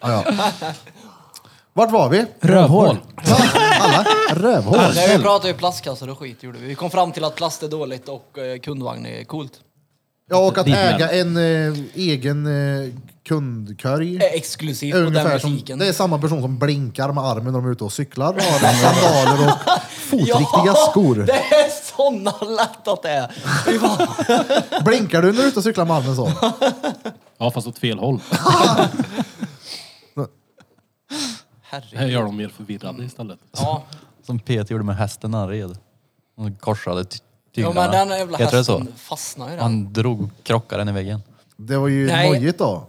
A: Ja, ja. Vart var vi?
B: rövhål.
A: Alla rövhål.
D: Nej, vi pratade ju plastkassar och skit gjorde vi. Vi kom fram till att plast är dåligt och eh, kundvagn är coolt.
A: Ja, och att
C: Dit med.
A: äga en eh, egen eh, kundkorg.
D: Eh, Exklusivt
A: är
D: på den
A: ungefär som,
D: butiken.
A: det är samma person som blinkar med armen när de är ute och cyklar och har sandaler och fotriktiga skor.
D: Det är såna lätt att det är. Fy fan.
A: Blinkar du när du är ute och cyklar med armen så?
C: Ja, fast åt fel håll. Här
D: Herregud.
C: gör de mer förvirrade istället.
D: Ja.
E: Som Peter gjorde med hästen han red. Han korsade ty-
D: ja,
E: tyglarna.
D: men den jävla
E: Heter det så?
D: hästen fastnar ju den.
E: Han drog, krockade den i väggen.
A: Det var ju
D: Nej.
A: nojigt då.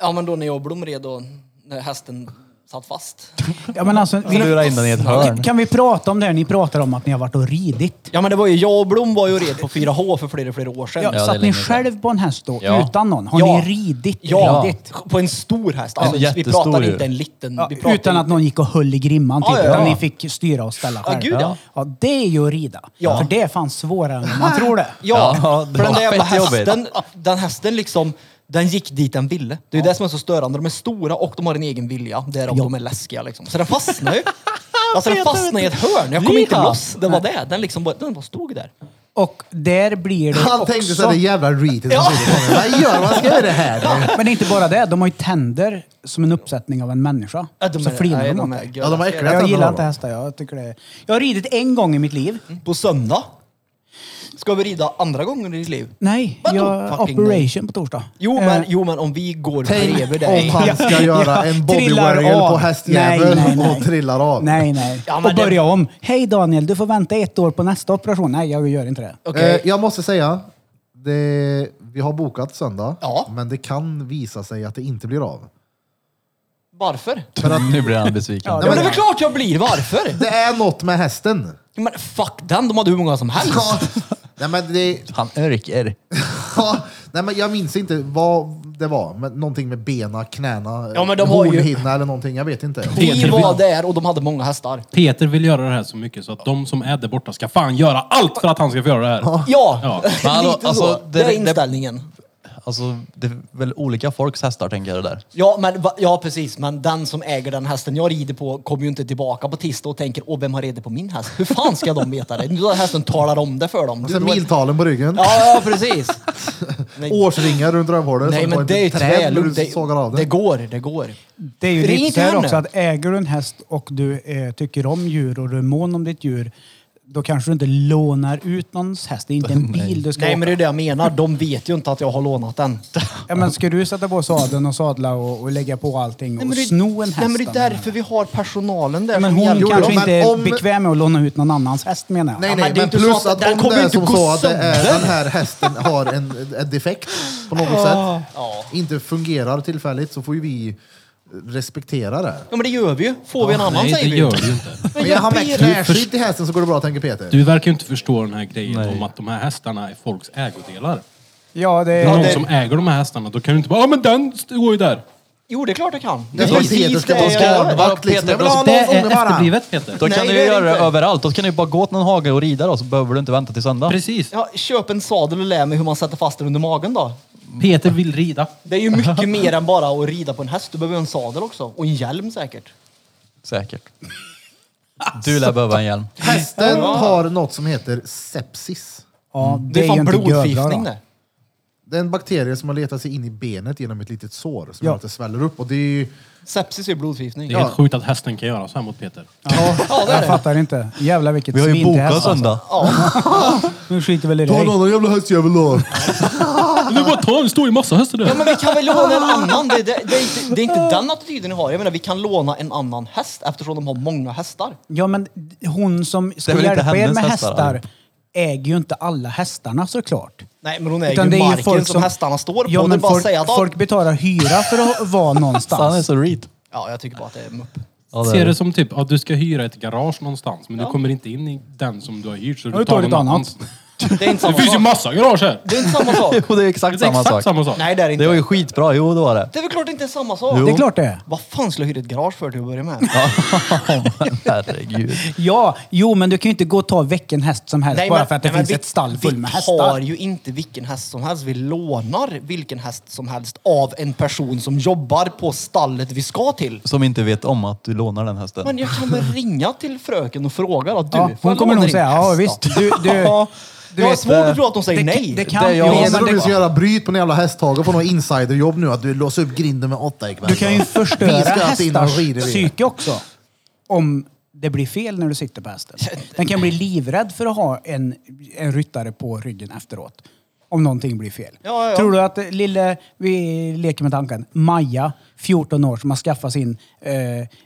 D: Ja, men då när jag och Blom red och när hästen satt fast.
B: Ja, men alltså,
E: Han lurade in den i ett hörn.
B: kan vi prata om det här ni pratar om att ni har varit och ridit?
D: Ja, men det var ju jag och Blom var ju och red på 4H för flera, flera år sedan.
B: Ja,
E: det är
B: satt ni
E: länge sedan.
B: själv på en häst då,
E: Ja.
B: utan någon? Har
D: Ja.
B: ni ridit?
D: Ja,
B: ridit?
D: på en stor häst. Alltså,
E: En
D: vi
E: jättestor
D: pratar
E: ju.
D: inte en liten.
B: Ja,
D: vi pratar
B: utan att någon gick och höll i grimman typ,
D: Ja, ja,
B: utan
D: ja.
B: ni fick styra och ställa själv.
D: gud, ja.
B: ja, det är ju att rida.
D: Ja.
B: För det är fan svårare än man tror det.
D: Ja,
E: Ja, det
D: för den
E: var
D: där jävla
E: fett jobbigt.
D: hästen, den hästen liksom, den gick dit den ville. Det är ju det som är så störande. De är stora och de har en egen vilja, därav de är läskiga liksom. Så den fastnade ju. Alltså den fastnade i ett hörn. Jag kom inte
B: Lina.
D: loss. Det var det. Den liksom bara, den bara stod där.
B: Och där blir det
A: Han
B: också...
A: tänkte såhär, det jävla reetet som sitter på mig. Vad gör man? Ska jag göra det här?
B: Men det är inte bara det, de har ju tänder som en uppsättning av en människa.
D: Ja, de
B: så
D: är-
B: flinar
D: nej,
B: de
D: de
B: åt
D: är
B: dig.
D: gö-
A: Ja, de har äckliga
B: Jag
A: tänder
B: gillar
A: har
B: inte
A: de.
B: hästar. Jag, tycker det är... jag har ridit en gång i mitt liv.
D: På söndag. Ska vi rida andra gången i ditt liv?
B: Nej,
D: Vadå?
B: jag,
D: Fucking
B: operation på torsdag.
D: Jo
B: Eh,
D: men, jo, men om vi går bredvid dig.
A: Om han ska göra en
B: Trillar
A: bodywaggle
B: av.
A: på hästjäveln
B: Nej, nej, nej.
A: och trillar av.
B: Eh, Nej, nej.
D: Ja, men
B: och börja
D: det-
B: om. Hej Daniel, du får vänta ett år på nästa operation. Nej, jag gör inte det.
D: Okej.
A: Eh, jag måste säga, det, vi har bokat söndag,
D: Ja.
A: men det kan visa sig att det inte blir av.
D: Varför?
E: Nu blir han besviken.
B: Ja,
D: Ja, men det
A: men-
D: är väl klart jag blir. Varför?
A: Det är något med hästen.
D: Men fuck den, de hade hur många som helst.
A: Nej, men det,
E: Han örker.
A: ja, nej, men jag minns inte vad det var. Men någonting med bena, knäna,
D: Ja, men de har ju-
A: hornhinna eller någonting. Jag vet inte.
D: Vi var där och de hade många hästar.
C: Peter vill göra det här så mycket så att de som är där borta ska fan göra allt för att han ska få göra det här.
D: Ja,
C: Ja.
D: lite
E: Men hallå,
D: så.
E: alltså,
D: Det,
E: det-
D: är
E: det-
D: inställningen.
E: Alltså, det är väl olika folks hästar tänker jag det där.
D: Ja, men, va- ja, precis. Men den som äger den hästen jag rider på kommer ju inte tillbaka på tisdag och tänker åh, vem har ridit på min häst? Hur fan ska de veta det? Nu har hästen talar om det för dem.
A: Och sen
D: Du-
A: miltalen på ryggen.
D: Ja, ja, precis. Nej,
A: Årsringar runt rövhålet.
D: nej
A: som var
D: men
A: ett
D: det är ju
A: träd när du
D: tvärlugnt.
A: sågar av
D: Det,
A: det.
D: det går, det går.
B: Det är ju
D: Ring
B: lite så här
D: henne.
B: också att äger du en häst och du eh, tycker om djur och du är mån om ditt djur, då kanske du inte lånar ut någons häst. Det är inte en bil du ska
D: Nej,
B: åka.
D: men det är det jag menar. De vet ju inte att jag har lånat den.
B: Ja, men ska du sätta på sadeln och sadla och, och lägga på allting och
D: men det-
B: sno en häst?
D: Nej, men det
B: då,
D: är
B: menar
D: därför vi har personalen där.
B: jag. Men
D: som
B: hon
D: hjälper
B: kanske
D: oss.
A: men
B: inte är
A: om-
B: bekväm med att låna ut någon annans häst menar jag.
A: Nej,
D: Ja,
A: nej,
D: men det är
A: men
D: inte
A: plus
D: så att
A: att,
D: den
A: om
D: kommer
A: det är
D: inte
A: som
D: gå
A: så att det är,
D: sönder.
A: den här hästen har en, en defekt på något sätt, inte fungerar tillfälligt, så får ju vi respektera det.
D: Ja, men det gör vi ju. Får vi en annan
C: Nej,
D: säger
C: det
D: vi ju.
C: gör du inte.
A: Men jag har
D: hjälper
A: med
D: er.
A: knäskydd i hästen så går det bra, tänker Peter.
C: Du verkar ju inte förstå den här grejen om att de här hästarna är folks ägodelar.
B: Ja, det
C: Det är
B: är...
C: någon som äger de här hästarna, då kan du inte bara ja men den står ju där.
D: Jo, det är klart jag kan.
A: det är som att
D: precis
A: Peter ska
D: det
A: vara
D: jag gör.
A: skadvakt. Liksom. Jag vill ha
C: Det
A: någon
C: är
A: som bara.
C: efterblivet Peter.
E: Då
D: Nej,
E: kan du
D: det är
E: ju göra
D: det
E: det
D: inte.
E: överallt. Då kan du ju bara gå till någon hage och rida då, så behöver du inte vänta till söndag.
C: Precis.
D: Ja, köp en sadel och lär mig hur man sätter fast den under magen då.
C: Peter vill rida.
D: Det är ju mycket mer än bara att rida på en häst. Du behöver en sadel också. Och en hjälm säkert.
E: Säkert. Du lär behöva en hjälm.
A: Hästen har något som heter sepsis.
B: Ja, det,
D: Det är
B: ju
D: fan
B: inte gödbra,
D: blodförgiftning
B: då.
D: det.
A: Det är en bakterie som har letat sig in i benet genom ett litet sår som
B: Ja.
A: gör att det sväller upp. Och det är ju,
D: Sepsis är ju blodförgiftning.
C: Det är helt sjukt att hästen kan göra så här mot Peter.
D: Ja, det är
B: Jag
D: det.
B: fattar inte. Jävlar vilket
E: Vi har ju
B: svin till
E: bokat
B: häst, alltså.
E: söndag.
B: Nu skiter väl i
A: Ta en
B: dig.
A: annan jävla hästjävel då!
C: Nu bara ta en, står ju massa hästar
D: Ja,
C: där.
D: men vi kan väl låna en annan. Det, det, det, är inte, det är inte den attityden ni har. Jag menar, vi kan låna en annan häst eftersom de har många hästar.
B: Ja, men hon som ska
E: väl inte
B: hjälpa er
E: hennes
B: med
E: hästar,
B: hästar
E: allihop.
B: äger ju inte alla hästarna såklart.
D: Nej, men hon äger ju marken som, hästarna står på.
B: Ja,
D: det är
B: men
D: bara
B: folk,
D: att säga att... ja,
B: folk betalar hyra för att vara någonstans.
E: Han är så reet.
D: Ja, jag tycker bara att det är mupp.
E: Ja, det är
C: Ser
E: det.
C: det som typ att du ska hyra ett garage någonstans men du kommer inte in i den som du har hyrt så
B: Ja,
C: du
B: du
C: tar
B: tar
C: någon
B: ett annat.
C: annans.
D: Det är inte
C: Det
D: samma
C: finns ju
D: sak.
C: massa garage här.
D: Det är inte samma sak.
E: Jo, det är
C: Det är
E: exakt samma
C: exakt
E: sak.
C: samma sak.
D: Nej, det är inte.
E: Det var ju skitbra. Jo, det var det.
D: Det är väl klart inte samma sak.
B: Det är klart det är.
D: Vad fan skulle jag hyra ett garage för till att börja med?
E: Herregud.
B: Ja, jo men du kan ju inte gå och ta vilken häst som helst bara för att det
D: nej, men
B: finns ett stall full med
D: Vi tar
B: hästar.
D: ju inte vilken häst som helst. Vi lånar vilken häst som helst av en person som jobbar på stallet vi ska till.
E: Som inte vet om att du lånar den hästen.
D: Men jag kan väl ringa till fröken och fråga då. Du,
B: Ja,
D: får
B: hon
D: jag
B: kommer
D: låna
B: nog
D: din
B: säga,
D: häst
B: ja
D: då?
B: visst. Du, du, du
D: jag har
B: vet, eh,
D: svårt att tro att de säger
B: det,
D: nej.
B: Det kan,
E: Det är jag
B: jo,
E: också.
A: Menar
B: men
A: du
B: det,
A: du ska göra bryt på en jävla hästhage och få något insiderjobb nu? Att du låser upp grinden med åtta ikväll?
B: du kan ju
A: Alltså, Vi
B: förstöra
A: ska inte in och skida
B: hästars
A: vidare.
B: psyke också. Om det blir fel när du sitter på hästen. Den kan bli livrädd för att ha en, en ryttare på ryggen efteråt. Om någonting blir fel.
D: Ja, ja.
B: Tror du att eh, lille, vi leker med tanken, Maja, 14 år, som har skaffat sin eh,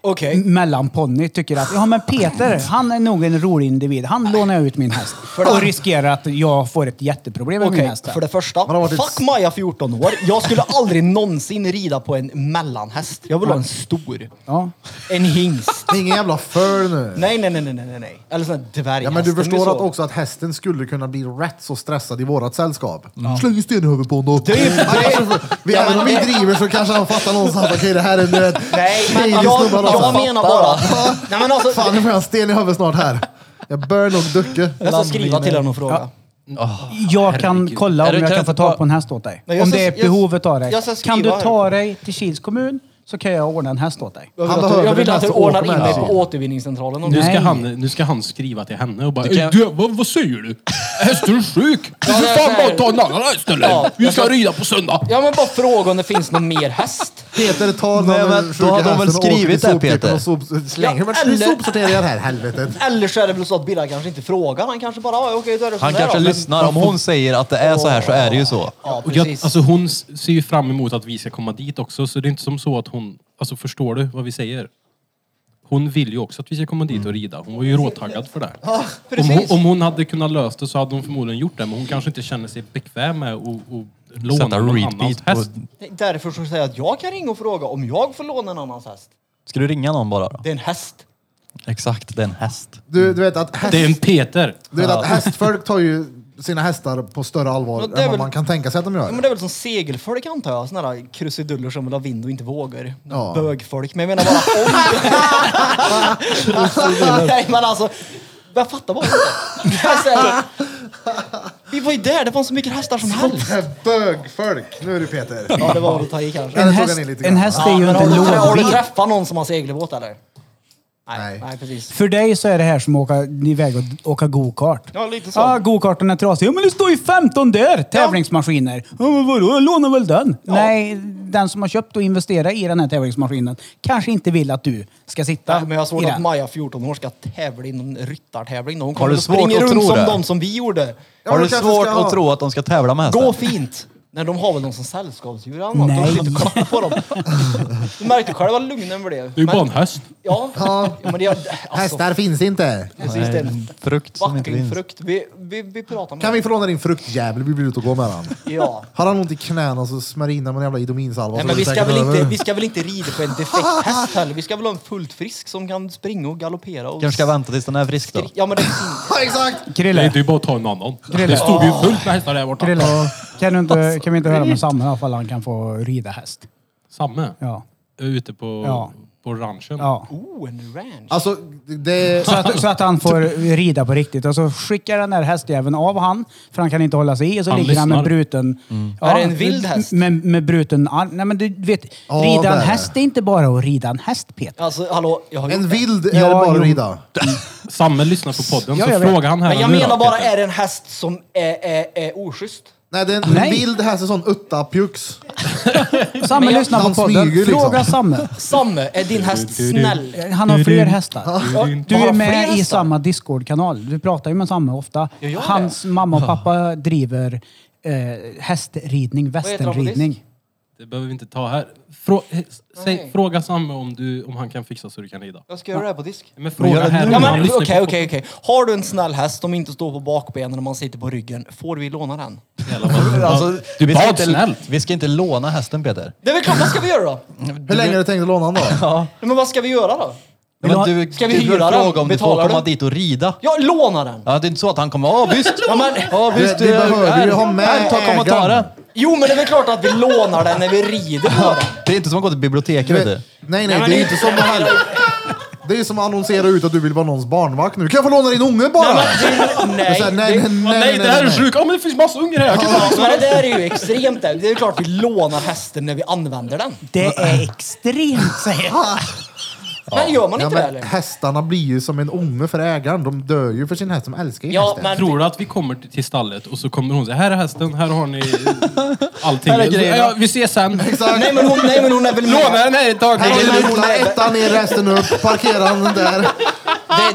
D: Okej.
B: m- mellanponny, tycker att ja men Peter, han är nog en rolig individ. Han lånar jag ut min häst.
D: det-
B: Och riskerar att jag får ett jätteproblem med
D: Okej,
B: min häst. här.
D: för det första.
A: Man har varit ett-
D: Fuck Maja 14 år. Jag skulle aldrig någonsin rida på en mellanhäst. Jag vill ha en stor.
B: Ja.
D: En hingst.
A: Ingen jävla föl nu.
D: Nej, nej, nej, nej, nej, nej, nej. Eller sån här dvärghäst.
A: Ja, men du
D: De är
A: förstår
D: så-
A: att också att hästen skulle kunna bli rätt så stressad i vårat sällskap. Släng en sten i huvudet på honom.
D: är ju-
A: Annars- vi-
D: Ja,
A: Även
D: men
A: om vi
D: det-
A: driver så kanske han fattar någonstans att okej det här är en du vet,
D: Nej, men
A: helig
D: jag,
A: snubbe
D: jag,
A: alltså.
D: menar bara... Nej, men alltså,
A: Fan nu får jag en sten i huvudet snart här. Jag bör nog ducka.
D: jag ska skriva till honom och fråga.
B: Jag kan kolla
E: Är
B: om
E: du
B: jag kan
E: kanske
B: få tag
E: bara-
B: på en häst åt dig.
D: Men jag
B: Om
D: ska-
B: det är
D: jag-
B: behovet av
D: jag ska
B: det.
D: skriva
B: Kan du
D: här.
B: ta dig till Kils kommun så kan jag ordna en häst åt dig.
D: Jag vill,
A: Han
D: att, du-
A: behöver
D: jag vill
A: den
D: att du
A: här som
D: ordnar
A: åker
D: in
A: med
D: dig
A: sig.
D: på återvinningscentralen. någon
C: Nu
D: gång.
C: ska,
B: Nej.
C: han, nu ska han skriva till henne och bara
E: Du kan-
C: "Ey, du, vad, vad säger du? Hästen är sjuk! Du får
D: det är
C: fan
D: så här.
C: bara ta en annan häst
D: Ja,
C: eller? Vi
D: jag
C: ska rida på söndag!
D: Ja men bara fråga om det finns någon mer häst.
A: Peter tar
E: Nej,
A: den
E: men
A: sjuka
E: då har de väl
A: hästen och åker
E: skrivit
A: till
E: det,
A: soptippen
E: Peter?
A: och sop- Slänger
D: Ja,
A: vart ska vi
D: eller-
A: sopsortera den här helvetet?
D: Eller så är det väl så att Birra kanske inte frågar. Han kanske bara, "Ja, okej då är det så
E: Han
D: där
E: kanske
D: då." Men-
E: lyssnar. Om hon säger att det är så här så är det ju så.
D: Ja
C: Och jag,
D: precis.
C: alltså hon s- ser ju fram emot att vi ska komma dit också, så det är inte som så att hon... Alltså förstår du vad vi säger? Hon vill ju också att vi ska komma dit och
E: Mm.
C: rida. Hon var ju råtaggad för det. om, hon,
D: precis.
C: om hon hade kunnat lösa det så hade hon förmodligen gjort det, men hon kanske inte känner sig bekväm med att och låna
E: Sätta
C: någon annans
E: readbeat på...
C: häst.
D: Därför så säger jag att jag kan ringa och fråga om jag får låna en annans häst.
E: Ska du ringa någon bara då?
D: Det är en häst.
E: Exakt, det är en häst.
A: Du, du vet att, häst,
C: Det är en Peter!
A: du vet att hästfolk tar ju sina hästar på större allvar
D: Men
A: än
D: det är
A: vad
D: väl-
A: man kan tänka sig att de
D: Ja,
A: gör.
D: men det är väl som segelfolk antar jag, såna där krusiduller som vill ha vind och inte vågar.
A: Ja.
D: Bögfolk. Men jag menar bara om... Nej men alltså, jag fattar bara inte. Jag säger, Vi var ju där, det fanns så mycket hästar som helst.
A: Bögfolk! Nu är det Peter.
D: Ja det var väl att ta i kanske.
B: En
A: tog han
B: häst,
A: i lite
B: en
A: grann.
B: häst
D: Ja,
B: är ju
D: men har,
B: inte
D: du, har du
B: lågvind.
D: träffat någon som har segelbåt eller?
A: Nej.
D: Nej, nej precis.
B: För dig så är det här som att åka iväg och åka go-kart.
D: Ja, lite så.
B: Ja, go-karten är trasig. Ja, men det står ju 15 där! Tävlingsmaskiner. Ja, men vadå? Jag lånar väl den? Nej, den som har köpt och investerat i den här tävlingsmaskinen kanske inte vill att du ska sitta
D: Nej, men jag har svårt
B: i
D: att
B: den.
D: Maja, 14 år, ska tävla i någon ryttartävling. Hon
E: Har
D: kommer
E: du
D: att
E: svårt
D: springa
E: att
D: runt
E: tro
D: som
E: det?
D: de som vi gjorde.
A: Ja,
E: Har
A: men
E: du
A: kanske
E: svårt
A: ska ha-
E: att tro att de ska tävla med hästen?
D: Gå fint! När de har väl någon som sällskapsdjur eller något.
B: Nej.
D: De sitter och kollar på dem. Du märkte själv vad lugnen blev.
C: Det är ju bara en
D: Men,
C: häst.
D: ja, ja, men det är... Alltså,
A: Hästar finns inte!
D: precis det.
E: Frukt som inte
D: Fucking
E: finns.
D: frukt. Vi, vi, vi pratar med
A: Kan vi få låna din fruktjävel? Vi blir ute och går med den.
D: Ja.
A: Har han ont i knäna så smörj in honom med en jävla Idominsalva.
D: Nej,
A: så
D: men
A: är det
D: vi ska,
A: säkert
D: väl inte,
A: över.
D: vi ska väl inte rida på en defekt häst heller. Vi ska väl ha en fullt frisk som kan springa och galoppera och...
E: Kanske ska vänta tills den är frisk då?
D: Ja men det...
A: Ja, exakt!
C: Det
B: Krille,
C: är ju bara att ta en annan.
B: Krille.
C: Det stod ju fullt med hästar där borta.
B: Krille. Kan, du inte, kan vi inte höra med Samme i alla fall? Han kan få rida häst.
C: Samme,
B: Ja.
C: ute på,
B: Ja.
C: på ranchen.
B: ja.
D: Oh, en ranch!
A: Alltså, det...
B: Så att, så att han får rida på riktigt. Och så skickar den där hästjäveln av han, för han kan inte hålla sig i. Och så
C: Han
B: ligger han med
C: lyssnar.
B: bruten...
D: Mm. Är det en vild häst?
B: Med, med bruten arm. Nej men du vet,
A: Ja,
B: rida
A: där är
B: en
A: det.
B: häst är inte bara att rida en häst Peter.
D: Alltså hallå, jag har gjort
A: En
D: det.
A: vild är
B: Ja,
A: det bara
B: jo.
A: att rida.
C: Samme lyssnar på podden,
B: Ja,
C: så
B: jag vet.
C: frågar han här
D: Men jag
C: nu då,
D: menar bara,
C: Peter.
D: är det en häst som är, är, är oschysst?
A: Nej, det är en
B: Nej.
A: vild häst, en sån utta-pjuks.
B: Samme
D: Men jag-
B: lyssnar på
A: han
B: podden.
A: smyger liksom.
B: Fråga Samme.
D: Samme, är din häst snäll?
B: Han har fler hästar. Du
D: Har
B: är
D: han
B: med
D: fler
B: i
D: hästar?
B: samma Discord-kanal. Du pratar ju med Samme ofta.
D: Jag gör det.
B: Hans mamma och pappa driver eh, hästridning,
D: heter han på
B: västernridning.
D: disk?
C: Det behöver vi inte ta här. Frå eh, säg,
D: Nej.
C: Fråga Samme om, du, om han kan fixa så du kan rida.
D: Jag ska göra det här på disk.
C: Men fråga här om
D: Ja,
C: han
D: men,
C: lyssnar
D: okej,
C: på
D: okej, okej. Har du en snäll häst som inte står på bakbenen när man sitter på ryggen, får vi låna den?
C: podden hela tiden.
E: Alltså,
C: du
E: vi ska
C: bad
E: inte-
C: snällt.
E: Vi ska inte låna hästen Peter.
D: Det är väl klart, vad ska vi göra då?
A: Hur länge har du tänkt att låna honom då?
D: Nej, Men vad ska vi göra då?
E: Men du,
D: Ska vi
E: du får
D: hyra den?
E: fråga om du får
D: Betalar
E: komma
D: du?
E: dit och rida.
D: Ja, låna den!
E: Ja, det är inte så att han kommer, ja visst!
D: Ja, men,
E: Ja
A: Du,
E: visst,
A: du behöver ju ha med
E: här, ta
A: ägaren.
E: kommentaren.
D: jo, men det är väl klart att vi lånar den när vi rider på den.
E: Det är inte som att gå till biblioteket vet du.
A: Nej, nej, det är ju inte som att han... Det är ju som att annonsera ut att du vill vara någons barnvakt nu. Kan jag få låna din unge bara?
D: Nej, men, det,
A: Det är så här,
D: nej,
A: nej, nej, nej,
C: Nej,
A: nej,
C: det här är
A: nej.
C: sjukt! Ja, men det finns massa ungar här! Jag kan
D: Ja, men det där är ju extremt. där. Det är klart vi lånar hästen när vi använder den.
B: Det är extremt säger jag.
D: Men gör man
A: Ja,
D: inte det
A: men
D: eller?
A: hästarna blir ju som en unge för ägaren. De dör ju för sin häst. De älskar ju
D: Ja,
A: hästen.
D: men
C: Tror du att vi kommer till- till stallet och så kommer hon säga här är hästen, här har ni allting.
E: Här är grejerna.
C: ja, vi ses sen!
D: Nej men, hon, nej men hon är väl med.
C: Låna den här ett tag!
A: Här
D: Nej,
A: har
D: men
A: du
D: hon
A: rutan,
D: är-
A: ettan ner resten upp, parkera den där.
D: Det,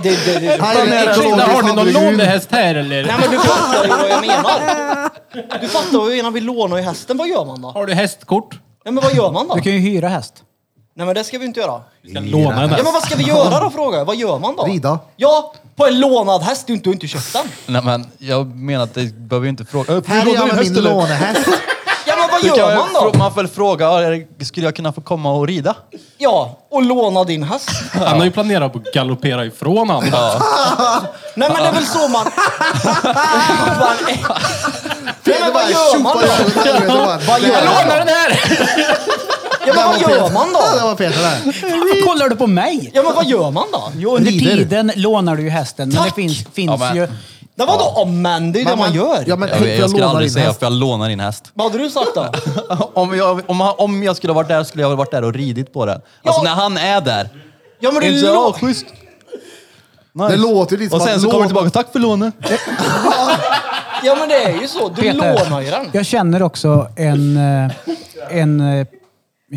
D: det, det, det.
A: Här är det
C: Tjena,
A: ekologiskt
C: har ni någon
A: handlegun.
C: lånehäst här eller?
D: Nej men du fattar ju vad jag menar. Du fattar vad jag menar. Vi lånar ju hästen. Vad gör man då?
C: Har du hästkort?
D: Nej men vad gör man då?
B: Du kan ju hyra häst.
D: Nej men det ska vi inte göra.
C: Vi ska låna en
D: Ja men
C: häst.
D: vad ska vi göra då frågar jag. Vad gör man då?
A: Rida.
D: Ja, på en lånad häst. Du har inte- du har inte köpt den.
E: Nej men jag menar att det behöver ju inte fråga. Äh,
A: Här
E: lånar
A: är jag
E: du
A: med
E: häst,
A: min
E: eller?
A: lånehäst.
D: Ja men vad
E: Du
D: gör
E: kan-
D: man då?
E: frå- Man får väl fråga, ja, är det- skulle jag kunna få komma och rida?
D: Ja, och låna din häst.
C: Han har ju planerat på att galoppera ifrån han.
D: Nej men det är väl så man... man Nej men vad gör man då?
A: Vad
C: Jag lånar den här!
D: Ja men vad gör man
A: Ja, det
D: då?
A: var Peter där.
B: Varför kollar du på mig?
D: Ja men vad gör man då?
B: Jo, under
A: Rider.
B: tiden lånar du ju hästen, men det
D: Tack!
B: finns, finns
E: Ja, men-
B: ju...
D: Det var då om men, det är ju det man gör.
A: Ja, men,
E: Jag, jag,
A: jag
E: skulle
A: lånar
E: aldrig
A: din
E: säga
A: häst.
E: för jag lånar din häst.
D: Vad hade du sagt då?
E: Om jag, om, han- om jag skulle ha varit där skulle jag ha varit där och ridit på den. Alltså
D: Ja.
E: när han är där.
D: Ja men det
E: Det
D: är
E: är så,
D: lå-
E: oh, schysst. Nice.
A: Det låter ju lite som
E: och sen
A: att
E: så kommer
A: låna-
E: du tillbaka, tack för lånet.
D: Ja men det är ju så, du
B: Peter.
D: lånar ju den.
B: Jag känner också en, eh, en eh,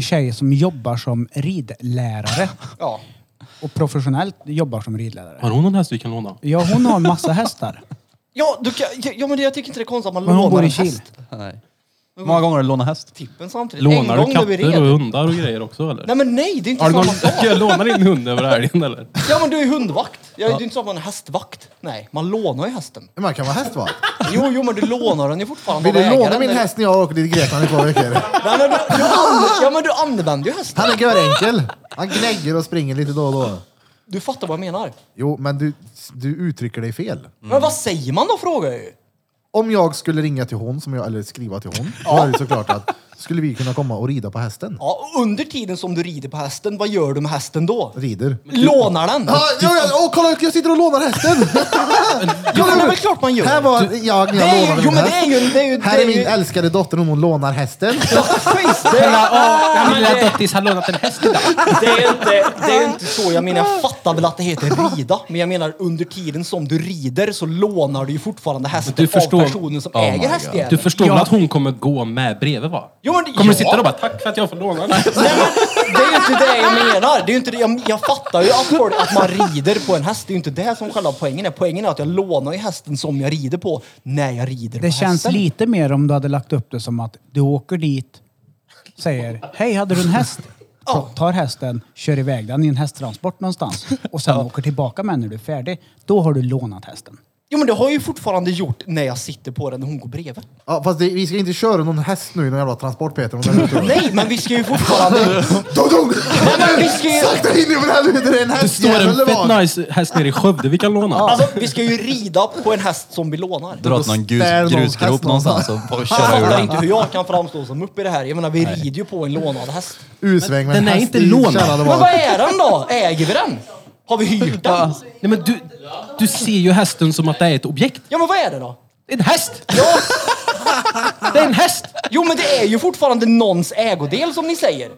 B: tjej som jobbar som ridlärare.
D: Ja.
B: Och professionellt jobbar som ridlärare.
C: Har hon någon häst vi kan låna?
B: Ja, hon har massa hästar.
D: Ja, du kan, ja men det, jag tycker inte det är konstigt att man
B: Men hon
D: lånar
B: bor
D: en
B: i Kil.
D: häst.
E: Nej. Hur många gånger har du lånat häst?
D: Tippen samtidigt.
C: Lånar
D: en
C: du
D: gång du är
C: katter och
D: red.
C: hundar och grejer också eller?
D: Nej men nej, det är inte
C: Har du
D: samma
C: någon,
D: sak.
C: jag lånar din hund över helgen eller?
D: Ja men du är ju hundvakt. Ja, Det är inte så att man är hästvakt. Nej, man lånar ju hästen.
A: Man kan vara hästvakt.
D: Jo, jo men du lånar den ju fortfarande
A: Vill
D: av
A: du
D: ägaren,
A: låna min
D: eller?
A: häst när jag åker till Grekland i två veckor?
D: Nej, men du, du använder, ja men du använder ju hästen.
A: Han är görenkel. Han gnägger och springer lite då och då.
D: Du fattar vad jag menar.
A: Jo, men du, du uttrycker dig fel.
D: Men vad säger man då frågar jag ju.
A: Om jag skulle ringa till hon, som jag, eller skriva till hon, då är det såklart att skulle vi kunna komma och rida på hästen?
D: Ja, och under tiden som du rider på hästen, vad gör du med hästen då?
A: Rider.
D: Lånar den?
A: Ah, ja, ja, åh, kolla, jag sitter och lånar hästen!
D: Ja men det är väl klart man
A: Här
D: gör.
A: var jag när
D: Det
A: jag
D: är
A: lånade
D: ju, jo
A: min
D: men det är
A: häst.
D: ju, det är ju, det
A: Här är
D: är ju,
A: min älskade dotter, hon lånar hästen.
C: Min lilla dottis har lånat en häst idag.
D: Det är, inte, det är inte så. Jag menar, jag fattar väl att det heter rida. Men jag menar, under tiden som du rider så lånar du ju fortfarande hästen
C: Men du förstår- Oh
D: av personen som äger hästjäveln.
C: Du förstår väl att hon kommer gå med bredvid va?
D: Jo, men det-
C: kommer du
D: ja.
C: sitta där och bara tack för att jag får låna den här?
D: Nej, men, det är ju inte det jag menar. Det är ju inte det, jag, jag fattar ju att, folk, att man rider på en häst. Det är ju inte det som själva poängen är. Poängen är att jag lånar ju hästen som jag rider på när jag rider på
B: Det känns
D: hästen.
B: lite mer om du hade lagt upp det som att du åker dit, säger hej, hade du en häst? Ta- Tar hästen, kör iväg den i en hästtransport någonstans och sen åker tillbaka med den när du är färdig. Då har du lånat hästen.
D: Jo men det har jag ju fortfarande gjort när jag sitter på den och hon går bredvid.
A: Ja, fast det, vi ska inte köra någon häst nu i någon jävla transport Peter. om det är ute.
D: Nej men vi ska ju fortfarande...
A: Dong, dong!
D: Nej men vi ska ju...
A: Sakta in i för helvete, det är en
C: Det
A: häst!
C: står en
A: jävel bak.
C: fett nice häst nere i Skövde vi kan låna.
D: Alltså vi ska ju rida på en häst som vi lånar.
E: Dra åt någon
A: Ställ någon
E: grus,
A: häst
E: grusgrop någonstans och bara
D: Jag
E: köra ur
D: fattar
E: den.
D: inte hur jag kan framstå som upp i det här. Jag menar vi rider ju på en lånad häst.
A: U-sväng med en
C: Den är
A: häst
C: inte
A: i
C: lånad.
A: källaren
D: Men
A: bak.
D: vad är den då? Äger vi den? Har vi hyrt den?
C: Nej, men du, du ser ju hästen som att det är ett objekt.
D: Ja men vad är det då?
C: En häst!
D: Ja,
C: Det är en häst!
D: jo men det är ju fortfarande någons ägodel som ni säger.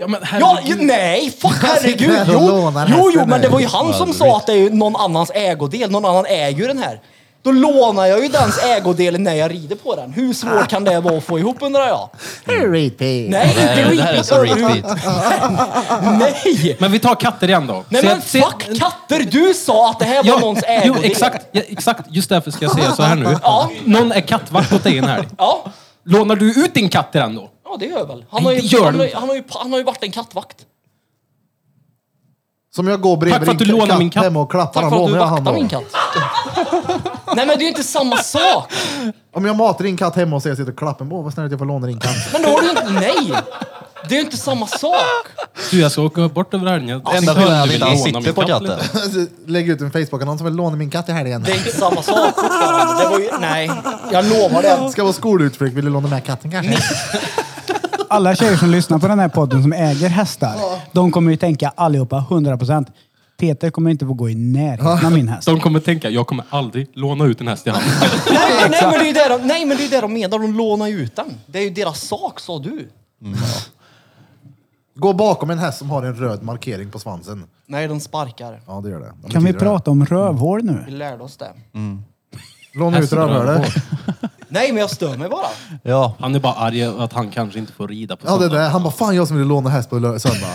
C: Ja, men
D: Ja,
C: herregud.
D: ju, nej, fuck herregud.
A: sitter här och
D: Jo,
A: lånar
D: jo, jo,
A: hästen
D: men det
A: nu.
D: var ju han som sa att det är ju någon annans ägodel. Någon annan äger ju den här. Då lånar jag ju dens ägodel när jag rider på den. Hur svårt kan det vara att få ihop undrar jag?
A: Repeat.
D: Nej,
E: Det här
D: inte
E: är- det här är
D: repeat.
E: så repeat.
D: Nej!
C: Men vi tar katter igen då.
D: Nej
C: Så
D: men
C: jag ser-
D: fuck katter! Du sa att det här var någons
C: jo,
D: ägodel.
C: exakt, ja, exakt. Just därför ska jag säga så här nu.
D: Ja.
C: Någon är kattvakt åt dig en helg.
D: Ja.
C: Lånar du ut din katt till den då?
D: Ja, det gör jag väl. Han har,
C: Nej,
D: ju,
C: det gör
D: han, har,
C: du
D: ju-
C: inte.
D: han, har ju, han har ju varit en kattvakt.
A: Som jag går bredvid
C: Tack för att du
A: din
C: lånar min katt.
A: hemma och klappar
D: Tack
A: han,
D: för att du
A: lånar jag han
D: vaktar min
A: då.
D: katt. Nej men det är ju inte samma sak.
A: Om jag matar din katt hemma och säger att jag sitter och klappar, åh vad snällt jag får låna din katt.
D: Men då har du inte... Nej! Det är ju inte samma sak.
C: Du, jag ska åka bort över helgen. Jag
E: Enda
C: tänkte
E: skillnaden är
C: att
E: att
C: du
E: inte
C: vill
E: han sitter
C: låna
E: på
C: min katt
E: katten.
C: lite.
A: Lägg ut en Facebook-annons som vill låna min katt i helgen.
D: Det är inte samma sak fortfarande. Det var ju, nej, jag lovar det.
A: Ska vara skolutflykt, vill du låna med katten kanske?
B: Alla tjejer som lyssnar på den här podden som äger hästar, de kommer ju tänka allihopa 100%. Peter kommer inte få gå i närheten av min häst.
C: De kommer tänka, jag kommer aldrig låna ut en häst till han.
D: Nej, men- nej, men det är ju det de, nej men det är ju det de menar, de lånar ju ut den. Det är ju deras sak sa du.
A: Gå bakom en häst som har en röd markering på svansen.
D: Nej, de sparkar.
A: Ja, det gör det. De
B: Kan
A: betyder
B: vi
A: det.
B: prata om rövhål nu?
D: Vi lärde oss det.
C: Mm.
A: Låna ut rövhålet.
D: Nej, men jag stör mig bara.
E: Ja,
C: Han är bara arg att han kanske inte får rida på
A: Ja, det
C: söndag.
A: där. Han bara, fan jag som ville låna häst på lö- söndag.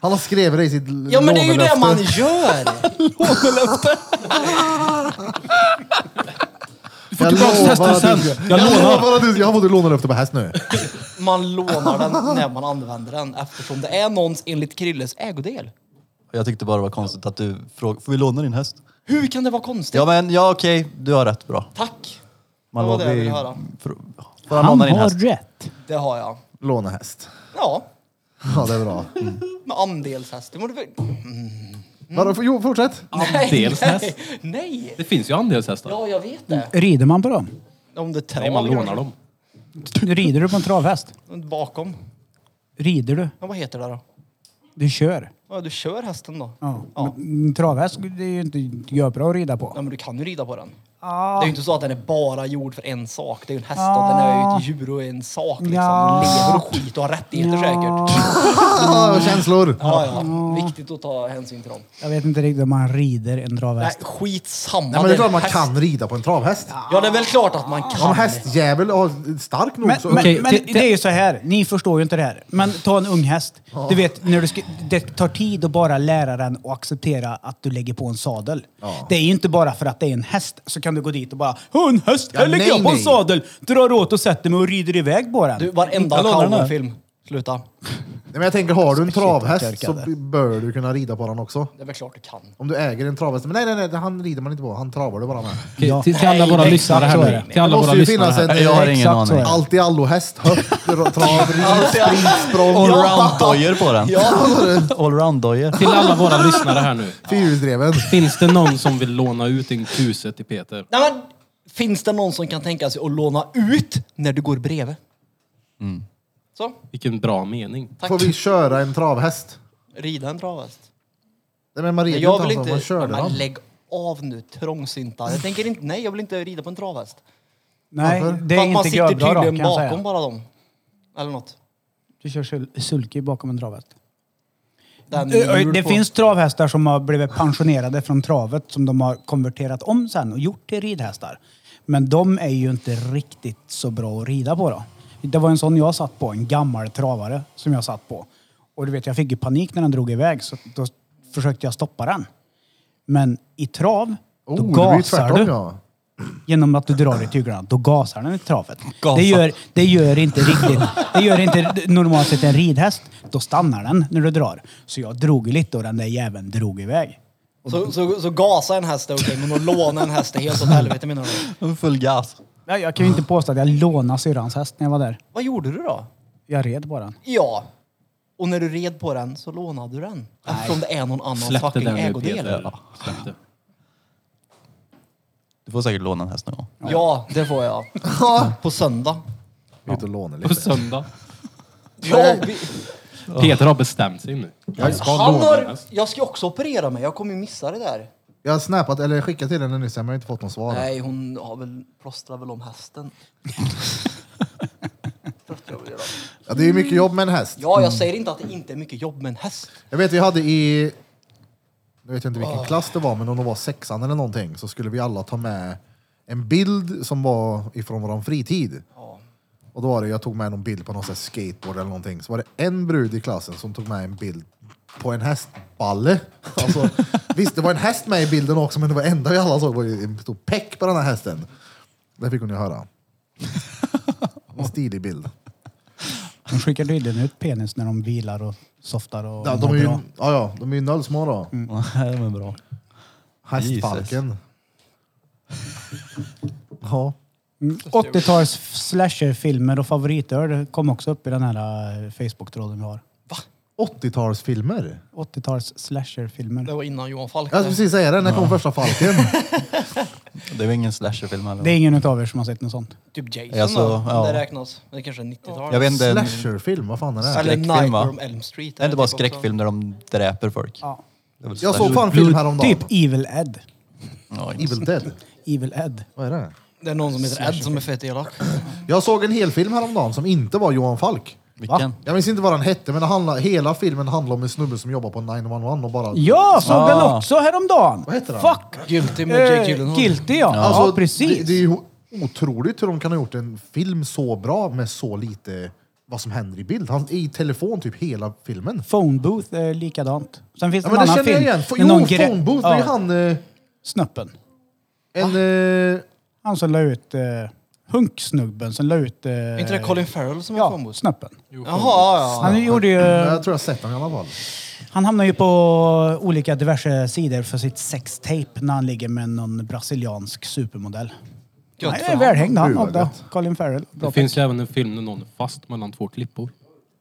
A: Han har skrivit det i sitt
D: Ja, men det är ju det
A: lånelöfte.
D: man gör. Lånelöfte.
C: Du får tillbaka
A: lovar
C: hästen
A: att du
C: sen.
A: ska-
C: Jag
A: Jag
C: lånar.
A: lovar att du ska- Jag har fått lånelöfte på häst nu.
D: Man lånar den när man använder den eftersom det är någons, enligt Krilles, ägodel.
E: jag tyckte bara det var konstigt att du frågade, får vi låna din häst?
D: Hur kan det vara konstigt?
E: Ja men ja okej, du har rätt bra.
D: Tack.
E: Man
D: Det var det jag
E: vi-
D: ville höra.
E: fr- Får han
B: Han
E: låna din
B: har
E: häst?
B: rätt.
D: Det har jag.
A: Låna häst.
D: Ja,
A: Ja, det är bra.
D: med andelshäst. Det var det väl-
A: Mm. Vadå, för- Jo, fortsätt.
C: Andelshäst.
D: Nej, nej.
C: Det finns ju andelshästar.
D: Ja, jag vet det.
B: Rider man på dem?
D: Om det
C: Nej, man lånar dem.
B: Rider du på en travhäst?
D: Bakom.
B: Rider du?
D: Ja, vad heter det då?
B: Du kör?
D: Ja, du kör hästen då?
B: Ja.
D: Ja.
B: Men En travhäst det är ju inte görbra att rida på.
D: Nej, men du kan ju rida på den. Det är ju inte så att den är bara gjord för en sak. Det är ju en häst och den är ju ett djur och en sak liksom.
B: Ja.
D: Lever och skit och har rättigheter säkert.
A: Ah, känslor!
D: Ja, ja. Viktigt att ta hänsyn till dem.
B: Jag vet inte riktigt om man rider en
D: Nej,
B: travhäst.
D: skitsamma.
A: Nej, men det är
D: en
A: klart man
D: häst.
A: kan rida på en travhäst.
D: Ja, det är väl klart att man kan.
A: Om hästjävel har stark nog
B: Men,
A: så...
B: men,
C: Okej,
B: men
C: till- till-
B: det är ju så här, ni förstår ju inte det här. Men ta en ung häst. Du vet, när du ska, det tar tid att bara lära den och acceptera att du lägger på en sadel. Det är ju inte bara för att det är en häst så kan du gå dit och bara "Åh, en häst, här
A: Ja,
B: lägger
A: nej,
B: jag på en
A: nej.
B: sadel, drar åt och sätter mig och rider iväg på den.
D: Du, varenda
B: Inte låna den här.
D: cowboyfilm. Sluta.
A: Nej, men jag tänker, har du en travhäst så
B: törkade.
A: bör du kunna rida på den också.
D: Det är väl klart du kan.
A: Om du äger en travhäst. Men nej, nej, nej, det- han rider man inte på. Han travar du bara med.
C: Okej, till, till alla våra
B: exakt
C: lyssnare här
B: så är det.
C: nu. Till
A: Det
C: alla våra
A: måste ju
C: lyssnare
A: finnas
C: här.
A: en eh,
E: Jag har ingen
B: Exakt
E: aning.
B: så är det.
A: allt i allo-häst. Höft, trav, rid, sprint, språng.
E: Allround-dojor på den.
A: Ja, vad var det?
E: Allround-dojor.
C: Till alla våra lyssnare här nu.
A: Fyrhjulsdriven.
C: Finns det någon som vill låna ut en kuse till Peter?
D: Nej, men, finns det någon som kan tänka sig att låna ut när du går bredvid? Så,
C: Vilken bra mening.
D: tack.
A: Får vi köra en travhäst?
D: Rida en travhäst.
A: Nej, men man rider
D: Nej,
A: ju
D: jag
A: inte
D: vill
A: alltså,
D: inte...
A: man kör
D: men
A: den.
D: lägg av nu, trångsynta. Jag tänker inte... Nej, jag vill inte rida på en travhäst.
B: Nej,
A: Varför?
B: det
D: För
B: är
D: att man
B: inte
D: sitter
B: görbra då,
D: tydligen
B: kan jag
D: bakom
B: säga.
D: bara dem. Eller något.
B: Du kör sul- sulky bakom en travhäst.
D: Den
B: Ö, ö,
D: hjul
B: Eh, Det
D: på.
B: finns travhästar som har blivit pensionerade från travet som de har konverterat om sen och gjort till ridhästar. Men de är ju inte riktigt så bra att rida på då. Det var en sån jag satt på, en gammal travare som jag satt på. Och du vet, jag fick ju panik när den drog iväg så då försökte jag stoppa den. Men i trav, då
A: Oh, det blir ju
B: gasar
A: tvärtom
B: du
A: ja.
B: genom att du drar i tyglarna. Då gasar den i travet.
E: Gasar.
B: Det gör, det gör inte riktigt. Det gör inte normalt sett en ridhäst. Då stannar den när du drar. Så jag drog ju lite och den där jäveln drog iväg.
D: Så, så, så gasa en häst är okej, men att låna en häst är helt åt helvete menar du?
E: Full gas.
B: Nej, Jag kan ju inte påstå att jag lånade syrrans häst när jag var där.
D: Vad gjorde du då?
B: Jag red på den.
D: Ja. Och när du red på den så lånade du den. Eftersom det är någon annans
C: Släppte
D: fucking
C: den nu
D: ägodel.
C: Peter.
D: Ja.
C: Släppte.
E: Du får säkert låna en häst någon gång.
D: det får jag. På söndag.
A: Ut och låna liksom.
C: På
A: lite.
C: söndag.
D: Ja, vi,
C: Peter har bestämt sig nu. Jag ska
D: han
C: låna en
D: har,
C: häst.
D: jag ska också operera mig, jag kommer ju missa det där.
A: Jag har snappat, eller skickat till henne nyss, men jag har inte fått något svar.
D: Nej, hon har väl, plåstrar väl om hästen. Plåstrar väl det då.
A: Ja, det är ju mycket jobb med en häst.
D: ja, jag säger inte att det inte är mycket jobb med en häst.
A: Jag vet vi hade i, nu vet jag inte vilken klass det var, men om det var sexan eller någonting så skulle vi alla ta med en bild som var ifrån vår fritid. Och då var det, jag tog med någon bild på någon sån här skateboard eller någonting. Så var det en brud i klassen som tog med en bild på en hästballe. Alltså, visst, det var en häst med i bilden också, men det var enda vi alla såg var ju en stor peck på den här hästen. Det fick hon ju höra. En stilig bild.
B: De skickar tydligen ut penis när de vilar och softar och
A: Ja, de
B: mår
A: är ju,
B: bra.
A: ja, ja, de är ju nollsmå då.
E: Nej, men bra.
A: Hästparken. Ja.
B: 80-tals Mm, slasherfilmer och favoritöl kom också upp i den här eh, Facebook-tråden vi har.
A: 80-talsfilmer.
B: 80-tals slasherfilmer.
D: Det var innan Johan Falk.
A: Jag skulle
E: Alltså-
A: precis säga det, när kom första Falken?
E: Det var ingen slasherfilm heller.
B: Det är ingen utav er som har sett något sånt.
D: Typ Jason
E: Alltså,
D: då?
E: ja.
D: Det räknas. Det kanske är 90-tal.
E: Jag vet inte.
A: Slasherfilm, vad fan är det?
D: Eller
E: skräckfilm,
D: Nightmare
E: va?
D: on Elm Street.
E: Det är inte bara
D: typ också.
E: skräckfilm där de dräper folk.
B: Ja.
E: Det är väl
A: Jag
E: slasher.
A: såg fan en film häromdagen.
B: Typ Evil Ed.
E: Ja, inte-
A: Evil Dead.
B: Evil Ed.
A: Vad är det?
D: Det är någon som heter Ed som är fett elak.
A: Jag såg en hel film häromdagen som inte var Johan Falk.
E: Vilken?
A: Jag minns inte vad den hette, men det handlar, hela filmen handlar om en snubbe som jobbar på 911 och bara...
B: Jag såg den
E: Ah.
B: också häromdagen!
A: Vad heter den?
B: Fuck!
D: Guilty med Jake
B: Eh,
D: Gyllenhaal.
B: guilty ja. Ja,
A: Alltså,
B: precis.
A: Det, det är ju otroligt hur de kan ha gjort en film så bra med så lite vad som händer i bild. Han är i telefon typ hela filmen.
B: Phone Booth är likadant. Sen finns
A: Ja,
B: det en
A: men det
B: annan
A: känner jag
B: film.
A: igen. F-
B: med
A: Jo,
B: någon gre-
A: Phone Booth, det är ju han... eh,
B: Snöppen.
A: En...
B: Ah.
A: eh,
B: Han som la ut... Eh, hunksnubben som la ut... Eh,
D: Är inte det Colin Farrell som är
B: Ja,
D: ja.
B: Snöppen.
D: Jaha, ja,
B: Han gjorde ju... eh,
A: Jag tror jag har sett den i alla fall.
B: Han hamnar ju på olika diverse sidor för sitt sextape när han ligger med någon brasiliansk supermodell.
D: ja.
B: Han
D: Gött
B: är
D: för han.
B: välhängd han
A: Gud, vad
B: också.
A: gött.
B: Colin Farrell. Bra
C: Det finns ju även en film där någon är fast mellan två klippor.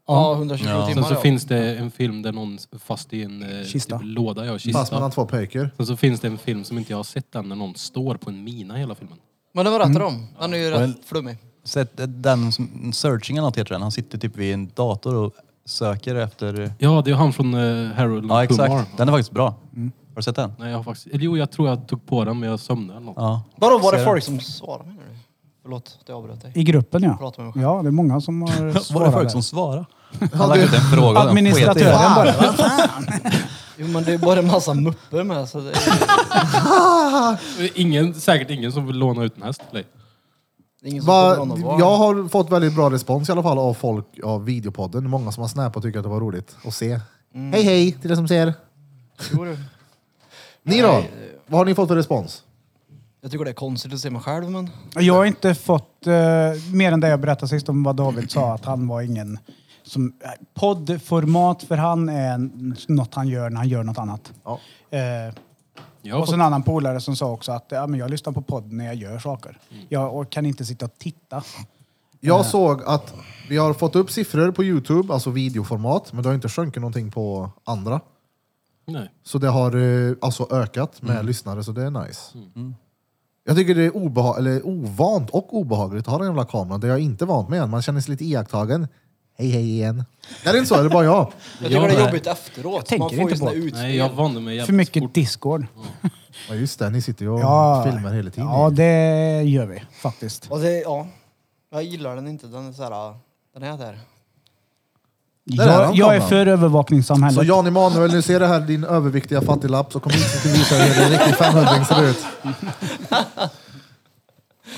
D: Ja, 120
C: Sen
D: timmar
C: så
D: ja.
C: finns det en film där någon är fast i en eh,
B: Kista.
C: Typ låda, ja,
A: Fast mellan
C: kista.
A: två pojkar.
C: Sen så finns det en film som inte jag har sett än, där någon står på en mina hela filmen.
D: Men det var rätt om. Han är ju
E: en-
D: rätt flummig.
E: Sett den som, searching eller något heter den. Han sitter typ vid en dator och söker efter...
C: Ja, det är han från eh, Harold
E: Ja,
C: och Kumar.
E: exakt. Den är faktiskt bra. Har du sett den?
C: Nej, jag har faktiskt... eller Jo, jag tror jag tog på den, men jag somnade eller något.
E: Ja.
D: Vadå, var det
E: Ser
D: folk som svarade menar du? Förlåt att jag avbröt dig.
B: I gruppen ja.
D: Prata med mig själv.
B: Ja, det är många som har
E: Var det folk
B: svarat
E: som
B: där.
E: svarade? Han lagt ut en fråga och den sket i.
B: Administratören bara.
D: Jo men det är bara en massa muppor med så det är
C: Ingen, säkert ingen som vill låna ut en häst till dig.
D: det är ingen som
A: Va,
D: kommer ihåg någon
A: jag
D: var.
A: har fått väldigt bra respons i alla fall av folk av videopodden. Många som har snappat och tycker att det var roligt att se. Hej hej till er som ser.
D: Mm. Jo, du.
A: Ni då? Vad har ni fått för respons?
D: Jag tycker det är konstigt att se mig själv men...
B: Jag har inte fått eh, mer än det jag berättade sist om vad David sa, att han var ingen som... eh, Poddformat för han är en- något han gör när han gör något annat.
A: Ja.
B: Eh,
C: Jag har
B: och så en annan polare som sa också att ja, men jag lyssnar på podd när jag gör saker. Jag or- kan inte sitta och titta.
A: Jag såg att vi har fått upp siffror på Youtube, alltså videoformat, men det har inte sjunkit någonting på andra.
C: Nej.
A: Så det har eh, alltså ökat
D: Mm.
A: med lyssnare, så det är nice.
B: Mm.
A: Jag tycker det är obeha- eller ovant och obehagligt att ha den jävla kameran. Det är jag inte vant med än. Man känner sig lite iakttagen. Hej hej igen. Är det inte så? Är det bara jag?
D: Jag tycker
C: Ja,
D: det är
C: nej.
D: jobbigt efteråt.
B: tänker
D: Man får
B: inte
D: ju såna
B: på-
D: utspel.
C: Nej, jag vande mig jävligt
B: För mycket
C: fort.
B: Discord.
A: Ja just det, ni sitter ju och filmar hela tiden.
B: Ja, det gör vi faktiskt.
D: Och det, ja. Jag gillar den inte. Den är så här, den är där.
A: Där är
B: Jag,
A: han,
B: jag är
A: kameran.
B: för övervakningssamhället.
A: Så Jan Emanuel, nu ser det här din överviktiga fattiglapp så kom hit så ska vi visa dig hur en riktig 500 ser ut.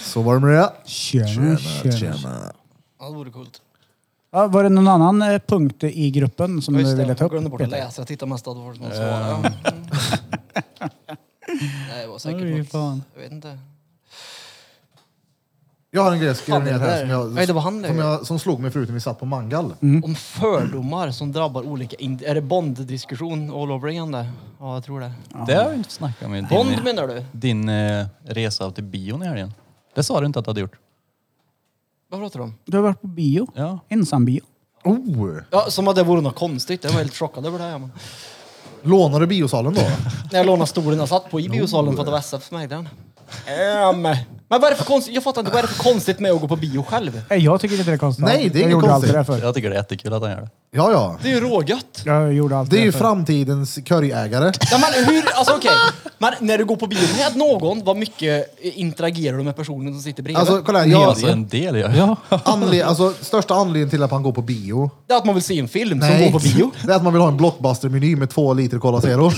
A: Så var det med det.
B: Tjena, tjena.
D: Ja, det vore coolt.
B: Ja, var det någon annan eh, punkt i gruppen som
D: Ja,
B: du
D: Just det,
B: ville ta
D: jag
B: upp?
D: glömde bort att
B: Peter?
D: läsa. Jag tittar mest att det var någon svarade. Mm. Nej, det var säkert
B: Oj,
D: något.
B: fan.
D: Jag vet inte.
A: Jag har en grej jag skrev
D: Fan,
A: ner
D: det
A: här
D: där.
A: som, jag,
D: Nej, det var han det.
A: som, jag, som slog mig förut när vi satt på mangal.
B: Mm.
D: Om fördomar som drabbar olika... ind- Är det Bond-diskussion all over again där? Ja, jag tror det.
E: Det har vi inte snackat med
D: Bond
E: din,
D: menar du?
E: din eh, resa till bion i helgen. Det sa du inte att du hade gjort.
D: Vad pratar du om?
B: Du har varit på bio.
E: Ja.
B: Ensam bio.
A: Oh!
D: Ja, som att det vore något konstigt. Jag var helt chockad över det. Här, men.
A: Lånar du biosalen då?
D: När jag lånade stolen jag satt på i biosalen för att det var SF som ägde den. Ehm. Men vad är det för konstigt? Jag fattar inte. Vad är det för konstigt med att gå på bio själv?
B: Nej, jag tycker inte det är konstigt.
A: Nej, det är
B: jag
A: inget
B: gjorde
A: konstigt.
B: Allt det där förr.
E: Jag tycker det är jättekul att han gör det.
A: Ja, ja.
D: Det är ju rågött.
B: Jag gjorde allt
A: Det är ju
B: där förr.
A: framtidens curryägare.
D: Ja, men hur, alltså okej. Men när du går på bio med någon, vad mycket eh, interagerar du med personen som sitter bredvid?
A: Alltså, kolla här.
E: Ja,
A: Jag,
E: alltså en del gör ja.
A: anle- alltså, största anledningen till att man går på bio
D: det är att man vill se en film som går på bio.
A: Det är att man vill ha en blockbustermeny med två liter Cola Zero.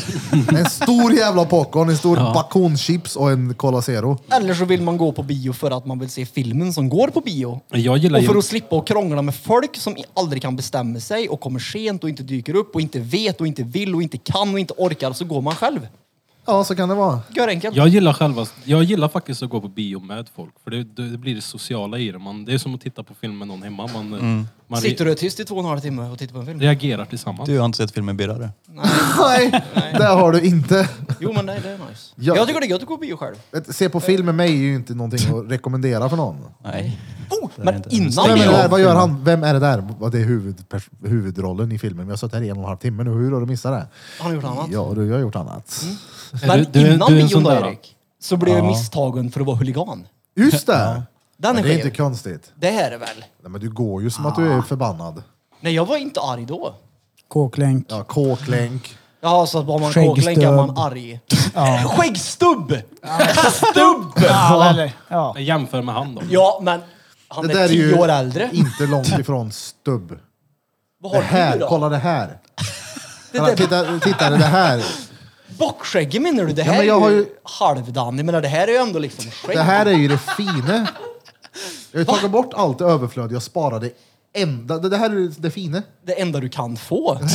A: En stor jävla popcorn, en stor bakonchips och en Cola Zero.
D: Eller så vill man gå på bio för att man vill se filmen som går på bio.
C: Jag gillar
D: Och
C: ju...
D: för att slippa och krångla med folk som i- aldrig kan bestämma sig och kommer sent och inte dyker upp och inte vet och inte vill och inte kan och inte orkar så går man själv.
A: Ja, så kan det vara.
D: Gör enkelt.
C: Jag gillar, själva, jag gillar faktiskt att gå på bio med folk, för det, det, det blir det sociala i det. Man, det är som att titta på film med någon hemma. Man, man re-
D: Sitter du tyst i två och en halv timme och tittar på en film?
C: reagerar tillsammans.
E: Du har inte sett filmen Birra du?
A: Nej, det har du inte.
D: Jo men nej, det är nice.
A: Ja.
D: Jag tycker det är gött att gå på bio själv.
A: Ett- Se på film med mig är ju inte någonting att rekommendera för någon.
E: Nej.
D: Oh,
E: är
D: men
E: inte.
A: Vem
D: innan
A: är det där?
D: bio!
A: Vad gör han? Vem är det där? Vad Det är huvudpers- huvudrollen i filmen. Vi har suttit här i en och en halv timme nu. Hur har du missat det?
D: Har ni gjort annat?
A: Ja, du, jag har gjort annat.
D: Men
C: Du- du-
D: innan
C: du är en
D: bion
C: sån
D: då
C: där,
D: Erik, så blev jag misstagen för att vara huligan.
A: Just det!
D: Den är
A: Men det är inte
D: skev.
A: konstigt.
D: Det här är väl?
A: Nej, men du går ju som att du är
D: Ah.
A: förbannad.
D: Nej, jag var inte arg då.
B: Kåklänk.
A: Ja, kåklänk.
D: Ja, så att var man
B: Skäggstubb.
D: kåklänk är man arg. Skäggstubb! Stubb!
B: Ja, eller- ja.
C: Jag jämför med han då.
D: Ja, men han
A: Det
D: är
A: där är
D: tio
A: ju
D: år äldre.
A: inte långt ifrån stubb.
D: Vad
A: Det
D: har du
A: här,
D: då?
A: kolla det här.
D: Det
A: Kolla,
D: där-
A: titta, titta det här.
D: Bockskägget menar du? Det
A: Ja,
D: här
A: men jag
D: är
A: har
D: ju,
A: ju-
D: halvdan. Jag menar, det här är ju ändå liksom skägg.
A: Det här är ju det fina. Jag har ju tagit bort allt det överflöd jag sparade. Enda, det det här är det fina.
D: Det enda du kan få.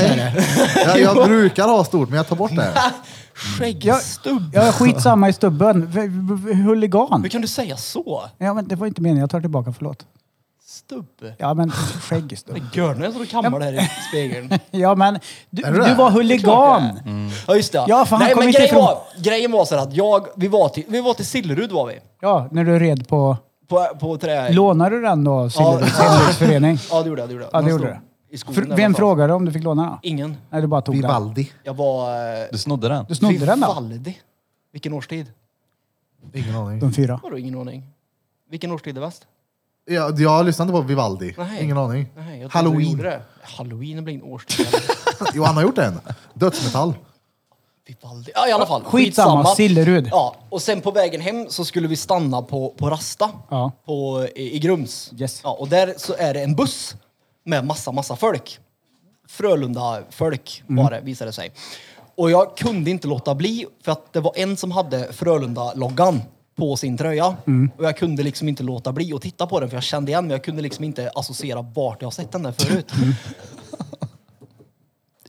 A: Jag, jag brukar ha stort, men jag tar bort det. här.
D: Skäggstubb.
B: Jag är skitsamma i stubben. V- v- v- Huligan.
D: Hur kan du säga så?
B: Ja, men det var inte meningen. Jag tar tillbaka, förlåt.
D: Stubb.
B: Ja, men skäggstubb.
D: Men gör nu så du kammar det här i spegeln.
B: Ja, men du,
A: Är du det?
B: du var huligan.
D: Ja, just det.
B: Ja, för han
D: Nej,
B: kom
D: men
B: inte
D: grejen
B: ifrån-
D: var, grejen var så här att jag, vi var till, vi var till Sillerud var vi.
B: Ja, när du red på...
D: På, på trä...
B: Lånade du den då, Silleruds
D: Ja.
B: hembygdsförening?
D: Ja, det gjorde jag. Det gjorde jag.
B: Ja, det
D: Den
B: gjorde
D: stod
B: du.
D: I skogen
B: Fr- Vem
D: där någonstans.
B: frågade om du fick låna den?
D: Ingen.
B: Nej, du bara tog den.
A: Vivaldi.
D: Jag var... eh,
E: Du snodde den?
B: Du snodde den då?
D: Vivaldi. Vilken årstid?
A: Ingen aning.
D: Mm.
B: De fyra.
D: Vadå ingen aning? Vilken årstid är bäst?
A: Jag, jag lyssnar inte på Vivaldi.
D: Nej.
A: Ingen aning.
D: Nej, jag trodde du gjorde
A: Halloween.
D: det. Halloween är väl ingen årstid?
A: Jo, han har gjort en. Dödsmetall.
D: Vivaldi. Ja, i alla fall.
B: Skitsamma, Sillerud.
D: Ja, och sen på vägen hem så skulle vi stanna på, på Rasta
B: Ja.
D: på, i, i Grums.
B: Yes.
D: Ja, och där så är det en buss med massa, massa folk. Frölunda-folk
B: Mm.
D: var det, visade det sig. Och jag kunde inte låta bli, för att det var en som hade Frölunda-loggan på sin tröja.
B: Mm.
D: Och jag kunde liksom inte låta bli att titta på den, för jag kände igen men jag kunde liksom inte associera vart jag sett den där förut.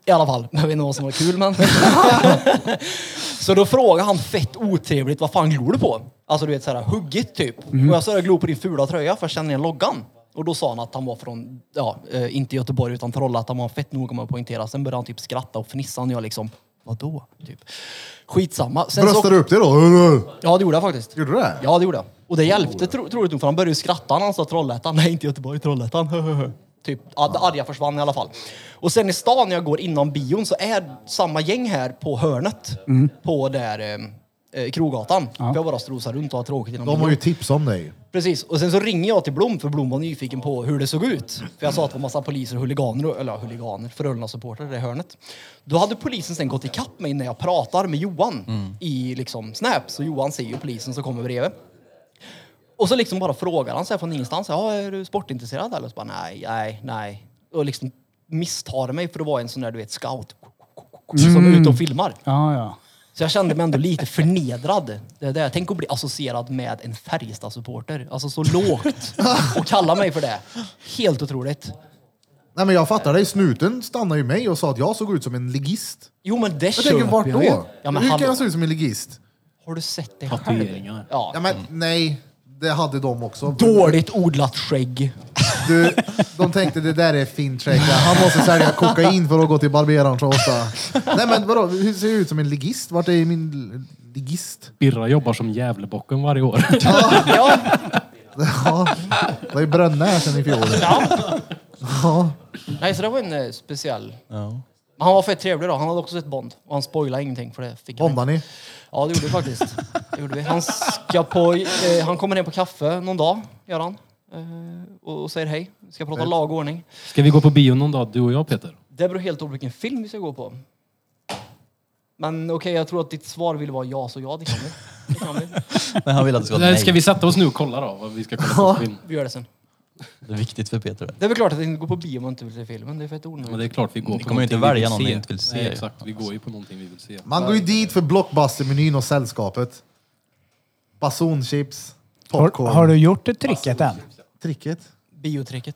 D: I alla fall, jag vet inte vad som var kul men. så då frågade han fett otrevligt, vad fan glor du på? Alltså du vet såhär huggigt typ. Och jag sa, jag glor på din fula tröja för jag känner igen loggan. Och då sa han att han var från, ja, eh, inte Göteborg utan Trollhättan. Han var fett noga med att poängtera. Sen började han typ skratta och fnissa och jag liksom, vadå? Typ. Skitsamma. Sen så-
A: Bröstar du upp det då?
D: Ja det gjorde jag faktiskt.
A: Gjorde du det?
D: Ja det gjorde jag. Och det hjälpte tro, troligt nog för han började ju skratta när han sa Trollhättan. Nej inte Göteborg, Trollhättan. typ, ja, det arga försvann i alla fall. Och sen i stan när jag går inom bion så är samma gäng här på hörnet.
A: Mm.
D: På där eh, eh, Krogatan. För jag bara strosar runt och har tråkigt inom
A: De
D: bion.
A: har ju tips om dig.
D: Precis. Och sen så ringer jag till Blom för Blom var nyfiken på hur det såg ut. För jag sa att det var massa poliser och huliganer, och- eller ja, huliganer, Frölunda-supportrar i det hörnet. Då hade polisen sen gått ikapp mig när jag pratar med Johan i liksom Snap. Så Johan ser ju polisen som kommer bredvid. Och så liksom bara frågar han så här från ingenstans. Ja, är du sportintresserad eller? Så bara nej, nej, nej. Och liksom misstar mig för att vara en sån där du vet scout. Som är ute och filmar.
B: Ja, ja.
D: Så jag kände mig ändå lite förnedrad. Det där. Tänk att bli associerad med en Färjestad-supporter. Alltså så lågt. Och kalla mig för det. Helt otroligt.
A: Nej men jag fattar dig, snuten stannade ju mig och sa att jag såg ut som en ligist.
D: Jo men det
A: Jag tänker, vart
D: jag ju.
A: då?
D: Ja, men
A: Hur kan
D: hallå.
A: jag se ut som en ligist?
D: Har du sett det
C: Tatueringar.
D: själv? Ja.
A: Ja men nej, det hade de också.
D: Dåligt odlat skägg.
A: Du, de tänkte det där är fint skägg. Han måste sälja kokain för att gå till barberaren så ofta. Nej men vadå, hur ser jag ut som en ligist? Vart är min l- ligist?
C: Birra jobbar som Gävlebocken varje år.
D: Ja,
A: Ja, det är ju Brönne här sen i fjol.
D: Nej, så det var en eh, speciell... Men Han var fett trevlig då. Han hade också sett Bond. Och han spoilade ingenting för det fick han
A: Bondar ni?
D: Ja, det gjorde vi faktiskt. Det gjorde vi. Han, ska på, eh, han kommer ner på kaffe någon dag, gör han. Eh, och, och säger hej. Vi ska prata lag och ordning.
C: Ska vi gå på bio någon dag, du och jag Peter?
D: Det beror helt på vilken film vi ska gå på. Men okej, jag tror att ditt svar vill vara ja, så ja, det kan vi. Det kan vi.
E: Nej, han vill att det ska vara
C: Eller
E: nej.
C: ska vi sätta oss nu och kolla då vad vi ska kolla på för film?
D: Vi gör det sen.
E: Det är viktigt för Peter. det.
D: Det är väl klart att det inte går på bio om man inte vill se filmen. Det är fett onödigt.
C: Men det är klart vi går
E: Ni
C: på
E: kommer ju inte
C: någonting
E: välja
C: vi
E: någon ni
C: se.
E: inte vill se.
C: Nej, exakt. Vi går ju på någonting vi vill se.
A: Man går ju dit för blockbustermenyn och sällskapet. Basunchips, popcorn.
B: Har, har du gjort det tricket än?
A: Tricket?
D: Biotricket.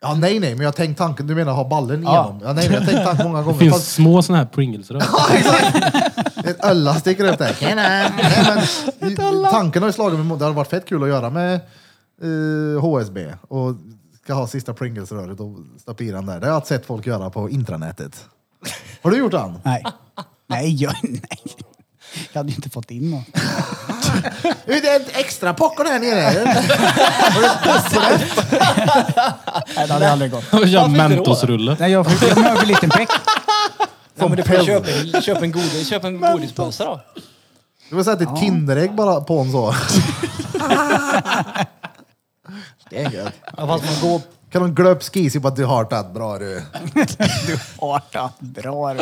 A: Ja, nej, nej, men jag tänkte tanken. Du menar ha ballen igenom? Ja, nej, men jag tänkte tanken många
C: Det
A: gånger.
C: finns
A: Fast
C: små såna här Pringles-rör.
A: ett ölla sticker upp där. Tjena! Nej, men, tanken har ju slagit mig. mot- Det hade varit fett kul att göra med eh, HSB och ska ha sista Pringles-röret och stoppa i den där. Det har jag sett folk göra på intranätet. Har du gjort den?
B: Nej. Nej, jag, nej. Jag hade ju inte fått in någon.
A: Det är ett extra popcorn här nere.
B: Nej, det hade jag aldrig gått.
C: Kör
D: Varför inte då?
C: Mentos-rulle.
B: Nej, jag fick en överliten peck.
D: Ja, men du får köpa en, köp en, godis, köp en godispåse då.
A: Du har sett ett Kinderägg bara på en så. Det är gött.
D: Ja, fast man går...
A: Kan de glöp skisi på att du har tagit bra du.
B: Du har tagit bra du.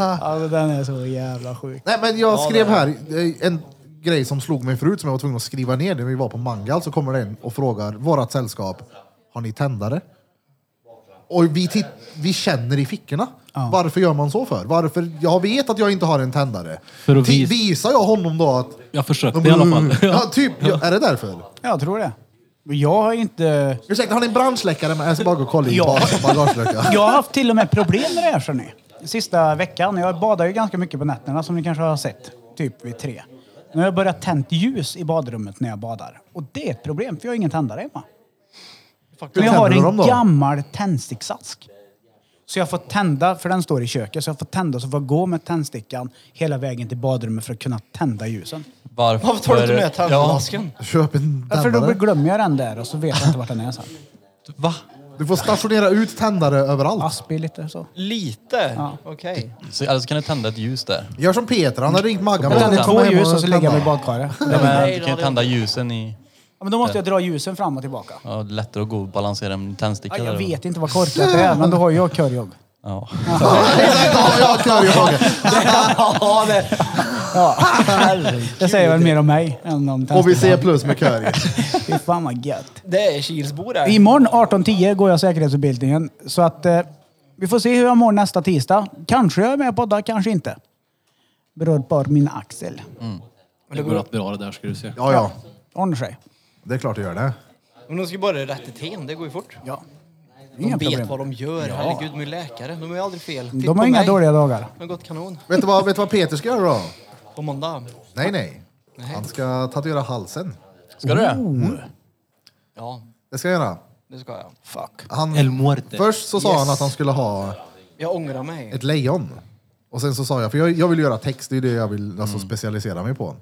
B: Alltså den är så jävla sjuk.
A: Nej, men jag skrev här eh, en grej som slog mig förut som jag var tvungen att skriva ner när vi var på Mangal så kommer det en och frågar vårat sällskap, har ni tändare? Och vi, titt- vi känner i fickorna. Varför gör man så för? Varför? Jag vet att jag inte har en tändare.
C: För att
A: Ti-
C: vis-
A: visar jag honom då att...
C: Jag försökte i alla
E: Mm.
C: fall.
A: Ja, typ. Ja, är det därför?
B: Jag tror det. Jag har inte...
A: Ursäkta, har ni en brandsläckare med? Jag ska bara gå och kolla in
B: Ja.
A: ja. bagageluckan.
B: Jag har haft till och med problem med det här, ser ni. Sista veckan. Jag badar ju ganska mycket på nätterna, som ni kanske har sett. Typ vid tre. Nu har jag börjat tänt ljus i badrummet när jag badar. Och det är ett problem, för jag har ingen tändare hemma. Men jag har
A: Tänder du dem
B: en
A: då?
B: gammal tändsticksask. Så jag får tända, för den står i köket, så jag får tända så får jag gå med tändstickan hela vägen till badrummet för att kunna tända ljusen.
E: Varför,
D: Varför tar du inte med tandmasken?
A: Köp en
B: För då
A: tändare.
B: glömmer jag den där och så vet jag inte vart den är sen.
E: Ja. Va?
A: Du får stationera ut tändare överallt.
B: Aspig lite så.
D: Lite? Okej.
E: Så, alltså kan du tända ett ljus där?
A: Gör som Peter, han har ringt Maggan.
B: Jag
A: men
B: tänder
A: han
B: två
A: kommer hem
B: ljus och så lägger jag mig i
A: tänder.
B: badkaret.
E: Ja, men, du
D: då
E: kan ju
D: hade
E: tända ljusen i...
B: Ja, men då måste jag dra ljusen fram och tillbaka.
E: Ja, det är lättare att gå och balansera en
B: Ja,
E: tändsticka
B: jag
E: där.
B: vet inte vad korkat det är, men då har jag körjobb.
E: Ja.
A: Ja, jag kör jag.
D: ja, det. Ja, herregud.
B: Det säger väl mer om mig än om
A: Och vi ser
B: tandställningen.
A: plus med curry.
B: Fy fan vad gött.
D: Det är Kilsbo det.
B: Imorgon 18.10 går jag säkerhetsutbildningen. Så att eh, vi får se hur jag mår nästa tisdag. Kanske jag är med på det, kanske inte. Beror på min axel.
A: Mm.
C: Det går att bra det där ska du se.
A: Ja, ja.
B: Ordnar sig.
A: Det är klart du gör det.
D: Men de ska ju bara rätta till det går ju fort.
B: Ja.
D: De
B: Inga
D: vet
B: problem.
D: vad de gör. Herregud, de är läkare. De är aldrig fel. Titta
B: De
D: på
B: har inga
D: mig.
B: dåliga dagar.
D: Det har gått kanon.
A: Vet du vad, vet du vad Peter ska göra då?
D: På måndag.
A: Nej, nej. Han ska tatuera halsen.
E: Ska du det?
D: Ja,
A: Det ska han göra.
D: det ska jag.
A: Han,
C: El Muerte.
A: först så sa
D: Yes.
A: han att han skulle ha
D: Jag ångrar mig.
A: ett lejon. Och sen så sa jag, för jag, jag vill göra text, det är det jag vill alltså,
C: Mm.
A: specialisera mig på.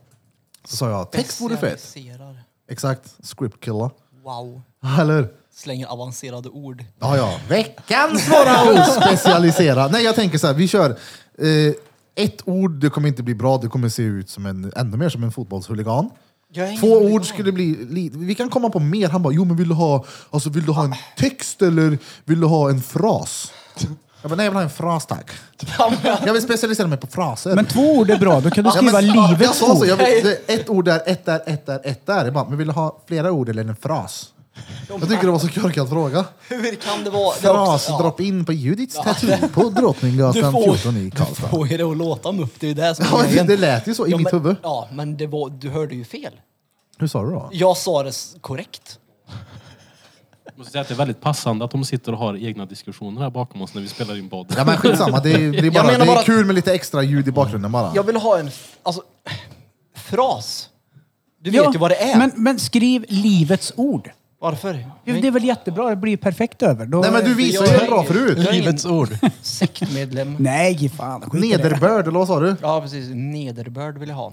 A: Så sa jag, text vore fett.
D: Specialiserar.
A: Exakt, script killer.
D: Wow.
A: Eller?
D: Slänger avancerade ord.
A: Ja, ja. Veckans svåra ord! Specialisera. Nej, jag tänker så här, vi kör eh, ett ord, det kommer inte bli bra, det kommer se ut som en, ännu mer som en fotbollshuligan.
D: Jag är
A: Två
D: ingen
A: ord skulle bli lite... Vi kan komma på mer. Han bara, jo men vill du ha, alltså, vill du ha en text eller vill du ha en fras? Jag bara, nej jag vill ha en fras tack. Jag vill specialisera mig på fraser.
B: Men två ord är bra. Då kan du
A: Ja, men-
B: skriva
A: ja, jag
B: livets
A: sa så,
B: ord.
A: jag vill, det, är ett ord där, ett där, ett där, ett där. Jag bara, men vill du ha flera ord eller en fras? Jag tycker det var så korkad fråga.
D: Hur kan det vara? Det är också-
A: Fras, drop in på Judiths tattoo på Drottninggatan 14 i
D: Du
A: Karlstad.
D: får ju det att låta mupp, det är ju det som
A: Ja,
D: är grejen.
A: det lät ju så i
D: Ja,
A: mitt
D: men-
A: huvud.
D: Ja, men det var, du hörde ju fel.
A: Hur sa du då?
D: Jag sa det s- korrekt.
C: Jag måste säga att det är väldigt passande att de sitter och har egna diskussioner här bakom oss när vi spelar in podd.
A: Ja men skitsamma, det är, det är, bara,
D: menar
A: det
D: bara-
A: är kul med lite extra ljud i bakgrunden bara.
D: Jag vill ha en f- alltså, fras. Du vet
B: Ja,
D: ju vad det är.
B: Men, men skriv livets ord.
D: Varför?
B: Jo, Det är väl jättebra. Det blir ju perfekt över. Då...
A: Nej men du visar ju hur bra förut.
D: Jag är ingen
E: Livets ord.
D: sektmedlem.
B: Nej, fan. skit i det.
A: Nederbörd, eller vad sa du?
D: Ja, precis. Nederbörd vill jag ha.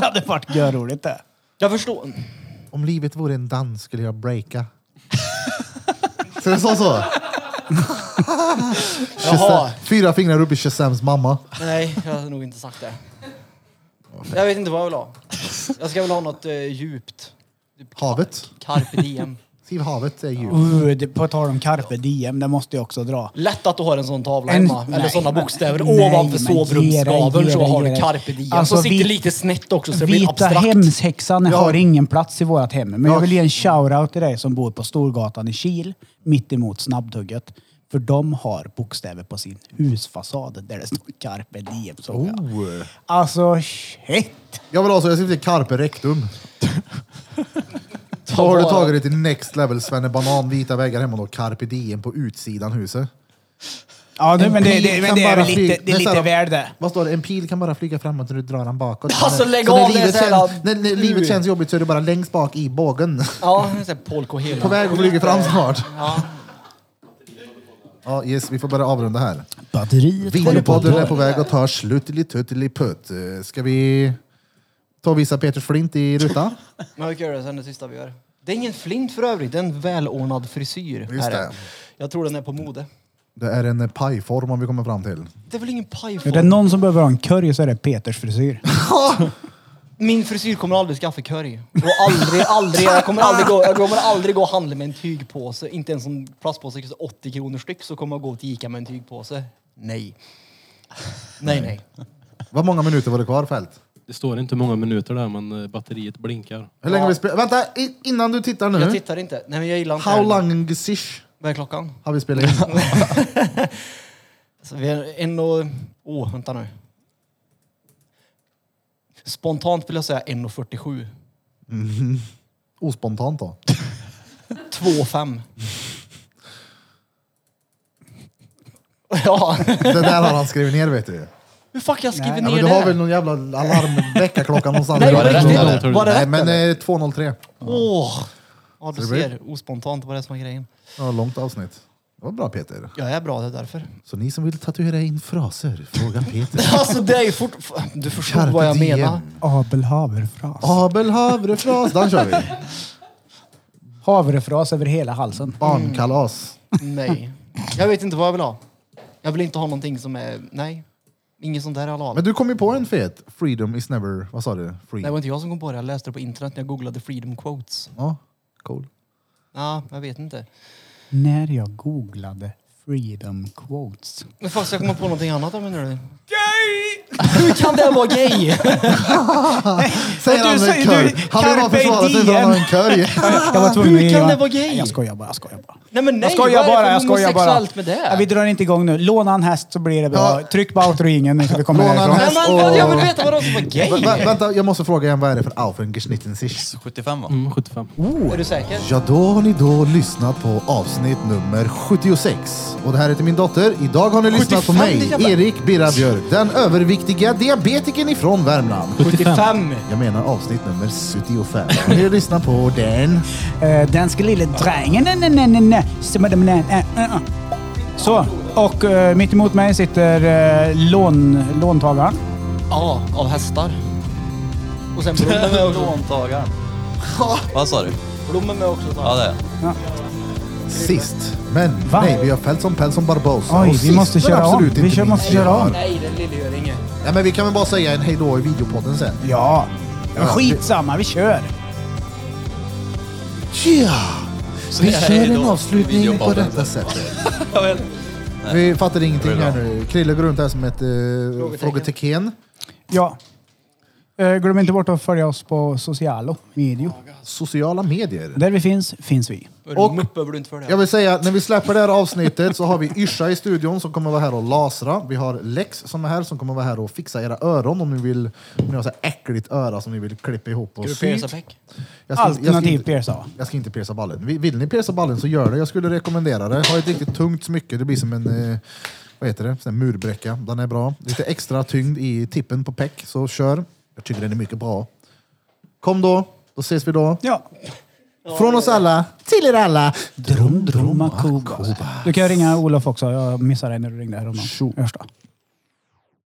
B: Det hade varit görroligt det.
D: Jag förstår.
A: Om livet vore en dans skulle jag breaka. så det sa så?
D: Jaha.
A: Fyra fingrar upp i Shazams mamma.
D: Nej, jag hade nog inte sagt det. Jag vet inte vad jag vill ha. Jag ska väl ha något eh, djupt.
A: Havet.
D: Carpe diem.
A: Skriv havet är ju.
B: Uh, det- på tal om carpe diem, det måste jag också dra.
D: Lätt att du har en sån tavla
B: En-
D: hemma, eller
B: nej,
D: såna
B: men-
D: bokstäver
B: nej,
D: ovanför
B: men
D: sovrumsskabeln
B: ge
D: så
B: dig,
D: har
B: ge
D: du
B: dig.
D: carpe diem.
B: Alltså,
D: så sitter
B: vit-
D: det lite snett också så det blir
B: Vita
D: abstrakt.
B: hemshäxan har ingen plats i vårt hem. Men
A: Ja.
B: jag vill ge en shout-out till dig som bor på Storgatan i Kil, mitt emot Snabbtugget. För de har bokstäver på sin husfasad där det står carpe diem. såg
A: Oh.
B: jag. Alltså shit!
A: Jag vill ha så, jag skriver carpe rectum. Då har du tagit det till next level Svenne Banan, vita väggar hemma då, carpe diem på utsidan huset.
B: Ja, nu, men det,
A: pil
B: det, men
A: kan
B: det är
A: bara
B: väl lite,
A: flyga-
B: det är
A: så
B: lite
A: här,
B: väl det.
A: Vad står det? En pil kan bara flyga framåt när du drar den bakåt.
D: Alltså,
A: Så
D: lägg
A: när
D: av, det är
A: livet
D: så jävla-
A: känns- När, när livet känns jobbigt så är du bara längst bak i bågen.
D: Ja, det är så här Paul Coelho.
A: På väg att flyga fram snart.
D: Ja.
A: Ja, yes, vi får börja avrunda här.
B: Batteriet
A: Videopodden är på väg att ta sluttilituttiliputt. Eh, Ska vi ta och visa Peter Flint i rutan?
D: Men vi kan göra det sen det sista vi gör. Det är ingen flint för övrigt, det är en välordnad frisyr.
A: Just
D: här är.
A: det.
D: Jag tror den är på mode.
A: Det är en eh, pajform om vi kommer fram till.
D: Det är väl ingen
B: Är det
D: pajform?
B: någon som behöver ha en curry så är det Peters frisyr.
D: Min frisyr kommer aldrig skaffa curry. Och aldrig, aldrig, jag kommer aldrig gå, jag kommer aldrig gå och handla med en tygpåse. Inte ens en plastpåse kostar 80 kronor styck så kommer jag gå till Ica med en tygpåse. Nej. Nej, nej.
A: Vad många minuter var det kvar Fält?
C: Det står inte många minuter där men eh, batteriet blinkar.
A: Hur länge har vi spelat? Vänta, i- innan du tittar
D: Jag
A: nu.
D: tittar inte. Nej, men jag gillar inte
A: Mm. How
D: det.
A: long is ish
D: Vad är klockan?
A: har vi spelat in?
D: Så vi är en och... Åh, vänta nu. Spontant vill jag säga 1.47.
A: Ospontant då.
D: 2.5. Ja,
A: Det där har han skrivit ner vet du.
D: hur fuck jag skriver
A: Ja,
D: ner
A: men du har
D: det?
A: väl någon jävla alarmväckarklocka någonstans?
D: Nej,
A: i
D: var det
A: bakgrunden.
D: rätt,
C: eller?
D: Var det
A: Nej,
D: rätt,
A: men eh, 2.03.
D: Åh! Ja, du
A: Så det blir-
D: ser. Ospontant var det som var grejen.
A: Det var ett långt avsnitt. Det var bra Peter.
D: Jag är bra, det är därför.
A: Så ni som vill tatuera in fraser, fråga Peter.
D: Alltså det är ju fort... f- Du förstod
A: Carpe
D: vad jag
A: diem.
D: menar.
B: Abel Haverfras.
A: Abel havrefras, den kör vi.
B: Havrefras över hela halsen.
A: Barnkalas.
D: Nej. Jag vet inte vad jag vill ha. Jag vill inte ha någonting som är... Nej. Inget sånt där jag vill ha.
A: Men du kom ju på en fet. Freedom is never, vad sa du? Free.
D: Det var inte jag som kom på det. Jag läste det på internet när jag googlade freedom quotes.
A: Ja, cool.
D: Ja, jag vet inte.
B: När jag googlade freedom quotes.
D: Men fast jag kommer på någonting annat där menar du? Gay! Hur kan det vara gay?
A: Säger
B: Och du
A: han med en
B: säger-
A: kurv.
B: du-
A: Han vill bara
B: carpe
A: försvara sig för att han har en kurv.
B: Jag var tvungen
D: Ah, Hur
B: att ge
D: kan
B: mig-
D: det vara gay?
B: Nej, Jag skojar bara, jag skojar bara.
D: Nej men nej,
B: jag skojar
D: vad är det
B: bara,
D: för
B: jag skojar bara.
D: homosexuellt med det?
B: Ja, vi drar inte igång nu. Låna en häst så blir det bra.
A: Ja.
B: Tryck på outringen så vi kommer
A: Låna en
B: därifrån.
A: häst.
D: Nej, men,
A: Åh.
D: Jag vill veta vad de som var gay.
A: Vä- vä- Vänta, jag måste fråga igen. Vad är det för Aufengeschnitten sich?
E: 75 va?
C: Mm, 75.
D: Är du säker?
A: Ja, då har ni då lyssnat på avsnitt nummer 76. Och det här heter min dotter. Idag har ni lyssnat på
D: 75, det
A: mig,
D: jävla-
A: Erik Birra Björk, den överviktiga diabetikern ifrån Värmland.
D: 75.
A: Jag menar avsnitt nummer 75. Och ni lyssnar på den.
B: Eh, danske lille drängen. Nej, nej, nej, nej, nej. Som är den, nej, nej, nej, nej. Eh, Så, och uh, mitt emot mig sitter uh, lån, låntagaren.
D: Ja, av hästar. Och sen blommor med också.
E: Låntagaren. Vad sa du?
D: Blommor med också.
E: Ja, det är jag.
A: Sist, men
B: Va?
A: nej, vi har fällt som päls som Barbosa.
B: Oj,
A: Och
B: vi
A: sist,
B: måste
A: men
B: köra om.
A: absolut
B: Vi
A: inte
B: kör-
A: minst,
B: måste köra om.
D: Nej, den lille gör inget.
A: Nej, men vi kan väl bara säga en hejdå i videopodden sen.
B: Ja. Men
A: Ja,
B: skitsamma, vi kör.
A: Tja! Vi
E: det här
A: kör
E: är
A: en
E: då
A: avslutning på
E: videopodden.
A: detta sättet. Vi fattar ingenting här nu. Krille går runt här som ett eh, frågetecken.
B: Ja. Eh, glöm inte bort att följa oss på sociala medier.
A: Sociala medier.
B: Där vi finns, finns vi.
D: Och muppar du inte för det?
A: Jag vill säga, när vi släpper det här avsnittet så har vi Yrsa i studion som kommer vara här och lasra. Vi har Lex som är här som kommer vara här och fixa era öron om ni vill, om ni har så här äckligt öra som ni vill klippa ihop och
D: Ska du
A: sy.
D: pierca peck?
A: Jag ska- jag ska
B: Alternativ
A: inte-
B: PSA.
A: Jag ska inte pierca ballen. Vill- Vill ni pierca ballen så gör det. Jag skulle rekommendera det. Ha ett riktigt tungt smycke. Det blir som en eh, vad heter det? Sån här murbräcka. Den är bra. Lite extra tyngd i tippen på peck, så kör. Jag tycker den är mycket bra. Kom då, då ses vi då.
B: Ja.
A: Från oss alla, till er alla.
B: Drum, drumma, Kuba. Du kan ringa Olof också. Jag missade dig när du ringde häromdagen. Första.